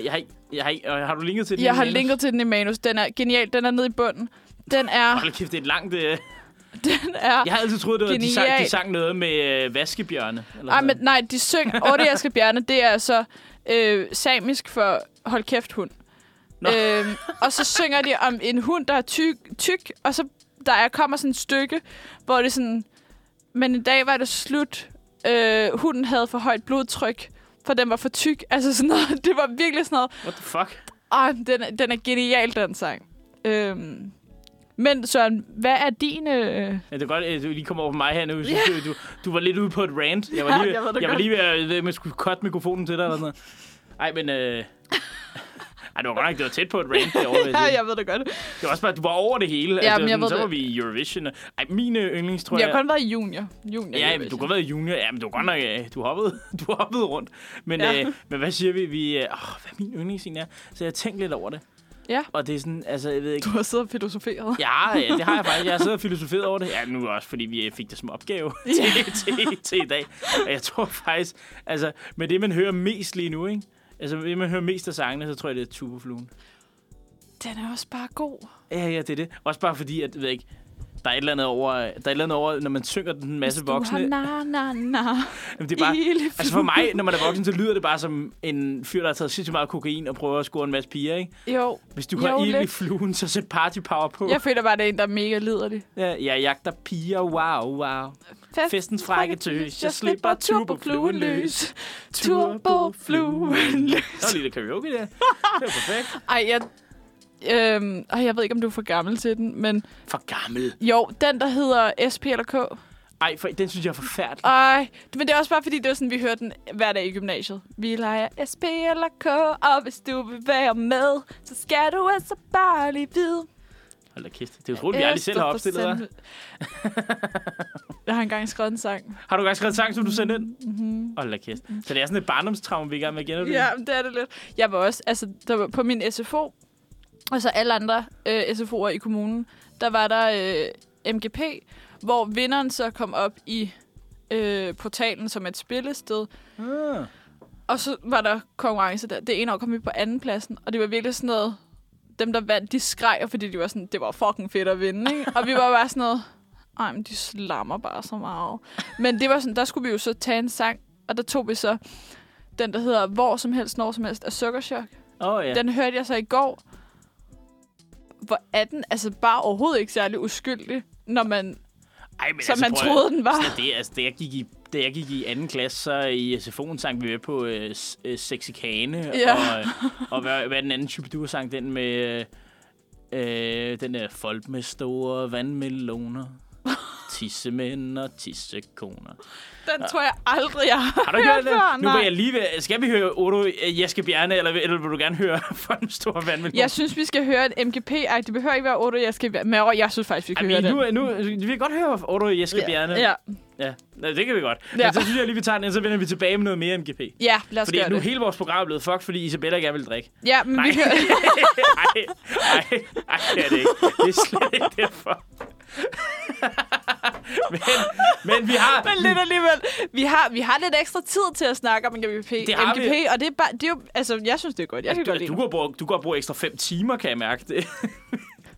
[SPEAKER 2] Jeg har, ikke- jeg har, ikke- øh, har du linket til det?
[SPEAKER 3] Jeg har linket til den i manus. Den er genial. Den er nede i bunden. Den er...
[SPEAKER 2] Hold kæft, det er et langt... Øh...
[SPEAKER 3] [LAUGHS] Den er
[SPEAKER 2] Jeg har altid troet, det var, de, sang, de
[SPEAKER 3] Genialt.
[SPEAKER 2] sang noget med øh, vaskebjørne. Eller
[SPEAKER 3] Ej,
[SPEAKER 2] sådan
[SPEAKER 3] men nej, de
[SPEAKER 2] [LAUGHS]
[SPEAKER 3] syng... Åh, det jeg skal bjerne, det er altså øh, samisk for hold kæft hund.
[SPEAKER 2] Nå.
[SPEAKER 3] Øhm, og så synger de om en hund, der er tyk, tyk og så der er, kommer sådan et stykke, hvor det er sådan... Men en dag var det slut. Øh, hunden havde for højt blodtryk, for den var for tyk. Altså sådan noget. [LAUGHS] Det var virkelig sådan noget.
[SPEAKER 2] noget. What the fuck?
[SPEAKER 3] Ej, den, er- den er genial, den sang. Øhm, men Søren, hvad er din... Øh...
[SPEAKER 2] Ja, det er godt, at du lige kommer over på mig her nu. Jeg synes, du, du, du var lidt ude på et rant. Jeg var
[SPEAKER 3] Ja,
[SPEAKER 2] lige ved,
[SPEAKER 3] [LAUGHS] jeg ved det
[SPEAKER 2] jeg var
[SPEAKER 3] godt.
[SPEAKER 2] lige ved at ved, at man skulle cutte mikrofonen til dig eller sådan noget. Ej, men... Øh... [LAUGHS] Ej, det var godt nok, det var tæt på et rant derovre.
[SPEAKER 3] [LAUGHS] Ja,
[SPEAKER 2] ja, ja.
[SPEAKER 3] jeg ved det godt.
[SPEAKER 2] Det var også bare, du var over det hele.
[SPEAKER 3] Ja,
[SPEAKER 2] altså,
[SPEAKER 3] men jeg
[SPEAKER 2] sådan,
[SPEAKER 3] ved
[SPEAKER 2] så
[SPEAKER 3] det.
[SPEAKER 2] var vi i Eurovision. og- Ej, mine yndlings, tror
[SPEAKER 3] Jeg
[SPEAKER 2] jeg...
[SPEAKER 3] har kun været i junior. junior
[SPEAKER 2] Ja, men
[SPEAKER 3] Eurovision.
[SPEAKER 2] du kunne have været junior. Ja, men du var godt nok, øh, du hoppede, [LAUGHS] du hoppede rundt. Men,
[SPEAKER 3] Ja.
[SPEAKER 2] ja. øh, men hvad siger vi? vi øh, åh, hvad er min yndlingsscene er? Så jeg har tænkt lidt over det.
[SPEAKER 3] Ja.
[SPEAKER 2] Og det er sådan, altså, jeg ved
[SPEAKER 3] [LAUGHS]
[SPEAKER 2] ikke.
[SPEAKER 3] Du har siddet og filosoferet.
[SPEAKER 2] Ja, ja, det har jeg faktisk. Jeg har siddet og filosoferet over det. Ja, nu også, fordi vi øh, fik det som opgave til, til, til i dag. Og jeg tror faktisk, altså, med det, man hører mest lige nu, ikke? Altså, det, man hører mest af sangene, så tror jeg, det er Tubofluen.
[SPEAKER 3] Den er også bare god.
[SPEAKER 2] Ja, ja, det er det. Også bare fordi, at, jeg ved ikke, der er et eller andet over, der er et eller andet over når man synger den en masse voksne.
[SPEAKER 3] Du har na, na, na.
[SPEAKER 2] Jamen, det er bare,
[SPEAKER 3] Hele
[SPEAKER 2] Altså for mig, når man er voksen, så lyder det bare som en fyr, der har taget sindssygt meget kokain og prøver at score en masse piger, ikke?
[SPEAKER 3] [LAUGHS] Jo,
[SPEAKER 2] Hvis du
[SPEAKER 3] Jo,
[SPEAKER 2] har ild i
[SPEAKER 3] lidt.
[SPEAKER 2] fluen, så sæt party power på.
[SPEAKER 3] jeg føler bare, det er en, der er mega liderlig.
[SPEAKER 2] Ja, jeg jagter piger, wow, wow.
[SPEAKER 3] Fest,
[SPEAKER 2] Festens frække tøs, jeg slipper turbofluen løs. Turbofluen
[SPEAKER 3] Turbofluen løs.
[SPEAKER 2] Der var lige lidt karaoke der. Det var perfekt.
[SPEAKER 3] Ej, jeg Øhm, og jeg ved ikke, om du er for gammel til den, men
[SPEAKER 2] For gammel.
[SPEAKER 3] jo, den der hedder SP eller K.
[SPEAKER 2] Ej, for, den synes jeg er forfærdelig.
[SPEAKER 3] Ej, men det er også bare fordi, det var sådan, vi hørte den hver dag i gymnasiet. Vi leger SP eller K, og hvis du vil være med, så skal du altså bare lige vide.
[SPEAKER 2] Hold da kæft. Det er utroligt, vi aldrig selv har opstillet dig.
[SPEAKER 3] Jeg har engang skrevet en sang.
[SPEAKER 2] Har du engang skrevet en sang, som du sendte ind? Mm-hmm. Hold da kæft. Så det er sådan et barndomstraume, vi er i gang med at genopleve.
[SPEAKER 3] Ja, men det er det lidt. Jeg var også, altså, der var på min SFO, og så alle andre øh, SFO'er i kommunen, der var der øh, MGP, hvor vinderen så kom op i øh, portalen som et spillested.
[SPEAKER 2] Ah.
[SPEAKER 3] Og så var der konkurrence der. Det ene år kom vi på anden pladsen, og det var virkelig sådan noget, dem der vandt, de skreg, fordi de var sådan, det var fucking fedt at vinde, ikke? Og vi var bare sådan noget, ej, men de slammer bare så meget. Men det var sådan, der skulle vi jo så tage en sang, og der tog vi så den, der hedder Hvor som helst, når som helst af Sukkerchok.
[SPEAKER 2] Åh, oh, ja.
[SPEAKER 3] Ja. Den hørte jeg så i går. Hvor er den altså bare overhovedet ikke særlig uskyldig, når man,
[SPEAKER 2] Ej, men altså,
[SPEAKER 3] som man
[SPEAKER 2] prøv at-
[SPEAKER 3] troede, den var.
[SPEAKER 2] Så Det, altså, da, jeg gik i, da jeg gik i anden klasse, så i SFO'en sang vi med på øh, s- øh, Sexikane.
[SPEAKER 3] Ja.
[SPEAKER 2] Og, øh, og hvad, hvad er den anden chubidur sang den med... øh, Øh, den der folk med store vandmeloner. Tissemænd og tissekoner.
[SPEAKER 3] Den tror jeg aldrig, jeg har,
[SPEAKER 2] Har du ikke hørt det?
[SPEAKER 3] før.
[SPEAKER 2] Nu var
[SPEAKER 3] Nej.
[SPEAKER 2] jeg lige ved... Skal vi høre Odo øh, Jeske Bjerne, eller, vil- eller vil du gerne høre [LAUGHS] folk med store vandmeloner?
[SPEAKER 3] Jeg synes, vi skal høre et MGP. Ej, det behøver ikke være 8, jeg skal være med over. Jeg synes faktisk, vi kan
[SPEAKER 2] Jamen,
[SPEAKER 3] høre
[SPEAKER 2] nu, nu, altså, vi kan godt høre Odo Jeske
[SPEAKER 3] det.
[SPEAKER 2] Bjerne.
[SPEAKER 3] Ja.
[SPEAKER 2] ja. Nå, det kan vi godt. Ja.
[SPEAKER 3] Ja.
[SPEAKER 2] Men så synes jeg lige, vi tager den, og så vender vi tilbage med noget mere MGP.
[SPEAKER 3] ja, lad os
[SPEAKER 2] Fordi
[SPEAKER 3] gøre
[SPEAKER 2] nu
[SPEAKER 3] det.
[SPEAKER 2] er hele vores program er blevet fucked, fordi Isabella gerne vil drikke.
[SPEAKER 3] Ja, men
[SPEAKER 2] Nej,
[SPEAKER 3] vi
[SPEAKER 2] [LAUGHS]
[SPEAKER 3] hører... [LAUGHS]
[SPEAKER 2] nej, nej, nej, det er det ikke. Det er slet ikke derfor. [LAUGHS] men, men vi har...
[SPEAKER 3] Men lidt alligevel. Vi har, vi har lidt ekstra tid til at snakke om MGP,
[SPEAKER 2] Det har vi.
[SPEAKER 3] MGP og det er, bare, det er jo... Altså, jeg synes, det er godt. Jeg kan
[SPEAKER 2] Du,
[SPEAKER 3] godt lide
[SPEAKER 2] du,
[SPEAKER 3] det.
[SPEAKER 2] går bruge, du går bruge ekstra fem timer, kan jeg mærke det.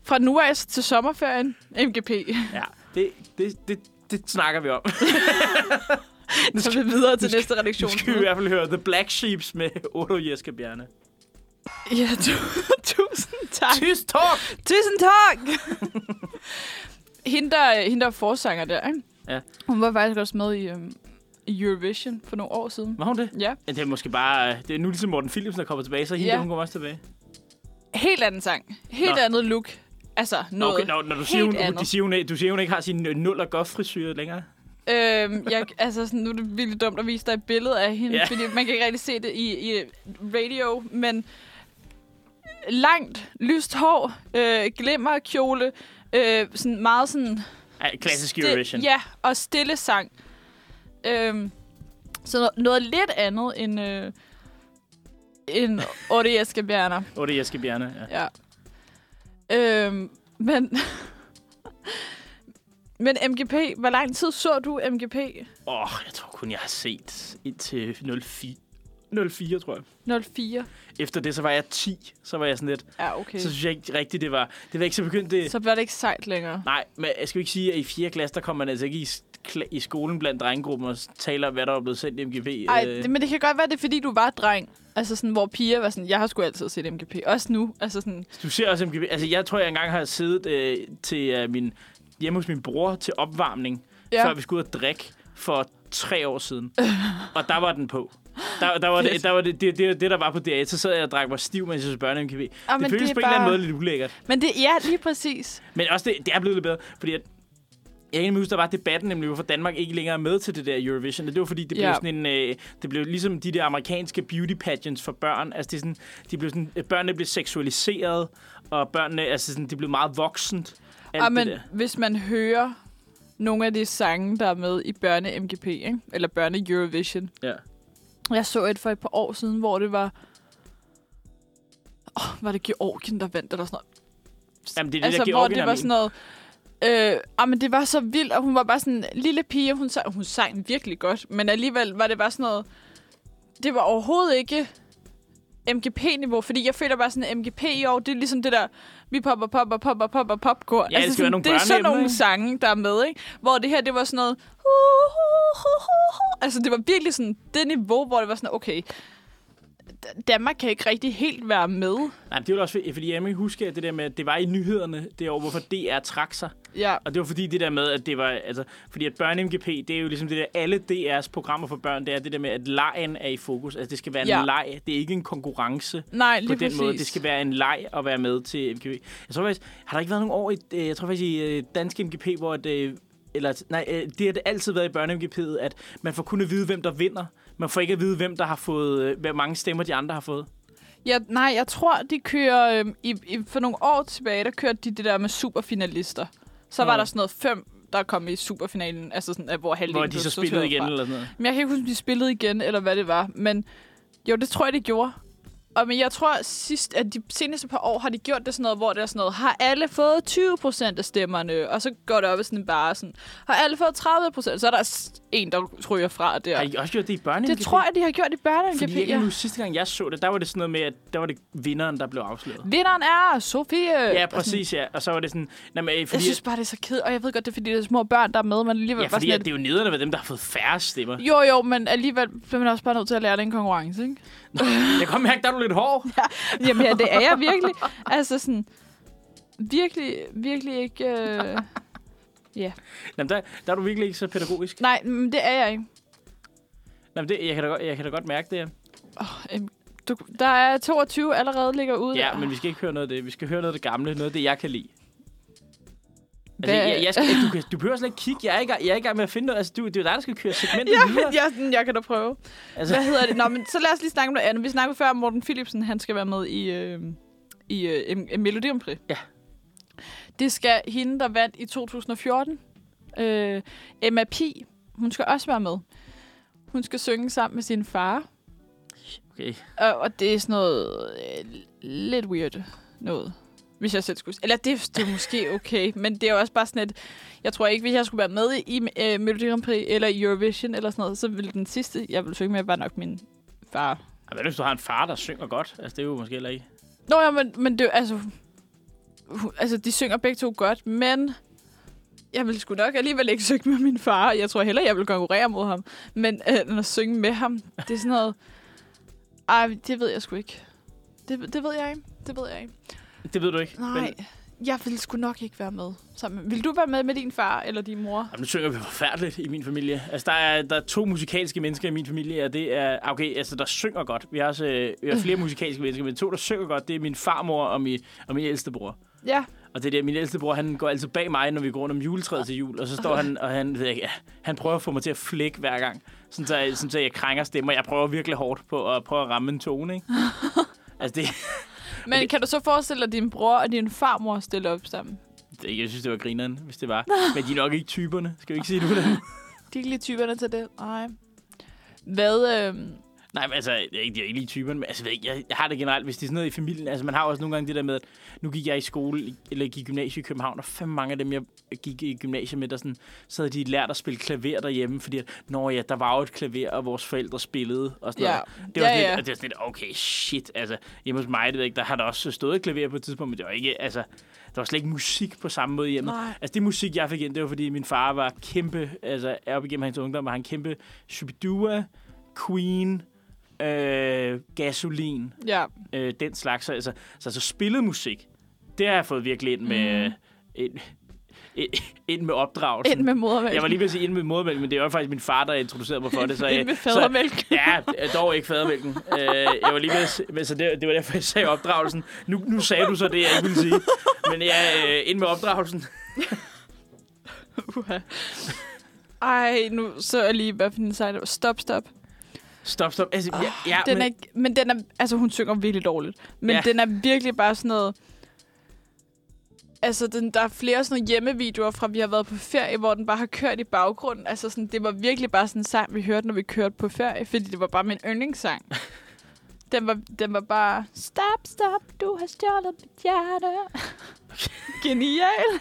[SPEAKER 3] Fra nu af til sommerferien, MGP.
[SPEAKER 2] Ja, det, det, det, det snakker vi om.
[SPEAKER 3] Så vi videre til
[SPEAKER 2] skal-
[SPEAKER 3] næste
[SPEAKER 2] Nu
[SPEAKER 3] redaktion.
[SPEAKER 2] skal vi i hvert fald høre The Black Sheeps med Odo Jeske Bjerne.
[SPEAKER 3] [LAUGHS] Ja, du, [LAUGHS] tusind tak.
[SPEAKER 2] Tyst talk!
[SPEAKER 3] Tusind tak! [LAUGHS] hende, der, hende, der er forsanger der, ikke?
[SPEAKER 2] Ja.
[SPEAKER 3] Hun var faktisk også med i, øhm, i Eurovision for nogle år siden.
[SPEAKER 2] Var hun det?
[SPEAKER 3] Ja.
[SPEAKER 2] Ja, Det er måske bare... øh, Det er nu ligesom Morten Philipsen, der kommer tilbage, så hende,
[SPEAKER 3] Ja.
[SPEAKER 2] ja. hun kommer også tilbage.
[SPEAKER 3] Helt anden sang. Helt
[SPEAKER 2] Nå.
[SPEAKER 3] Nå. andet look. Altså, noget
[SPEAKER 2] Okay, når, når du siger, hun,
[SPEAKER 3] helt
[SPEAKER 2] hun,
[SPEAKER 3] andet.
[SPEAKER 2] de siger, hun, ikke- du siger, hun ikke har sin øh, nul og godt frisyr længere.
[SPEAKER 3] Øhm, jeg, altså, sådan, nu er det virkelig dumt at vise dig et billede af hende,
[SPEAKER 2] Ja.
[SPEAKER 3] yeah. fordi man kan ikke rigtig se det i, i radio, men langt, lyst hår, øh, glimmer, kjole, øh, sådan meget sådan...
[SPEAKER 2] Ej, klassisk
[SPEAKER 3] sti-
[SPEAKER 2] Eurovision.
[SPEAKER 3] Ja, og stille sang. Øhm, så noget, noget lidt andet end, øh, end Otte Jeske Bjerner.
[SPEAKER 2] Åh, det er Jeske Bjerne, ja.
[SPEAKER 3] Ja. Øhm, men... [LAUGHS] men MGP, hvor lang tid så du MGP?
[SPEAKER 2] Åh, oh, jeg tror kun, jeg har set indtil 04, 04, tror jeg.
[SPEAKER 3] 04.
[SPEAKER 2] Efter det, så var jeg 10. Så var jeg sådan lidt...
[SPEAKER 3] Ja, okay.
[SPEAKER 2] Så synes jeg ikke rigtigt, det var... Det var ikke så begyndt det...
[SPEAKER 3] Så var det ikke sejt længere.
[SPEAKER 2] Nej, men jeg skal jo ikke sige, at i 4. klasse, der kom man altså ikke i, s- kla- i skolen blandt drengegruppen og s- taler om, hvad der var blevet sendt i MGP.
[SPEAKER 3] Ej,
[SPEAKER 2] Øh,
[SPEAKER 3] det, men det kan godt være, det er, fordi du var dreng. Altså sådan, hvor piger var sådan, jeg har sgu altid set MGP. Også nu. Altså sådan,
[SPEAKER 2] Du ser også MGP. Altså, jeg tror, jeg engang har siddet øh, til øh, min, hjemme hos min bror til opvarmning,
[SPEAKER 3] Ja.
[SPEAKER 2] ja. før vi skulle ud og drikke for tre år
[SPEAKER 3] [LAUGHS]
[SPEAKER 2] siden. og der var den på. Der, der var,
[SPEAKER 3] Fedt.
[SPEAKER 2] det, der var det, det, det, det, der var på DR1, så sad jeg og drak mig stiv, mens jeg så børne MGP.
[SPEAKER 3] Ah,
[SPEAKER 2] det
[SPEAKER 3] men
[SPEAKER 2] føles
[SPEAKER 3] det er
[SPEAKER 2] på en eller anden
[SPEAKER 3] bare-
[SPEAKER 2] måde lidt ulækkert.
[SPEAKER 3] men det, ja, lige præcis.
[SPEAKER 2] Men også det, det er blevet lidt bedre, fordi at jeg kan nemlig huske, der var debatten nemlig, hvorfor Danmark ikke længere er med til det der Eurovision. Og det var fordi, det blev
[SPEAKER 3] Ja.
[SPEAKER 2] sådan en... Øh, det blev ligesom de der amerikanske beauty pageants for børn. Altså, det er sådan, de blev sådan, øh, børnene blev seksualiseret, og børnene, altså sådan, de blev meget voksent. Alt
[SPEAKER 3] Og Ah, men,
[SPEAKER 2] det der.
[SPEAKER 3] hvis man hører nogle af de sange, der er med i børne-MGP, ikke? eller børne-Eurovision.
[SPEAKER 2] Ja.
[SPEAKER 3] Jeg så et for et par år siden, hvor det var... Oh, var det Georgien, der vandt, eller sådan noget?
[SPEAKER 2] Jamen, det er det
[SPEAKER 3] altså,
[SPEAKER 2] der
[SPEAKER 3] hvor
[SPEAKER 2] Georgien
[SPEAKER 3] det
[SPEAKER 2] er
[SPEAKER 3] var
[SPEAKER 2] min.
[SPEAKER 3] sådan noget... Øh, ah, men det var så vildt, og hun var bare sådan en lille pige, og hun sang, hun sang virkelig godt, men alligevel var det bare sådan noget... Det var overhovedet ikke MGP-niveau, fordi jeg føler bare sådan, at MGP i år, det er ligesom det der, vi popper, popper, popper, popper, popcorn.
[SPEAKER 2] Ja, det skal være nogle
[SPEAKER 3] det er sådan
[SPEAKER 2] børneemner,
[SPEAKER 3] nogle
[SPEAKER 2] ikke?
[SPEAKER 3] sange, der er med, ikke? Hvor det her, det var sådan noget... Hu, hu, hu, hu, hu. Altså, det var virkelig sådan det niveau, hvor det var sådan, okay, Danmark kan ikke rigtig helt være med.
[SPEAKER 2] Nej, men det var også fedt, fordi jeg husker det der med, at det var i nyhederne det år, hvorfor DR trak sig.
[SPEAKER 3] Ja,
[SPEAKER 2] Og det var fordi det der med, at det var, altså, fordi at børne-MGP, det er jo ligesom det der, alle DR's programmer for børn, det er det der med, at lejen er i fokus. Altså, det skal være ja.
[SPEAKER 3] Ja.
[SPEAKER 2] en leg, det er ikke en konkurrence
[SPEAKER 3] nej,
[SPEAKER 2] på
[SPEAKER 3] lige
[SPEAKER 2] den
[SPEAKER 3] præcis.
[SPEAKER 2] måde. Det skal være en leg at være med til MGP. Jeg tror faktisk, har der ikke været nogen år i, øh, jeg tror faktisk i øh, dansk MGP, hvor det, eller, nej, øh, det har det altid været i børne-MGP'et, at man får kun at vide, hvem der vinder. Man får ikke at vide, hvem der har fået, øh, hvor mange stemmer de andre har fået.
[SPEAKER 3] Ja, nej, jeg tror, de kører... Øhm, i, i, for nogle år tilbage, der kørte de det der med superfinalister. Så
[SPEAKER 2] Nå.
[SPEAKER 3] var der sådan noget fem, der kom i superfinalen, altså sådan, at hvor halvdelen
[SPEAKER 2] Hvor
[SPEAKER 3] blev
[SPEAKER 2] de så
[SPEAKER 3] sorteret
[SPEAKER 2] spillede igen,
[SPEAKER 3] fra.
[SPEAKER 2] eller sådan noget.
[SPEAKER 3] Men jeg kan ikke huske, om de spillede igen, eller hvad det var. Men jo, det tror jeg, de gjorde. Og men jeg tror, sidst, at de seneste par år har de gjort det sådan noget, hvor det er sådan noget, har alle fået 20 procent af stemmerne? Og så går det op i sådan bare sådan, har alle fået 30 procent? Så er der s- en, der ryger fra der.
[SPEAKER 2] Har I også gjort det i børne-MGP?
[SPEAKER 3] det tror jeg, de har gjort i børne
[SPEAKER 2] Fordi jeg kan nu sidste gang, jeg så det, der var det sådan noget med, at der var det vinderen, der blev afsløret.
[SPEAKER 3] Vinderen er Sofie.
[SPEAKER 2] Ja,
[SPEAKER 3] Og sådan-
[SPEAKER 2] præcis, ja. Og så var det sådan... Nej, men, øh, fordi,
[SPEAKER 3] Jeg synes bare, det er så kedeligt, og jeg ved godt, det er fordi, det er små børn, der er med, men alligevel
[SPEAKER 2] ja,
[SPEAKER 3] bare
[SPEAKER 2] fordi
[SPEAKER 3] sådan
[SPEAKER 2] at det er jo nederne ved dem, der har fået færre stemmer.
[SPEAKER 3] lidt... Jo, jo, men alligevel bliver man også bare nødt til at lære den konkurrence, ikke?
[SPEAKER 2] Jeg kan mærke, der er du lidt hård.
[SPEAKER 3] [LAUGHS] Jamen ja, det er jeg virkelig. Altså sådan, virkelig, virkelig ikke... [LAUGHS] Øh...
[SPEAKER 2] Jamen, der, der er du virkelig ikke så pædagogisk.
[SPEAKER 3] Nej, men det er jeg ikke.
[SPEAKER 2] Jamen, det, jeg, kan da, godt- jeg kan da godt mærke det. ja.
[SPEAKER 3] Oh, øhm, du, der er 22 allerede ligger ude.
[SPEAKER 2] Ja, men vi skal ikke høre noget af det. Vi skal høre noget af det gamle. Noget af det, jeg kan lide. Altså,
[SPEAKER 3] Hvad-
[SPEAKER 2] jeg, jeg skal, du, kan, du behøver slet ikke kigge. Jeg er ikke, jeg er ikke i gang med at finde noget. Altså, du, det er jo dig, der skal køre segmentet
[SPEAKER 3] [LAUGHS] [LAUGHS] Ja,
[SPEAKER 2] videre.
[SPEAKER 3] men jeg, er sådan, jeg kan da prøve.
[SPEAKER 2] Altså,
[SPEAKER 3] Hvad hedder det? Nå, men så lad os lige snakke om noget andet. Vi snakkede før om Morten Philipsen, han skal være med i, øh, i øh, M- Melodi Grand Prix.
[SPEAKER 2] Ja.
[SPEAKER 3] Det skal hende, der vandt i 2014. Øh, Emma P. Hun skal også være med. Hun skal synge sammen med sin far.
[SPEAKER 2] okay.
[SPEAKER 3] Og, og det er sådan noget øh, lidt weird noget. Hvis jeg selv skulle... Eller det, det er måske okay, men det er jo også bare sådan et... Jeg tror ikke, hvis jeg skulle være med i øh, Melodi Grand Prix eller i Eurovision eller sådan noget, så ville den sidste, jeg ville synge med, var nok min far.
[SPEAKER 2] Jamen, hvad hvis du har en far, der synger godt? Altså, det er jo måske heller ikke...
[SPEAKER 3] Nå ja, men, men det er jo- altså... hu- Altså, de synger begge to godt, men... Jeg ville sgu nok alligevel ikke synge med min far. Jeg tror heller, jeg vil konkurrere mod ham. Men øh, end at synge med ham, det er sådan noget... Ej, det ved jeg sgu ikke. Det, det ved jeg ikke. Det ved jeg ikke.
[SPEAKER 2] Det ved du ikke.
[SPEAKER 3] Nej, jeg ville sgu nok ikke være med. Sammen. Vil du være med med din far eller din mor?
[SPEAKER 2] Jamen, nu synger vi forfærdeligt i min familie. Altså, der er, der er to musikalske mennesker i min familie, og det er... Okay, altså, der synger godt. Vi har også øh, vi har flere musikalske mennesker, men to, der synger godt, det er min farmor og min, og min ældste bror.
[SPEAKER 3] Ja,
[SPEAKER 2] Og det er der, min ældste bror, han går altid bag mig, når vi går rundt om juletræet til jul, og så står han, og han, ved jeg, ikke, ja, han prøver at få mig til at flække hver gang, sådan så, jeg- sådan så jeg krænger stemmer. Jeg prøver virkelig hårdt på at prøve at ramme en tone, ikke? altså, det,
[SPEAKER 3] men kan du så forestille dig, at din bror og din farmor stiller op sammen?
[SPEAKER 2] det, jeg synes, det var grineren, hvis det var. Men de er nok ikke typerne, skal vi ikke sige det på den
[SPEAKER 3] De er ikke lige typerne til det. Nej. Hvad, øh...
[SPEAKER 2] Nej, men altså, jeg er ikke, jeg er ikke lige typen, men altså, jeg, ved ikke, jeg, jeg har det generelt, hvis det er sådan noget i familien. Altså, man har også nogle gange det der med, at nu gik jeg i skole, i- eller gik i gymnasiet i København, og fem mange af dem, jeg gik i gymnasiet med, der sådan, så havde de lært at spille klaver derhjemme, fordi at, nå ja, der var jo et klaver, og vores forældre spillede, og sådan
[SPEAKER 3] Ja.
[SPEAKER 2] noget. Det var
[SPEAKER 3] Ja,
[SPEAKER 2] sådan
[SPEAKER 3] ja.
[SPEAKER 2] Lidt, og det var sådan lidt, okay, shit, altså, hjemme hos mig, det ved jeg ikke, der har der også stået et klaver på et tidspunkt, men det var ikke, altså, der var slet ikke musik på samme måde hjemme.
[SPEAKER 3] Nej.
[SPEAKER 2] Altså, det musik, jeg fik ind, det var, fordi min far var kæmpe, altså, op igennem hans ungdom, var han kæmpe Shubidua, Queen, øh, gasolin,
[SPEAKER 3] Ja,
[SPEAKER 2] øh, den slags. Så, altså, så, så spillet musik, det har jeg fået virkelig ind med, mm. ind, ind, ind med opdragelsen.
[SPEAKER 3] ind med modermælk.
[SPEAKER 2] jeg var lige ved at sige ind med modermælk, men det var faktisk min far, der introducerede mig for det. Så, øh,
[SPEAKER 3] Ind med
[SPEAKER 2] så-
[SPEAKER 3] fadermælk.
[SPEAKER 2] Ja, dog ikke fadermælken. Øh, jeg var lige ved at s- men så det, det var derfor, jeg sagde opdragelsen. Nu, nu sagde du så det, jeg ikke ville sige. Men ja, øh, ind med opdragelsen.
[SPEAKER 3] Uha. Ej, nu så jeg lige, hvad for en sejl. Stop, stop.
[SPEAKER 2] Stop, stop. Altså, ja, ja,
[SPEAKER 3] den
[SPEAKER 2] men,
[SPEAKER 3] men... Er, men den er, altså hun synger virkelig dårligt. Men
[SPEAKER 2] Ja.
[SPEAKER 3] ja. den er virkelig bare sådan noget... Altså, den, der er flere sådan nogle hjemmevideoer fra, vi har været på ferie, hvor den bare har kørt i baggrunden. Altså, sådan, det var virkelig bare sådan en sang, vi hørte, når vi kørte på ferie, fordi det var bare min
[SPEAKER 2] [LAUGHS]
[SPEAKER 3] yndlingssang. den, var, den var bare, stop, stop, du har stjålet mit hjerte. Genial.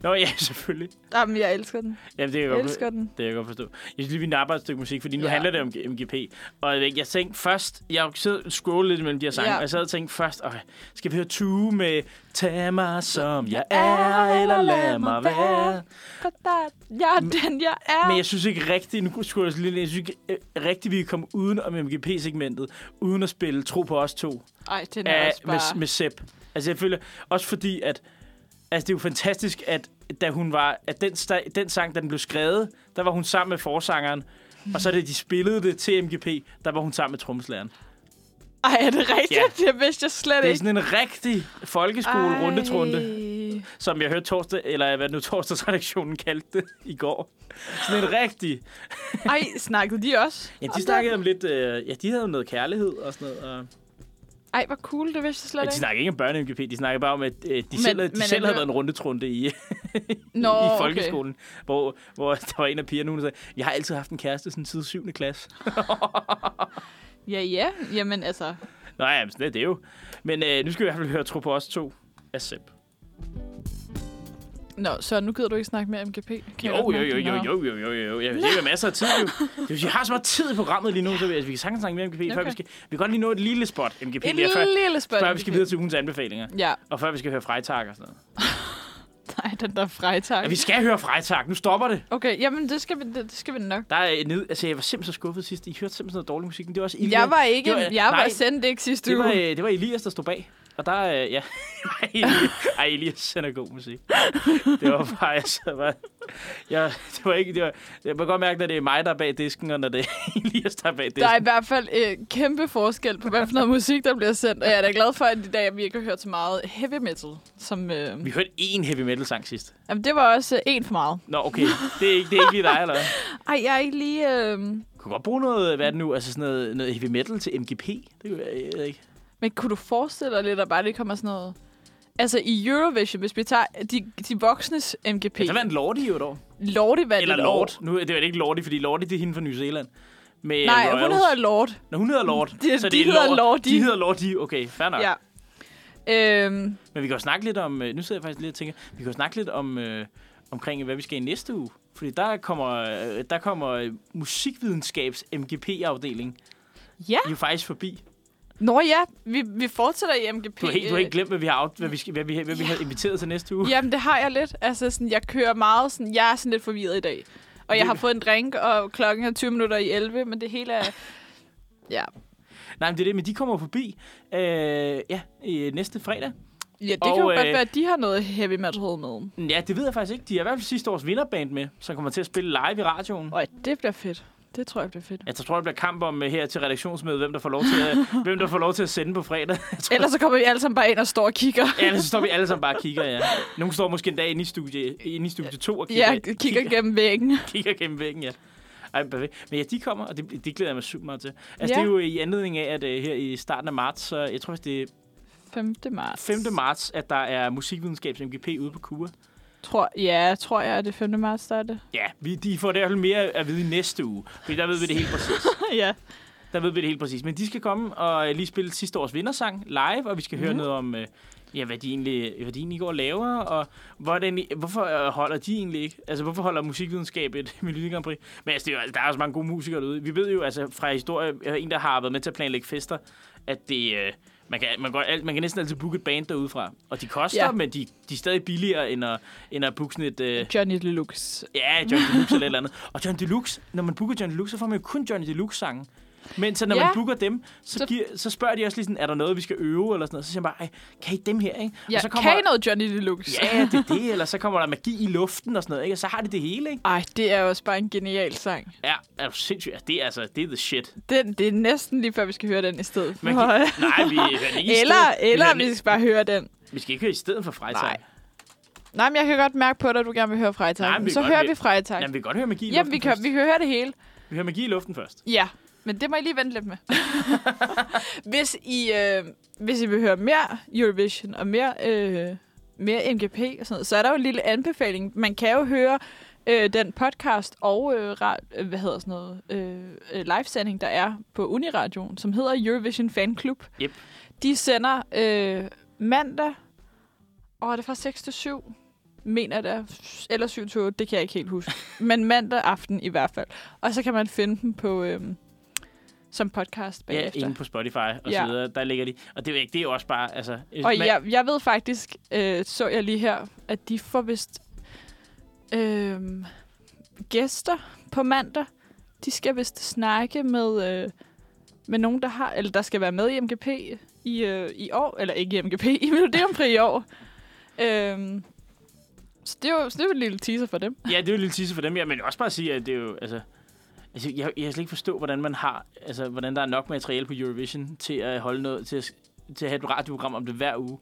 [SPEAKER 2] Nå ja, selvfølgelig.
[SPEAKER 3] Jamen, jeg elsker den.
[SPEAKER 2] Jamen, det er
[SPEAKER 3] Jeg
[SPEAKER 2] godt.
[SPEAKER 3] elsker den.
[SPEAKER 2] Det kan jeg godt forstå. Jeg synes lige, vi napper et stykke musik, fordi nu
[SPEAKER 3] Ja.
[SPEAKER 2] ja. handler det om G- MGP. Og jeg, ved ikke, jeg tænkte først, jeg sad scrollede lidt mellem de her sange,
[SPEAKER 3] Ja.
[SPEAKER 2] ja. og jeg sad og tænkte først, okay, skal vi høre Tue med Tag mig som jeg er, eller lad mig være.
[SPEAKER 3] Jeg er den, jeg er.
[SPEAKER 2] Men jeg synes ikke rigtigt, nu skulle jeg også lige, jeg synes ikke øh, rigtigt, vi kan komme uden om MGP-segmentet, uden at spille Tro på os to
[SPEAKER 3] Ej, den er
[SPEAKER 2] af,
[SPEAKER 3] også
[SPEAKER 2] med,
[SPEAKER 3] bare...
[SPEAKER 2] med Sepp. Altså jeg føler, også fordi at, altså det er jo fantastisk, at da hun var, at den, sta- den sang, da den blev skrevet, der var hun sammen med forsangeren, og så da de spillede det til MGP, der var hun sammen med trommeslageren.
[SPEAKER 3] Ej, er det rigtigt?
[SPEAKER 2] Ja.
[SPEAKER 3] Det vidste jeg slet
[SPEAKER 2] Det er
[SPEAKER 3] ikke.
[SPEAKER 2] sådan en rigtig folkeskole-rundetrunde,
[SPEAKER 3] Ej.
[SPEAKER 2] som jeg hørte torsdag, eller hvad nu torsdagsredaktionen kaldte det i går. Sådan en rigtig...
[SPEAKER 3] Ej, snakkede de også?
[SPEAKER 2] Ja,
[SPEAKER 3] om
[SPEAKER 2] de
[SPEAKER 3] det?
[SPEAKER 2] snakkede om lidt... Øh, ja, de havde noget kærlighed og sådan noget. Og,
[SPEAKER 3] Ej, hvor cool, det vidste jeg
[SPEAKER 2] men
[SPEAKER 3] slet
[SPEAKER 2] de
[SPEAKER 3] ikke.
[SPEAKER 2] snakkede ikke om børne-MGP, de snakkede bare om, at øh, de selv, havde- de selv
[SPEAKER 3] men
[SPEAKER 2] havde
[SPEAKER 3] alligevel-
[SPEAKER 2] været en rundetrunde i,
[SPEAKER 3] Nå,
[SPEAKER 2] i
[SPEAKER 3] okay.
[SPEAKER 2] folkeskolen, okay. hvor, hvor [LAUGHS] der var en af pigerne, hun sagde, jeg har altid haft en kæreste siden siden 7. klasse.
[SPEAKER 3] Ja, ja. Jamen, altså...
[SPEAKER 2] Nå ja, men sådan er det jo. Men øh, nu skal vi i hvert fald høre Tro på os to af Sepp.
[SPEAKER 3] Nå, så nu gider du ikke snakke mere om MGP? Kan jeg
[SPEAKER 2] Jo,
[SPEAKER 3] godt
[SPEAKER 2] jo,
[SPEAKER 3] mærke
[SPEAKER 2] jo,
[SPEAKER 3] det?
[SPEAKER 2] jo,
[SPEAKER 3] Nå.
[SPEAKER 2] jo, jo, jo, jo. Jeg vil sige, vi har masser af tid,
[SPEAKER 3] [LAUGHS]
[SPEAKER 2] jo. Det vil sige, Jeg har så meget tid i programmet lige nu, så vi, altså, vi kan sagtens snakke mere om MGP, okay. før
[SPEAKER 3] Okay.
[SPEAKER 2] vi skal... Vi kan godt lige nå et lille spot, MGP,
[SPEAKER 3] Et
[SPEAKER 2] lige før,
[SPEAKER 3] lille spørgsmål.
[SPEAKER 2] før vi skal videre til ugens anbefalinger.
[SPEAKER 3] Ja,
[SPEAKER 2] Og før vi skal høre Freitag og sådan noget.
[SPEAKER 3] nej, den der frejtak.
[SPEAKER 2] Ja, vi skal høre Freitag. Nu stopper det.
[SPEAKER 3] Okay, jamen det skal vi, det, det skal vi nok.
[SPEAKER 2] Der er ned... Altså, jeg var simpelthen så skuffet sidst. I hørte simpelthen noget dårlig musik, men det var også Ilja.
[SPEAKER 3] Jeg var ikke,
[SPEAKER 2] Det var-
[SPEAKER 3] jeg var
[SPEAKER 2] nej.
[SPEAKER 3] sendt ikke sidste
[SPEAKER 2] Det var, øh,
[SPEAKER 3] uge.
[SPEAKER 2] det var Elias, der stod bag. Og der, øh, ja, [LAUGHS] Ej, Elias- Ej, Elias sender god musik. Det var bare, altså, bare, jeg, det var ikke, det var, jeg kan godt mærke, når det er mig, der er bag disken, og når det er [LAUGHS] Elias, der er bag disken.
[SPEAKER 3] Der er i hvert fald øh, kæmpe forskel på, hvad for noget musik, der bliver sendt. Og jeg er da glad for, at i dag vi ikke har hørt så meget heavy metal. Som, øh,
[SPEAKER 2] Vi hørte én heavy metal sang sidst.
[SPEAKER 3] jamen, det var også øh, en for meget.
[SPEAKER 2] Nå, okay, det er ikke, det er ikke lige dig, eller hvad?
[SPEAKER 3] Ej, jeg er ikke lige... Øh,
[SPEAKER 2] Kunne godt bruge noget, hvad er det nu, altså sådan noget, noget heavy metal til MGP. Det kunne jeg, jeg ved ikke.
[SPEAKER 3] men kunne du forestille dig lidt, at bare lige kommer sådan noget... Altså i Eurovision, hvis vi tager de, de voksnes MGP.
[SPEAKER 2] Så vandt Lordi jo et år.
[SPEAKER 3] Lordi vandt
[SPEAKER 2] Eller
[SPEAKER 3] et år.
[SPEAKER 2] Lord. Nu, det var ikke Lordi, fordi Lordi, det er hende fra New Zealand. Med
[SPEAKER 3] Nej,
[SPEAKER 2] Royals.
[SPEAKER 3] hun hedder Lord.
[SPEAKER 2] Nå, hun hedder Lord.
[SPEAKER 3] De-
[SPEAKER 2] så
[SPEAKER 3] de
[SPEAKER 2] det er
[SPEAKER 3] hedder
[SPEAKER 2] Lord.
[SPEAKER 3] Lordi.
[SPEAKER 2] De hedder Lordi, okay, fair nok.
[SPEAKER 3] Ja. Øhm,
[SPEAKER 2] Men vi kan jo snakke lidt om, øh, nu sidder jeg faktisk lidt og tænker, vi kan jo snakke lidt om, øh, omkring, hvad vi skal i næste uge. Fordi der kommer, øh, der kommer øh, musikvidenskabs MGP-afdeling
[SPEAKER 3] ja.
[SPEAKER 2] jo faktisk forbi.
[SPEAKER 3] Nå ja, vi, vi fortsætter i MGP.
[SPEAKER 2] Du har helt, du har helt glemt, hvad vi har, af- hvad vi, skal- hvad vi, hvad vi har inviteret til næste uge.
[SPEAKER 3] Jamen, det har jeg lidt. Altså, sådan, jeg kører meget sådan... Jeg er sådan lidt forvirret i dag. Og jeg har fået en drink, og klokken er 20 minutter i 11, men det hele er... Ja,
[SPEAKER 2] Nej, men det er det, men de kommer forbi øh, ja, øh, næste fredag.
[SPEAKER 3] ja det
[SPEAKER 2] Og,
[SPEAKER 3] kan jo
[SPEAKER 2] øh,
[SPEAKER 3] godt være, at de har noget heavy metal med.
[SPEAKER 2] Ja, det ved jeg faktisk ikke. De har i hvert fald sidste års vinderband med, som kommer til at spille live i radioen.
[SPEAKER 3] Og det bliver fedt. Det tror jeg bliver fedt.
[SPEAKER 2] Jeg tror, der bliver kamp om øh, her til redaktionsmødet, hvem der får lov til at, hvem der får lov til at sende på fredag. Jeg tror,
[SPEAKER 3] Ellers så kommer vi alle sammen bare ind og står og kigger.
[SPEAKER 2] Ja, ellers så står vi alle sammen bare og kigger, ja. Nogle står måske en dag inde i studie, inde i studie 2 og kigger,
[SPEAKER 3] Ja, kigger gennem væggen.
[SPEAKER 2] kigger gennem væggen, ja. Ej, perfekt. Men ja, de kommer, og det, det glæder jeg mig super meget til. Altså,
[SPEAKER 3] Ja.
[SPEAKER 2] ja. det er jo i anledning af, at uh, her i starten af marts, så jeg tror, faktisk, det er
[SPEAKER 3] 5. marts.
[SPEAKER 2] 5. marts, at der er musikvidenskabs MGP ude på Kura.
[SPEAKER 3] Tror, ja, tror jeg, at det er 5. marts, der er
[SPEAKER 2] [LAUGHS]
[SPEAKER 3] det.
[SPEAKER 2] Ja, vi, de får i hvert fald mere at vide i næste uge, fordi der ved vi det helt præcis.
[SPEAKER 3] ja.
[SPEAKER 2] Der ved vi det helt præcis. Men de skal komme og øh, lige spille sidste års vindersang live, og vi skal høre noget om, øh, ja, hvad, de egentlig, hvad de egentlig går og laver, og hvordan, hvorfor øh, holder de egentlig ikke? Altså, hvorfor holder musikvidenskab et [LAUGHS] Melodi Grand Prix? Men altså, det er jo, der er også mange gode musikere derude. Vi ved jo altså fra historie, jeg har en, der har været med til at planlægge fester, at det... Øh, man kan, man, går, alt- man kan næsten altid booke et band derudefra. Og de koster,
[SPEAKER 3] Ja.
[SPEAKER 2] ja. men de, de er stadig billigere, end at, end at booke sådan et... Øh,
[SPEAKER 3] Johnny Deluxe.
[SPEAKER 2] Ja, Johnny Deluxe eller et eller andet. Og Johnny Deluxe, når man booker Johnny Deluxe, så får man jo kun Johnny Deluxe-sange. Men så når
[SPEAKER 3] Ja.
[SPEAKER 2] man booker dem, så,
[SPEAKER 3] Så-
[SPEAKER 2] så... Giver, så spørger de også lige sådan, er der noget, vi skal øve eller sådan noget. Så siger man bare, "Ej, kan I dem her, ikke?
[SPEAKER 3] Ja,
[SPEAKER 2] og så
[SPEAKER 3] kan I noget Johnny Deluxe?
[SPEAKER 2] Ja, det er det, eller så kommer der magi i luften og sådan noget, ikke? Og så har de det hele, ikke?
[SPEAKER 3] [LAUGHS] Ej, det er jo også bare en genial sang.
[SPEAKER 2] Ja, er du sindssyg? Altså, det er altså, det er the shit.
[SPEAKER 3] Den, det er næsten lige før, vi skal høre den i stedet.
[SPEAKER 2] Man
[SPEAKER 3] for-
[SPEAKER 2] kan, nej, vi hører den ikke i
[SPEAKER 3] eller
[SPEAKER 2] stedet.
[SPEAKER 3] eller
[SPEAKER 2] hører den
[SPEAKER 3] vi
[SPEAKER 2] ikke-
[SPEAKER 3] skal bare høre den.
[SPEAKER 2] vi skal ikke høre i stedet for Freitag.
[SPEAKER 3] Nej. Nej, men jeg kan godt mærke på dig, at du gerne vil høre
[SPEAKER 2] Nej,
[SPEAKER 3] Freitag.
[SPEAKER 2] men vi
[SPEAKER 3] så
[SPEAKER 2] kan
[SPEAKER 3] hører
[SPEAKER 2] godt-
[SPEAKER 3] vi Freitag.
[SPEAKER 2] Jamen, vi kan godt høre magi i
[SPEAKER 3] Jamen,
[SPEAKER 2] luften
[SPEAKER 3] vi kan,
[SPEAKER 2] først.
[SPEAKER 3] vi kan høre det hele.
[SPEAKER 2] vi hører magi i luften først.
[SPEAKER 3] Ja, men det må I lige vente lidt med. hvis, I, øh, hvis I vil høre mere Eurovision og mere, øh, mere MGP og sådan noget, så er der jo en lille anbefaling. Man kan jo høre øh, den podcast og øh, ra- øh, hvad hedder sådan noget, øh, øh, livesending, der er på Uniradioen, som hedder Eurovision Fan Club.
[SPEAKER 2] Yep.
[SPEAKER 3] De sender øh, mandag, og er det fra 6 til 7? mener det, er, eller 7 til 8, det kan jeg ikke helt huske.
[SPEAKER 2] [LAUGHS]
[SPEAKER 3] Men mandag aften i hvert fald. Og så kan man finde dem på, øhm, som podcast
[SPEAKER 2] Ja,
[SPEAKER 3] bagefter.
[SPEAKER 2] inde på Spotify og
[SPEAKER 3] Ja.
[SPEAKER 2] så videre. Der ligger de. Og det er jo ikke, det er jo også bare, altså... øh,
[SPEAKER 3] Og
[SPEAKER 2] man-
[SPEAKER 3] jeg, jeg ved faktisk, øh, så jeg lige her, at de får vist øh, gæster på mandag. De skal vist snakke med, øh, med nogen, der har eller der skal være med i MGP i, øh, i år. Eller ikke i MGP, [LAUGHS] i Melodiompri i år. Øh, så det er jo så det er jo et lille teaser for dem.
[SPEAKER 2] Ja, det er jo en lille tisse for dem, ja, men også bare at sige, at det er jo, altså... Altså, jeg, jeg kan slet ikke forstå, hvordan man har, altså, hvordan der er nok materiale på Eurovision til at holde noget, til at, til at have et radioprogram om det hver uge.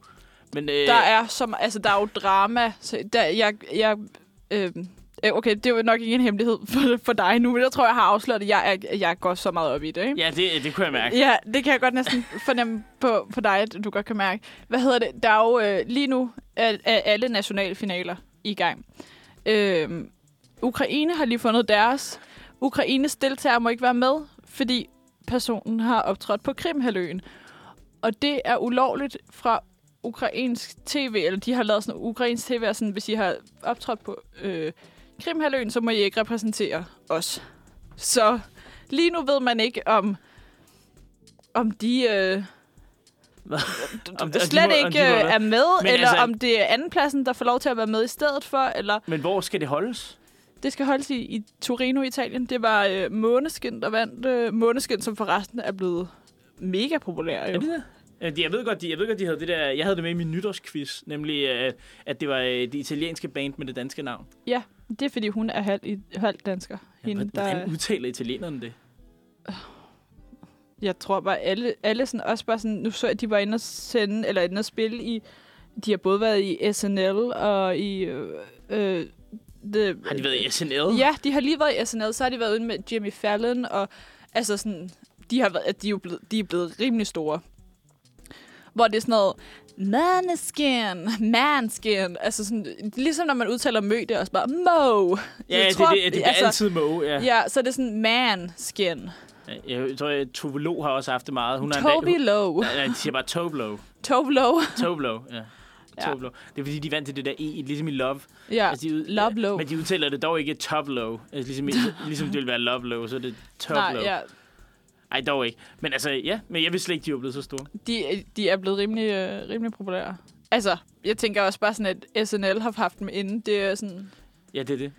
[SPEAKER 2] Men, øh,
[SPEAKER 3] Der er som altså der er jo drama. Så der, jeg, jeg, øh, øh, okay, det er jo nok ikke en hemmelighed for, for dig nu, men jeg tror, jeg har afsløret, at jeg, jeg, jeg går så meget op i det. Ikke?
[SPEAKER 2] Ja, det, det kunne jeg mærke.
[SPEAKER 3] Ja, det kan jeg godt næsten fornemme på, på dig, at du godt kan mærke. Hvad hedder det? Der er jo øh, lige nu er, er alle nationalfinaler i gang. Øh, Ukraine har lige fundet deres. Ukraines deltager må ikke være med, fordi personen har optrådt på Krimhaløen. Og det er ulovligt fra ukrainsk tv, eller de har lavet sådan ukrainsk tv, er sådan, hvis I har optrådt på øh, Krimhaløen, så må I ikke repræsentere os. Så lige nu ved man ikke, om om de øh,
[SPEAKER 2] Om- om de
[SPEAKER 3] slet
[SPEAKER 2] må- om
[SPEAKER 3] ikke
[SPEAKER 2] de må
[SPEAKER 3] øh,
[SPEAKER 2] være.
[SPEAKER 3] er med,
[SPEAKER 2] Men
[SPEAKER 3] eller altså,
[SPEAKER 2] altså-
[SPEAKER 3] om det er andenpladsen, der får lov til at være med i stedet for, eller
[SPEAKER 2] Men hvor skal det holdes?
[SPEAKER 3] det skal holdes i, i Torino, Italien. Det var øh, Måneskin, der vandt. Øh, Måneskin, som forresten er blevet mega populær. Jo.
[SPEAKER 2] Er det det? Øh, de- Jeg ved, godt, de, jeg ved godt, de havde det der... Jeg havde det med i min nytårsquiz, nemlig øh, at det var øh, det italienske band med det danske navn.
[SPEAKER 3] Ja, det er fordi hun er halv, i, halv dansker. Hende,
[SPEAKER 2] Hvordan,
[SPEAKER 3] der,
[SPEAKER 2] hvordan udtaler italienerne det?
[SPEAKER 3] jeg tror bare, alle, alle sådan, også bare sådan, nu så jeg, de var inde og sende, eller inde og spille i, de har både været i SNL og i... Øh, øh, the,
[SPEAKER 2] Har de været i SNL?
[SPEAKER 3] Ja, de har lige været i SNL, så har de været ude med Jimmy Fallon, og altså sådan, de, har været, de, er jo blevet, de er blevet rimelig store. Hvor det er sådan noget, maneskin, manskin, altså sådan, ligesom når man udtaler mø, det er også bare mo.
[SPEAKER 2] ja det, tror, det, det, det altså, altid måge. Ja.
[SPEAKER 3] Ja, så er det sådan manskin,
[SPEAKER 2] Jeg, jeg tror, at Tove Lo har også haft det meget. Hun har
[SPEAKER 3] Toby Low,
[SPEAKER 2] Nej, de siger bare Toblo.
[SPEAKER 3] Toby Low,
[SPEAKER 2] [LAUGHS] Toblo, ja.
[SPEAKER 3] Ja.
[SPEAKER 2] Toblo. Det er fordi, de vandt til det der E, ligesom i Love.
[SPEAKER 3] ja,
[SPEAKER 2] Altså, de ud-
[SPEAKER 3] Love Low.
[SPEAKER 2] Men de udtaler det dog ikke Toblo. Altså, ligesom,
[SPEAKER 3] [LAUGHS]
[SPEAKER 2] i- ligesom det ville være Love Low, så er det Toblo.
[SPEAKER 3] Nej, ja,
[SPEAKER 2] Ej, dog ikke. Men altså, ja, men jeg vidste slet ikke, de var blevet så store.
[SPEAKER 3] de, de er blevet rimelig, øh, rimelig populære. Altså, jeg tænker også bare sådan, at SNL har haft dem inden. Det er sådan,
[SPEAKER 2] Ja, det er det.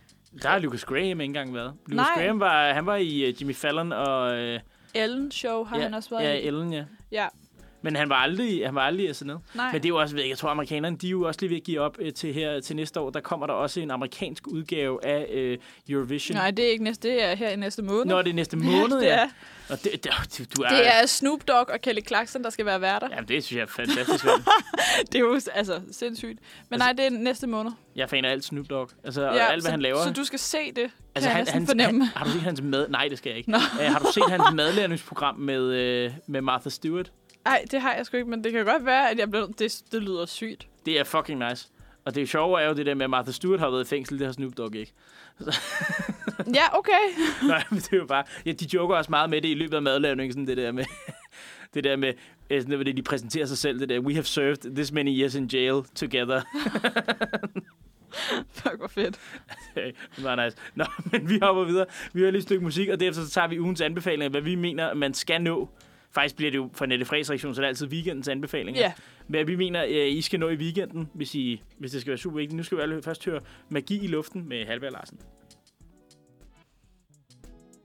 [SPEAKER 2] Der har Lucas Graham ikke engang været. Lucas
[SPEAKER 3] Nej.
[SPEAKER 2] Graham var, han var i uh, Jimmy Fallon og... Uh,
[SPEAKER 3] Ellen Show har
[SPEAKER 2] ja,
[SPEAKER 3] han også været
[SPEAKER 2] ja,
[SPEAKER 3] i.
[SPEAKER 2] Ellen, ja.
[SPEAKER 3] Ja,
[SPEAKER 2] Men han var aldrig, han var aldrig i SNL. Nej.
[SPEAKER 3] nej.
[SPEAKER 2] Men det er jo også, ved jeg jeg tror, amerikanerne, de er jo også lige ved at give op øh, til her til næste år. Der kommer der også en amerikansk udgave af øh, Eurovision.
[SPEAKER 3] Nej, det er ikke næste. Det er her i næste måned.
[SPEAKER 2] Når det er
[SPEAKER 3] [LAUGHS]
[SPEAKER 2] næste måned,
[SPEAKER 3] det
[SPEAKER 2] ja.
[SPEAKER 3] er.
[SPEAKER 2] Og det, det, du, du er,
[SPEAKER 3] Det er Snoop Dogg og Kelly Clarkson, der skal være værter. Ja.
[SPEAKER 2] Jamen, det synes jeg er fantastisk. vel.
[SPEAKER 3] Det er jo altså sindssygt. Men
[SPEAKER 2] Altså-
[SPEAKER 3] nej, det er næste måned.
[SPEAKER 2] jeg er fan af alt Snoop Dogg. Altså, ja, alt, hvad
[SPEAKER 3] så,
[SPEAKER 2] han laver.
[SPEAKER 3] Så du skal se det,
[SPEAKER 2] altså,
[SPEAKER 3] altså, kan han, jeg næsten fornemme.
[SPEAKER 2] han, har du set hans mad... Nej, det skal jeg ikke.
[SPEAKER 3] Nå.
[SPEAKER 2] Uh, har du set
[SPEAKER 3] [LAUGHS]
[SPEAKER 2] hans madlæringsprogram med, øh, med Martha Stewart?
[SPEAKER 3] Nej, det har jeg sgu ikke, men det kan godt være, at jeg bliver... Det, det lyder sygt.
[SPEAKER 2] Det er fucking nice. Og det sjove er jo det der med, at Martha Stewart har været i fængsel. Det har Snoop Dogg
[SPEAKER 3] [LAUGHS]
[SPEAKER 2] ikke.
[SPEAKER 3] Ja, okay. [LAUGHS]
[SPEAKER 2] Nej, men det er jo bare... Ja, de joker også meget med det i løbet af madlavning, sådan det der med... [LAUGHS] det der med... øh, Sådan det, de præsenterer sig selv, det der, we have served this many years in jail together.
[SPEAKER 3] Fuck, hvor fedt.
[SPEAKER 2] Okay, det var nice. Nå, [LAUGHS] men vi hopper videre. Vi hører lige et stykke musik, og derefter så tager vi ugens anbefalinger, hvad vi mener, man skal nå. Faktisk bliver det jo for Nette Frederiksen, så det er det altid weekendens anbefalinger.
[SPEAKER 3] Ja.
[SPEAKER 2] Hvad vi mener, øh, I skal nå i weekenden, hvis, I, hvis det skal være super vigtigt. Nu skal vi alle først høre Magi i luften med Halvær Larsen.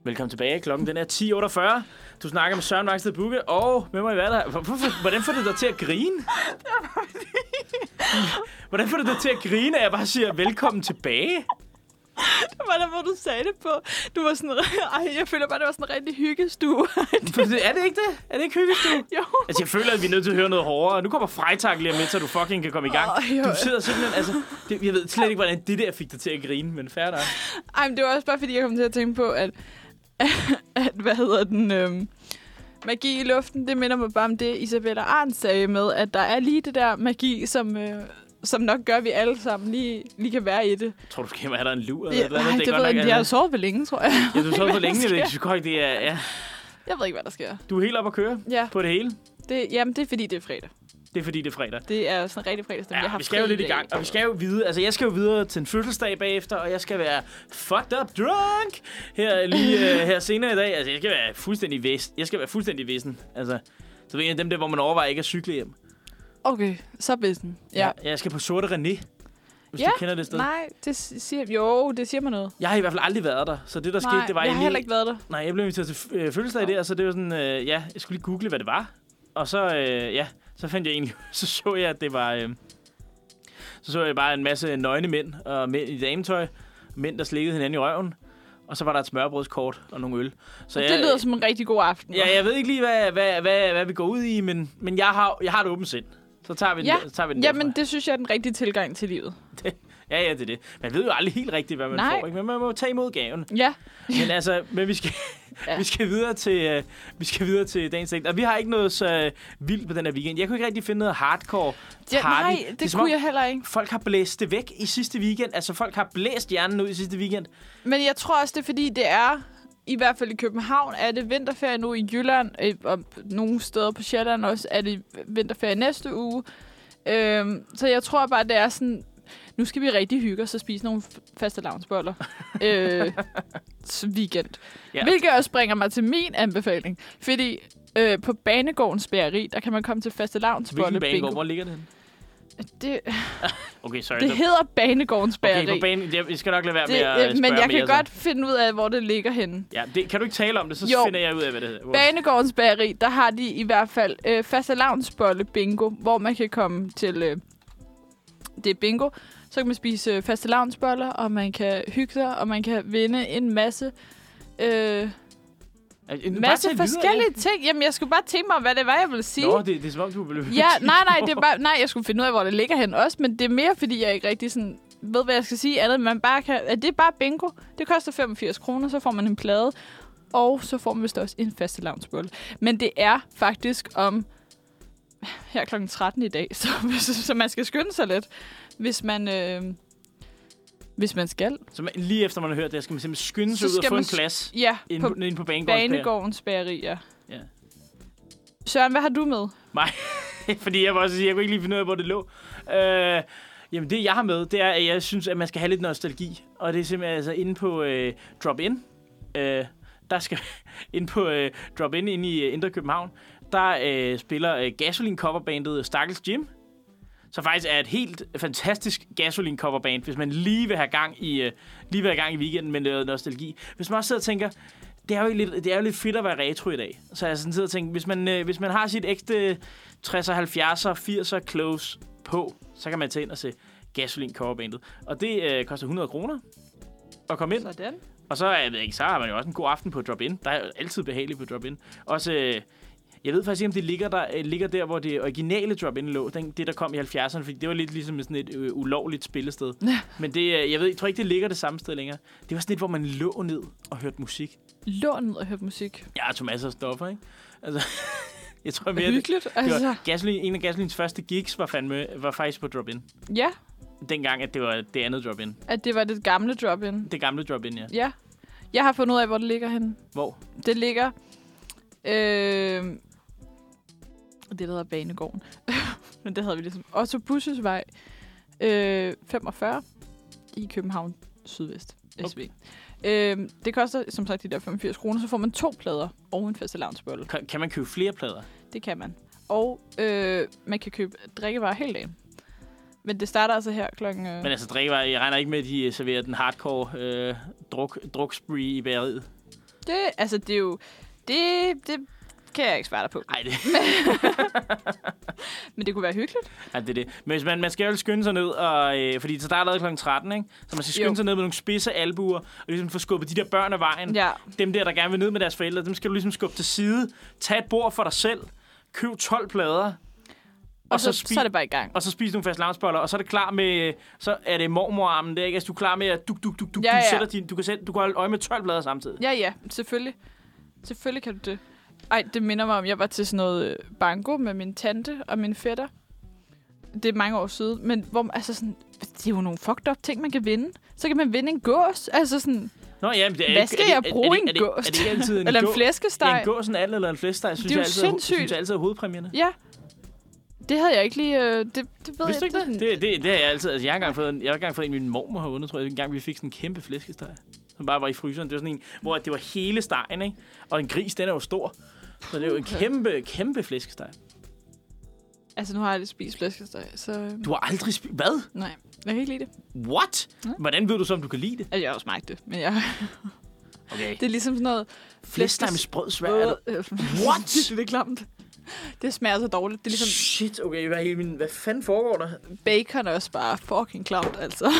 [SPEAKER 2] Velkommen tilbage. Klokken den er 10.48. Du snakker med Søren Vangsted Bukke, og med mig i hverdag. Hvor- hvorfor- Hvordan får du dig til at grine? Hvordan får du dig til at grine, at jeg bare siger velkommen tilbage?
[SPEAKER 3] Det var der, hvor du sagde det på. Du var sådan... [LAUGHS] Ej, jeg føler bare, det var sådan en rigtig hyggestue. [LAUGHS]
[SPEAKER 2] er det ikke det? Er det ikke hyggestue?
[SPEAKER 3] jo.
[SPEAKER 2] Altså, jeg føler, at vi er nødt til at høre noget hårdere. Nu kommer Freitag lige om lidt, så du fucking kan komme i gang.
[SPEAKER 3] Åh, jo.
[SPEAKER 2] Du sidder simpelthen, altså... Det, jeg ved slet ikke, hvordan det der fik dig til at grine, men fair nok.
[SPEAKER 3] Ej, men det var også bare, fordi jeg kom til at tænke på, at, [LAUGHS] at hvad hedder den, øhm, magi i luften, det minder mig bare om det, Isabella Arndt sagde med, at der er lige det der magi, som, øh, som nok gør, at vi alle sammen lige, lige kan være i det.
[SPEAKER 2] Tror du, skal have der en lur eller
[SPEAKER 3] Ja,
[SPEAKER 2] et
[SPEAKER 3] ej,
[SPEAKER 2] eller andet?
[SPEAKER 3] det, ved jeg ikke. Jeg har
[SPEAKER 2] altså-
[SPEAKER 3] sovet for længe, tror jeg.
[SPEAKER 2] Ja, du så for
[SPEAKER 3] hvad
[SPEAKER 2] længe,
[SPEAKER 3] der
[SPEAKER 2] det er
[SPEAKER 3] sker.
[SPEAKER 2] ikke det er, ja.
[SPEAKER 3] Jeg ved ikke, hvad der sker.
[SPEAKER 2] Du er helt op at køre
[SPEAKER 3] Ja,
[SPEAKER 2] på det hele.
[SPEAKER 3] det, jamen, det er fordi, det er fredag.
[SPEAKER 2] Det er fordi, det er fredag.
[SPEAKER 3] Det er sådan en rigtig fredagsdag. jeg
[SPEAKER 2] Ja,
[SPEAKER 3] har
[SPEAKER 2] vi skal jo
[SPEAKER 3] fri
[SPEAKER 2] lidt i
[SPEAKER 3] dag.
[SPEAKER 2] gang, og vi skal jo videre. Altså, jeg skal jo videre til en fødselsdag bagefter, og jeg skal være fucked up drunk her lige
[SPEAKER 3] [LAUGHS]
[SPEAKER 2] øh, her senere i dag. Altså, jeg skal være fuldstændig væs. Jeg skal være fuldstændig væsen. Altså, så ved jeg, dem der, hvor man overvejer ikke at cykle hjem.
[SPEAKER 3] Okay, så bedsten. Ja.
[SPEAKER 2] Jeg skal på Sorte René, hvis
[SPEAKER 3] Ja,
[SPEAKER 2] du kender det sted.
[SPEAKER 3] Nej, det si- siger... Jo, det siger mig noget.
[SPEAKER 2] Jeg har i hvert fald aldrig været der, så det, der skete,
[SPEAKER 3] Nej,
[SPEAKER 2] det var
[SPEAKER 3] jeg har
[SPEAKER 2] egentlig...
[SPEAKER 3] heller ikke været der.
[SPEAKER 2] Nej, jeg blev inviteret til øh, fødselsdag der, så det var sådan, øh, ja, jeg skulle lige google, hvad det var. Og så, øh, ja, så fandt jeg egentlig, [LAUGHS] så så jeg, at det var, øh, så så jeg bare en masse nøgne mænd, og mænd i dametøj, mænd, der slikkede hinanden i røven. Og så var der et smørbrødskort og nogle øl. Så
[SPEAKER 3] Det lyder som en rigtig god aften.
[SPEAKER 2] Ja, jeg ved ikke lige, hvad, hvad, hvad, hvad vi går ud i, men, men jeg, har, jeg har et åbent sind. Så tager vi den,
[SPEAKER 3] Ja,
[SPEAKER 2] der- så tager vi den
[SPEAKER 3] Jamen,
[SPEAKER 2] derfra.
[SPEAKER 3] det synes jeg er den rigtige tilgang til livet.
[SPEAKER 2] Ja, ja, det er det. Man ved jo aldrig helt rigtigt, hvad man
[SPEAKER 3] Nej.
[SPEAKER 2] får, ikke? men man må tage imod gaven.
[SPEAKER 3] Ja,
[SPEAKER 2] Men altså, men vi skal,
[SPEAKER 3] Ja.
[SPEAKER 2] ja. vi skal videre til øh, vi skal videre til dagens ting. Og vi har ikke noget så øh, vildt på den her weekend. Jeg kunne ikke rigtig finde noget hardcore
[SPEAKER 3] ja
[SPEAKER 2] party.
[SPEAKER 3] nej,
[SPEAKER 2] er
[SPEAKER 3] det
[SPEAKER 2] som
[SPEAKER 3] kunne
[SPEAKER 2] om,
[SPEAKER 3] jeg heller ikke.
[SPEAKER 2] Folk har blæst det væk i sidste weekend. Altså, folk har blæst hjernen ud i sidste weekend.
[SPEAKER 3] Men jeg tror også, det er fordi, det er, i hvert fald i København, er det vinterferie nu i Jylland, øh, og nogle steder på Sjælland også, er det vinterferie næste uge. Øhm, så jeg tror bare, det er sådan, nu skal vi rigtig hygge os og spise nogle f- faste
[SPEAKER 2] [LAUGHS]
[SPEAKER 3] lavnsboller øh, s- weekend. Ja.
[SPEAKER 2] Ja.
[SPEAKER 3] Hvilket også bringer mig til min anbefaling, fordi øh, på Banegårdens Bæreri, der kan man komme til faste lavnsbolle.
[SPEAKER 2] Hvilken banegård? Hvor ligger det henne?
[SPEAKER 3] Det,
[SPEAKER 2] Okay, sorry.
[SPEAKER 3] det
[SPEAKER 2] der-
[SPEAKER 3] hedder Banegårdens Bæreri.
[SPEAKER 2] okay, på banen. Jeg, jeg skal nok lade være med
[SPEAKER 3] det,
[SPEAKER 2] at
[SPEAKER 3] øh,
[SPEAKER 2] spørge
[SPEAKER 3] men jeg
[SPEAKER 2] mere,
[SPEAKER 3] kan godt finde ud af, hvor det ligger henne.
[SPEAKER 2] Så. Ja, det, kan du ikke tale om det, så
[SPEAKER 3] Jo.
[SPEAKER 2] jo. finder jeg ud af, hvad det hedder.
[SPEAKER 3] Banegårdens Bageri, der har de i hvert fald øh, fastelavnsbolle bingo, hvor man kan komme til øh, det er bingo. Så kan man spise øh, fastelavnsboller, og man kan hygge sig, og man kan vinde en masse, øh,
[SPEAKER 2] Altså, nu bare
[SPEAKER 3] masse
[SPEAKER 2] tag videre,
[SPEAKER 3] forskellige ting. Jamen, jeg skulle bare tænke mig, hvad det var, jeg ville sige.
[SPEAKER 2] Ja. Nå, det, det er som om, du blev... [LAUGHS]
[SPEAKER 3] Ja, nej, nej, det er bare, nej, jeg skulle finde ud af, hvor det ligger hen også, men det er mere, fordi jeg ikke rigtig sådan ved, hvad jeg skal sige andet, end man bare kan, at det er bare bingo. Det koster 85 kroner, så får man en plade, og så får man vist også en faste Men det er faktisk om her kl. 13 i dag, [LAUGHS] så, hvis, så man skal skynde sig lidt, hvis man, øh, hvis man skal.
[SPEAKER 2] Så man, lige efter man har hørt det, skal man simpelthen skynde
[SPEAKER 3] Så
[SPEAKER 2] sig ud og
[SPEAKER 3] skal
[SPEAKER 2] få
[SPEAKER 3] man
[SPEAKER 2] en
[SPEAKER 3] s-
[SPEAKER 2] plads
[SPEAKER 3] Ja,
[SPEAKER 2] inde
[SPEAKER 3] på
[SPEAKER 2] på, inde på banegården.
[SPEAKER 3] Banegårdens bagerier.
[SPEAKER 2] Ja.
[SPEAKER 3] Søren, hvad har du med?
[SPEAKER 2] [LAUGHS] Fordi jeg var også sige, jeg kunne ikke lige finde ud af, hvor det lå. Øh, jamen det, jeg har med, det er, at jeg synes, at man skal have lidt nostalgi. Og det er simpelthen altså inde på øh, Drop-In. Øh, der skal [LAUGHS] inde på øh, Drop-In inde i øh, Indre København. Der øh, spiller øh, gasoline coverbandet Stakkels Jim. Så faktisk er et helt fantastisk gasoline coverband, hvis man lige vil have gang i, øh, lige vil have gang i weekenden med noget nostalgi. Hvis man også sidder og tænker, det er jo lidt, det er jo lidt fedt at være retro i dag. Så jeg sådan sidder og tænker, hvis man, øh, hvis man har sit ægte 60'er, 70'er, 80'er close på, så kan man tage ind og se Gasoline coverbandet. Og det øh, koster 100 kroner at komme ind.
[SPEAKER 3] Sådan.
[SPEAKER 2] Og så, jeg ved ikke, så har man jo også en god aften på drop-in. Der er jo altid behageligt på drop-in. Også, øh, jeg ved faktisk ikke, om det ligger der, øh, ligger der hvor det originale drop-in lå. Den, det, der kom i 70'erne, fordi det var lidt ligesom sådan et øh, ulovligt spillested. Men det, øh, jeg, ved, jeg tror ikke, det ligger det samme sted længere. Det var sådan et, hvor man lå ned og hørte musik.
[SPEAKER 3] Lå ned og hørte musik.
[SPEAKER 2] Jeg har tog masser af stoffer, ikke? Altså, [LAUGHS] jeg tror mere, det,
[SPEAKER 3] Hyggeligt,
[SPEAKER 2] det
[SPEAKER 3] altså.
[SPEAKER 2] var, Gasolin, en af Gasolins første gigs var, fandme, var faktisk på drop-in.
[SPEAKER 3] Ja.
[SPEAKER 2] Dengang, at det var det andet drop-in.
[SPEAKER 3] At det var det gamle drop-in.
[SPEAKER 2] Det gamle drop-in, ja.
[SPEAKER 3] Ja. Jeg har fundet ud af, hvor det ligger henne.
[SPEAKER 2] Hvor?
[SPEAKER 3] Det ligger... Øh, det der hedder Banegården. [LAUGHS] Men det havde vi ligesom. Otto Busses vej øh, 45 i København Sydvest. SB. Øh, det koster, som sagt, de der 85 kroner. Så får man to plader og en faste
[SPEAKER 2] Kan, kan man købe flere plader?
[SPEAKER 3] Det kan man. Og øh, man kan købe drikkevarer hele dagen. Men det starter altså her klokken... Øh,
[SPEAKER 2] Men altså, drikkevarer, jeg regner ikke med, at de øh, serverer den hardcore øh, druk, drukspree i bæreriet.
[SPEAKER 3] Det, altså, det er jo... Det, det kan jeg ikke svare dig på.
[SPEAKER 2] Nej, det,
[SPEAKER 3] Men det kunne være hyggeligt.
[SPEAKER 2] [LAUGHS] ja, det er det. Men hvis man, man skal jo skynde sig ned, og, øh, fordi så der er allerede kl. 13, ikke? Så man skal skynde
[SPEAKER 3] Jo.
[SPEAKER 2] jo. sig ned med nogle spidse albuer, og ligesom få skubbet de der børn af vejen.
[SPEAKER 3] Ja.
[SPEAKER 2] Dem der, der gerne vil ned med deres forældre, dem skal du ligesom skubbe til side. Tag et bord for dig selv. Køb 12 plader.
[SPEAKER 3] Og, og så, så,
[SPEAKER 2] spi-
[SPEAKER 3] så er det bare i gang.
[SPEAKER 2] og så spise nogle fast lavnsboller, og så er det klar med, så er det mormorarmen der, ikke? Altså, du er klar med at du, du, du, du,
[SPEAKER 3] Ja,
[SPEAKER 2] ja,
[SPEAKER 3] ja.
[SPEAKER 2] ja. sætter din, du kan, sætte, du kan holde øje med 12 blader samtidig.
[SPEAKER 3] Ja, ja, selvfølgelig. Selvfølgelig kan du det. Ej, det minder mig om, jeg var til sådan noget øh, banko med min tante og min fætter. Det er mange år siden, men hvor, altså sådan, det er jo nogle fucked up ting, man kan vinde. Så kan man vinde en gås, altså sådan,
[SPEAKER 2] Nå ja, men det er
[SPEAKER 3] Hvad
[SPEAKER 2] ikke-
[SPEAKER 3] skal
[SPEAKER 2] er det-
[SPEAKER 3] jeg
[SPEAKER 2] er det-
[SPEAKER 3] bruge
[SPEAKER 2] er det-
[SPEAKER 3] en
[SPEAKER 2] er det-
[SPEAKER 3] gås
[SPEAKER 2] Er det ikke altid en
[SPEAKER 3] [LAUGHS] eller en
[SPEAKER 2] gå- Ja,
[SPEAKER 3] flæskesteg.
[SPEAKER 2] en gåsen and eller en flæskesteg, synes
[SPEAKER 3] Det
[SPEAKER 2] jeg
[SPEAKER 3] er jo
[SPEAKER 2] altid, er ho-
[SPEAKER 3] sindssygt.
[SPEAKER 2] synes jeg altid er hovedpræmierne.
[SPEAKER 3] Ja. Det havde jeg ikke lige... Øh, det, det ved
[SPEAKER 2] Vidste du
[SPEAKER 3] jeg
[SPEAKER 2] ikke det? Det, det, det har jeg altid. Altså, jeg har engang fået en, jeg har engang fået en min mormor har vundet, tror jeg. En gang vi fik sådan en kæmpe flæskesteg, som bare var i fryseren. Det var sådan en, hvor det var hele stegen, ikke? Og en gris, den er jo stor. Så det er jo en kæmpe, kæmpe flæskesteg.
[SPEAKER 3] Altså, nu har jeg aldrig spist flæskesteg, så... Øh,
[SPEAKER 2] Du har aldrig spist... Hvad?
[SPEAKER 3] nej, jeg kan ikke lide det.
[SPEAKER 2] What?
[SPEAKER 3] Hm?
[SPEAKER 2] Hvordan ved du så, om du kan lide det?
[SPEAKER 3] Altså, jeg har også smagt det, men jeg,
[SPEAKER 2] Okay.
[SPEAKER 3] det er ligesom sådan noget...
[SPEAKER 2] Flæskesteg med sprød svær. Er du?
[SPEAKER 3] [LAUGHS]
[SPEAKER 2] What?
[SPEAKER 3] What? det er klamt. Det smager så dårligt. Det er ligesom
[SPEAKER 2] Shit, okay. Hvad, hele min, hvad fanden foregår der?
[SPEAKER 3] bacon er også bare fucking klamt, altså.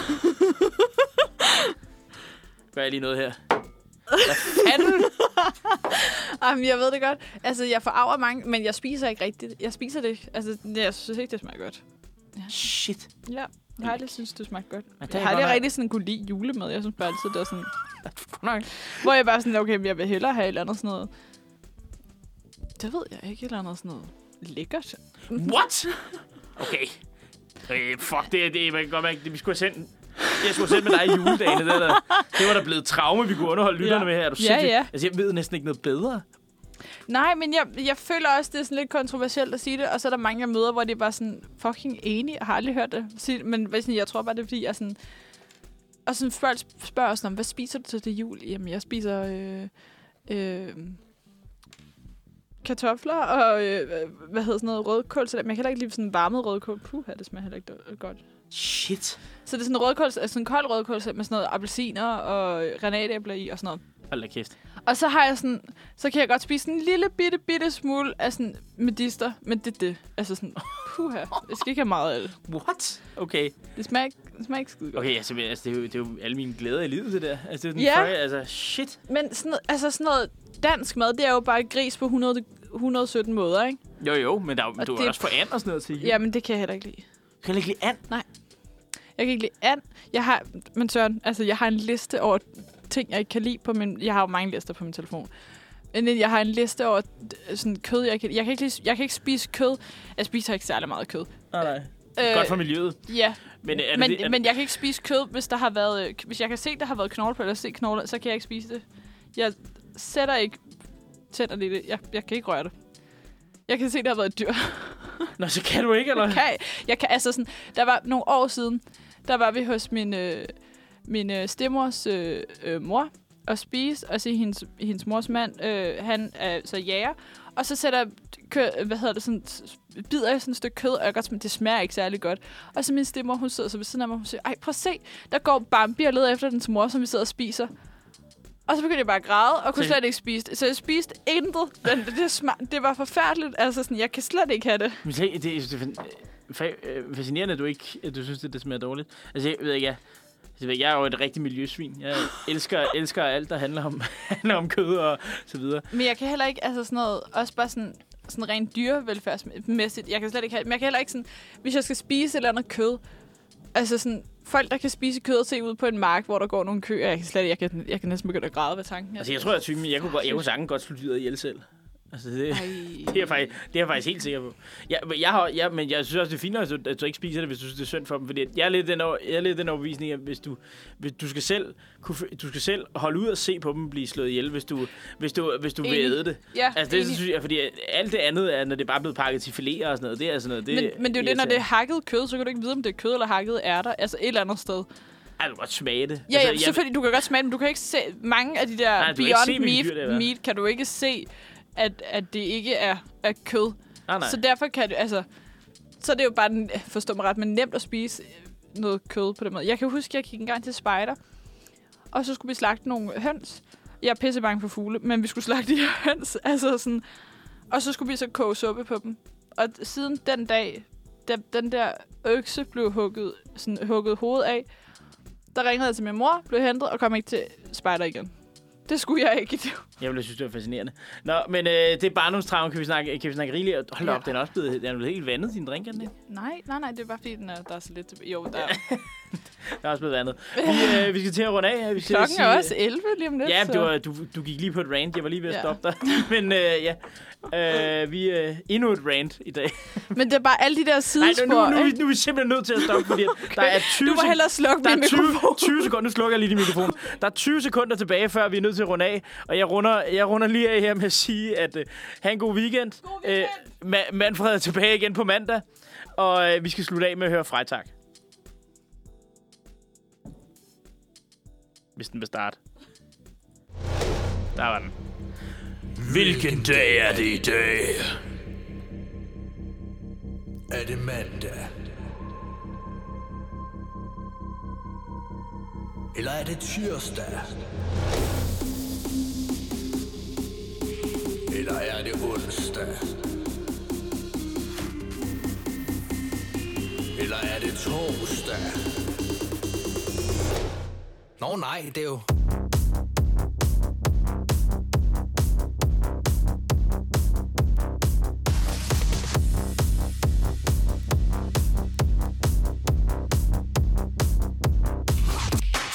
[SPEAKER 3] [LAUGHS]
[SPEAKER 2] Gør jeg lige noget her?
[SPEAKER 3] Jamen, jeg ved det godt. Altså, jeg forarver mange, men jeg spiser ikke rigtigt. Jeg spiser det ikke. Altså, jeg synes ikke, det smager godt.
[SPEAKER 2] Shit.
[SPEAKER 3] Ja, jeg har aldrig synes, det smagte godt.
[SPEAKER 2] Men det er
[SPEAKER 3] Jeg har
[SPEAKER 2] godt
[SPEAKER 3] aldrig
[SPEAKER 2] nok-
[SPEAKER 3] rigtig sådan kunne lide julemad. Jeg synes bare altid, det er sådan... Nej. Hvor jeg bare sådan, okay, men jeg vil hellere have et eller andet sådan noget... Det ved jeg ikke, et eller andet sådan noget lækkert.
[SPEAKER 2] What? Okay. Øh, fuck, det, er- det, er- man kan godt mærke, det, vi skulle have sendt jeg skulle have sendt med dig i juledagen. Det, der, det var da blevet traume, vi kunne underholde lytterne
[SPEAKER 3] Ja.
[SPEAKER 2] med her. Er du
[SPEAKER 3] Ja,
[SPEAKER 2] sindssyg?
[SPEAKER 3] ja.
[SPEAKER 2] Altså, jeg ved næsten ikke noget bedre.
[SPEAKER 3] Nej, men jeg, jeg føler også, det er sådan lidt kontroversielt at sige det, og så er der mange, jeg møder, hvor det er bare sådan fucking enige. Jeg har aldrig hørt det. sige det, Men hvad sådan, jeg tror bare, det er fordi, jeg er sådan... Og sådan folk spørger sådan, om, hvad spiser du til det jul? Jamen, jeg spiser... Øh, øh, kartofler og, øh, hvad hedder sådan noget, rødkål til det. Men jeg kan heller ikke lide sådan varmet rødkål. Puh, det smager heller ikke godt.
[SPEAKER 2] Shit.
[SPEAKER 3] Så det er sådan en rødkål, altså en kold rødkål med sådan noget appelsiner og øh, granatæbler i og sådan noget.
[SPEAKER 2] Hold da kæft.
[SPEAKER 3] Og så har jeg sådan, så kan jeg godt spise en lille bitte, bitte smule af sådan medister, men det er det. Altså sådan, puha, jeg skal ikke have meget af det.
[SPEAKER 2] What? Okay.
[SPEAKER 3] Det smager ikke, det smager ikke skide godt.
[SPEAKER 2] Okay, altså, altså det, er jo, det er jo alle mine glæder i livet, det der. Altså, det er sådan,
[SPEAKER 3] Ja.
[SPEAKER 2] sorry, altså, shit.
[SPEAKER 3] Men sådan, noget- altså sådan noget dansk mad, det er jo bare gris på 100, 117 måder, ikke?
[SPEAKER 2] Jo, jo, men der, er jo- men du
[SPEAKER 3] det-
[SPEAKER 2] er også for and og sådan noget til jul.
[SPEAKER 3] Jamen, det kan jeg heller ikke lide.
[SPEAKER 2] Du kan heller ikke lide and.
[SPEAKER 3] Jeg kan ikke lide and. Jeg har, men Søren, altså jeg har en liste over ting, jeg ikke kan lide på min... Jeg har jo mange lister på min telefon. Men jeg har en liste over øh, sådan kød, jeg kan, jeg kan, ikke, lide, jeg kan ikke spise kød. Jeg spiser ikke særlig meget kød.
[SPEAKER 2] Nej, nej. Godt for miljøet.
[SPEAKER 3] Ja,
[SPEAKER 2] Men, er det,
[SPEAKER 3] Øh, men,
[SPEAKER 2] det, er,
[SPEAKER 3] men jeg kan ikke spise kød, hvis der har været... øh, Hvis jeg kan se, der har været knogler på, eller se knogler, så kan jeg ikke spise det. Jeg sætter ikke tænderne i det. Jeg, jeg kan ikke røre det. Jeg kan se, der har været et dyr.
[SPEAKER 2] Nå, så kan du ikke, eller?
[SPEAKER 3] Jeg kan, jeg kan, altså sådan, der var nogle år siden, der var vi hos min, øh, min øh, stemors øh, øh, mor og spise, og se hendes, hendes mors mand, øh, han er så jæger, og så sætter kø, hvad hedder det, sådan, s- bider jeg sådan et stykke kød, og jeg kan godt smage, det smager ikke særlig godt. Og så min stemor, hun sidder så ved siden af mig, og hun siger, ej, prøv at se, der går Bambi og leder efter den til mor, som vi sidder og spiser. Og så begyndte jeg bare at græde, og kunne
[SPEAKER 2] Se.
[SPEAKER 3] slet ikke spise det. Så jeg spiste intet. Men det, det, smag, det var forfærdeligt. Altså, sådan, jeg kan slet ikke have det.
[SPEAKER 2] Men se, det, det er fan- fa- øh, fascinerende, at du ikke at du synes, det, det smager dårligt. Altså, jeg ved ikke, jeg, altså, jeg, ved ikke, jeg er jo et rigtigt miljøsvin. Jeg elsker, elsker alt, der handler om, [LAUGHS] handler om kød og så videre.
[SPEAKER 3] Men jeg kan heller ikke, altså sådan noget, også bare sådan, sådan rent dyrevelfærdsmæssigt, jeg kan slet ikke have, men jeg kan heller ikke sådan, hvis jeg skal spise et eller andet kød, altså sådan, folk, der kan spise kød og se ud på en mark, hvor der går nogle køer, jeg kan slet jeg kan, jeg kan næsten begynde at græde ved tanken.
[SPEAKER 2] Altså, jeg tror, jeg er typen, jeg kunne, godt- jeg kunne sagtens godt slå dyret ihjel selv. Altså, det, det, er jeg faktisk, det er jeg faktisk helt sikker på. Jeg, men jeg har, jeg, men jeg synes også, det er fint, at du, at du ikke spiser det, hvis du synes, det er synd for dem. Fordi at jeg er lidt den, over, jeg er lidt den overbevisning, at hvis du, hvis du, skal selv, kunne, f- du skal selv holde ud og se på dem blive slået ihjel, hvis du, hvis du, hvis du vil
[SPEAKER 3] Enig.
[SPEAKER 2] æde det.
[SPEAKER 3] ja,
[SPEAKER 2] Altså, det
[SPEAKER 3] enig.
[SPEAKER 2] synes jeg, fordi alt det andet er, når det bare er blevet pakket til filéer og sådan noget, det er sådan noget, det
[SPEAKER 3] men, men det er jo det, når det er hakket kød, så kan du ikke vide, om det er kød eller hakket ærter, altså et eller andet sted.
[SPEAKER 2] Ej, du kan godt smage det.
[SPEAKER 3] Ja, altså, ja,
[SPEAKER 2] jeg-
[SPEAKER 3] selvfølgelig, du kan godt smage, men du kan ikke se, mange af de der
[SPEAKER 2] Nej, du
[SPEAKER 3] Nej,
[SPEAKER 2] kan ikke
[SPEAKER 3] Beyond
[SPEAKER 2] se, hvilket
[SPEAKER 3] meat,
[SPEAKER 2] dyr det er.
[SPEAKER 3] meat, kan du ikke se, at, at det ikke er, er kød.
[SPEAKER 2] Nej, Ah, nej.
[SPEAKER 3] Så derfor kan det, altså... Så er det jo bare, den- forstå mig ret, men nemt at spise øh, noget kød på den måde. Jeg kan huske, jeg gik engang til spejder, og så skulle vi slagte nogle høns. Jeg er pisse bange for fugle, men vi skulle slagte de her [LAUGHS] høns. Altså sådan, og så skulle vi så koge suppe på dem. Og d- siden den dag, da den der økse blev hugget, sådan, hugget hovedet af, der ringede jeg til min mor, blev hentet og kom ikke til spejder igen. Det skulle jeg ikke. [LAUGHS]
[SPEAKER 2] Jeg ville synes, det var fascinerende. Nå, men øh, det er barndomstraume, kan vi snakke, kan vi snakke rigeligt. om. Hold da
[SPEAKER 3] Ja.
[SPEAKER 2] op, den er også blevet, den er blevet helt vandet, din drink, er den ikke?
[SPEAKER 3] Nej, nej, nej, det er bare fordi, den er, der er så lidt... Jo, der
[SPEAKER 2] Der er også blevet vandet. Vi, øh, vi skal til at runde af. Vi skal
[SPEAKER 3] Klokken
[SPEAKER 2] sige,
[SPEAKER 3] er også 11 lige om lidt.
[SPEAKER 2] Ja,
[SPEAKER 3] så-
[SPEAKER 2] det var, du, du gik lige på et rant. Jeg var lige ved at
[SPEAKER 3] Ja.
[SPEAKER 2] stoppe dig. [LAUGHS] Men øh, ja, øh, vi er øh, endnu et rant i dag.
[SPEAKER 3] Men det er bare alle de der
[SPEAKER 2] Nej,
[SPEAKER 3] sidespor.
[SPEAKER 2] nu, nu, nu, er
[SPEAKER 3] ikke?
[SPEAKER 2] vi- nu er vi simpelthen nødt til at stoppe, fordi okay. der er 20
[SPEAKER 3] du må
[SPEAKER 2] sek-
[SPEAKER 3] hellere slukke
[SPEAKER 2] der
[SPEAKER 3] min
[SPEAKER 2] er 20,
[SPEAKER 3] mikrofon.
[SPEAKER 2] 20 sekunder. Nu slukker jeg lige din mikrofon. Der er 20 sekunder tilbage, før vi er nødt til at runde af. Og jeg runder, jeg runder lige af her med at sige, at uh, have en god weekend.
[SPEAKER 3] God weekend.
[SPEAKER 2] Uh, Ma- Manfred er tilbage igen på mandag. Og uh, vi skal slutte af med at høre Freitag. Hvis den vil starte. Der var den.
[SPEAKER 5] Hvilken dag er det i dag? Er det mandag? Eller er det tirsdag? Eller er det onsdag? Eller er det torsdag? Nå nej, det er jo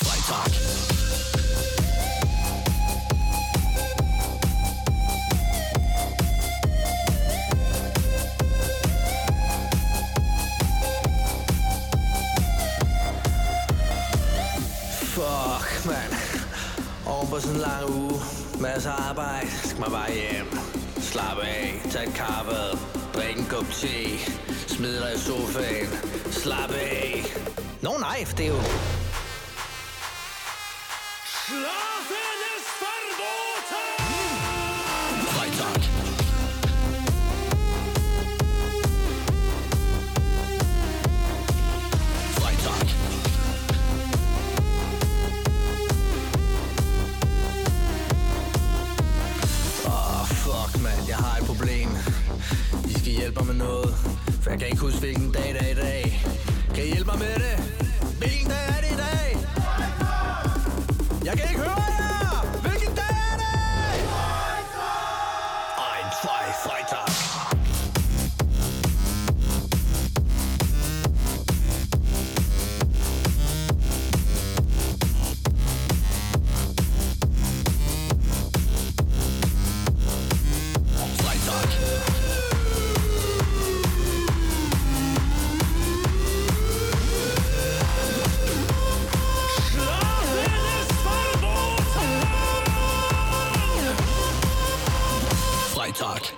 [SPEAKER 5] Freitag. Fuck, mand. Oven på sådan en lang uge. Masser af arbejde. Skal man bare hjem. Slap af. Tag et kaffe. Drik en kop te. Smid dig i sofaen. Slap af. Nå no, nej, for det er jo
[SPEAKER 6] Schlafen ist verboten!
[SPEAKER 5] Freitag. Freitag. Åh, oh, fuck, mand. Jeg har et problem. I skal hjælpe mig med noget. For jeg kan ikke huske, hvilken dag det er i dag. Kan I hjælpe mig med det? Hvilken dag er det i dag? Jeg kan ikke høre jer! Hvilken dag er det? Ein, zwei, Freitag. Freitag.
[SPEAKER 6] Schlafen ist verboten!
[SPEAKER 5] Freitag.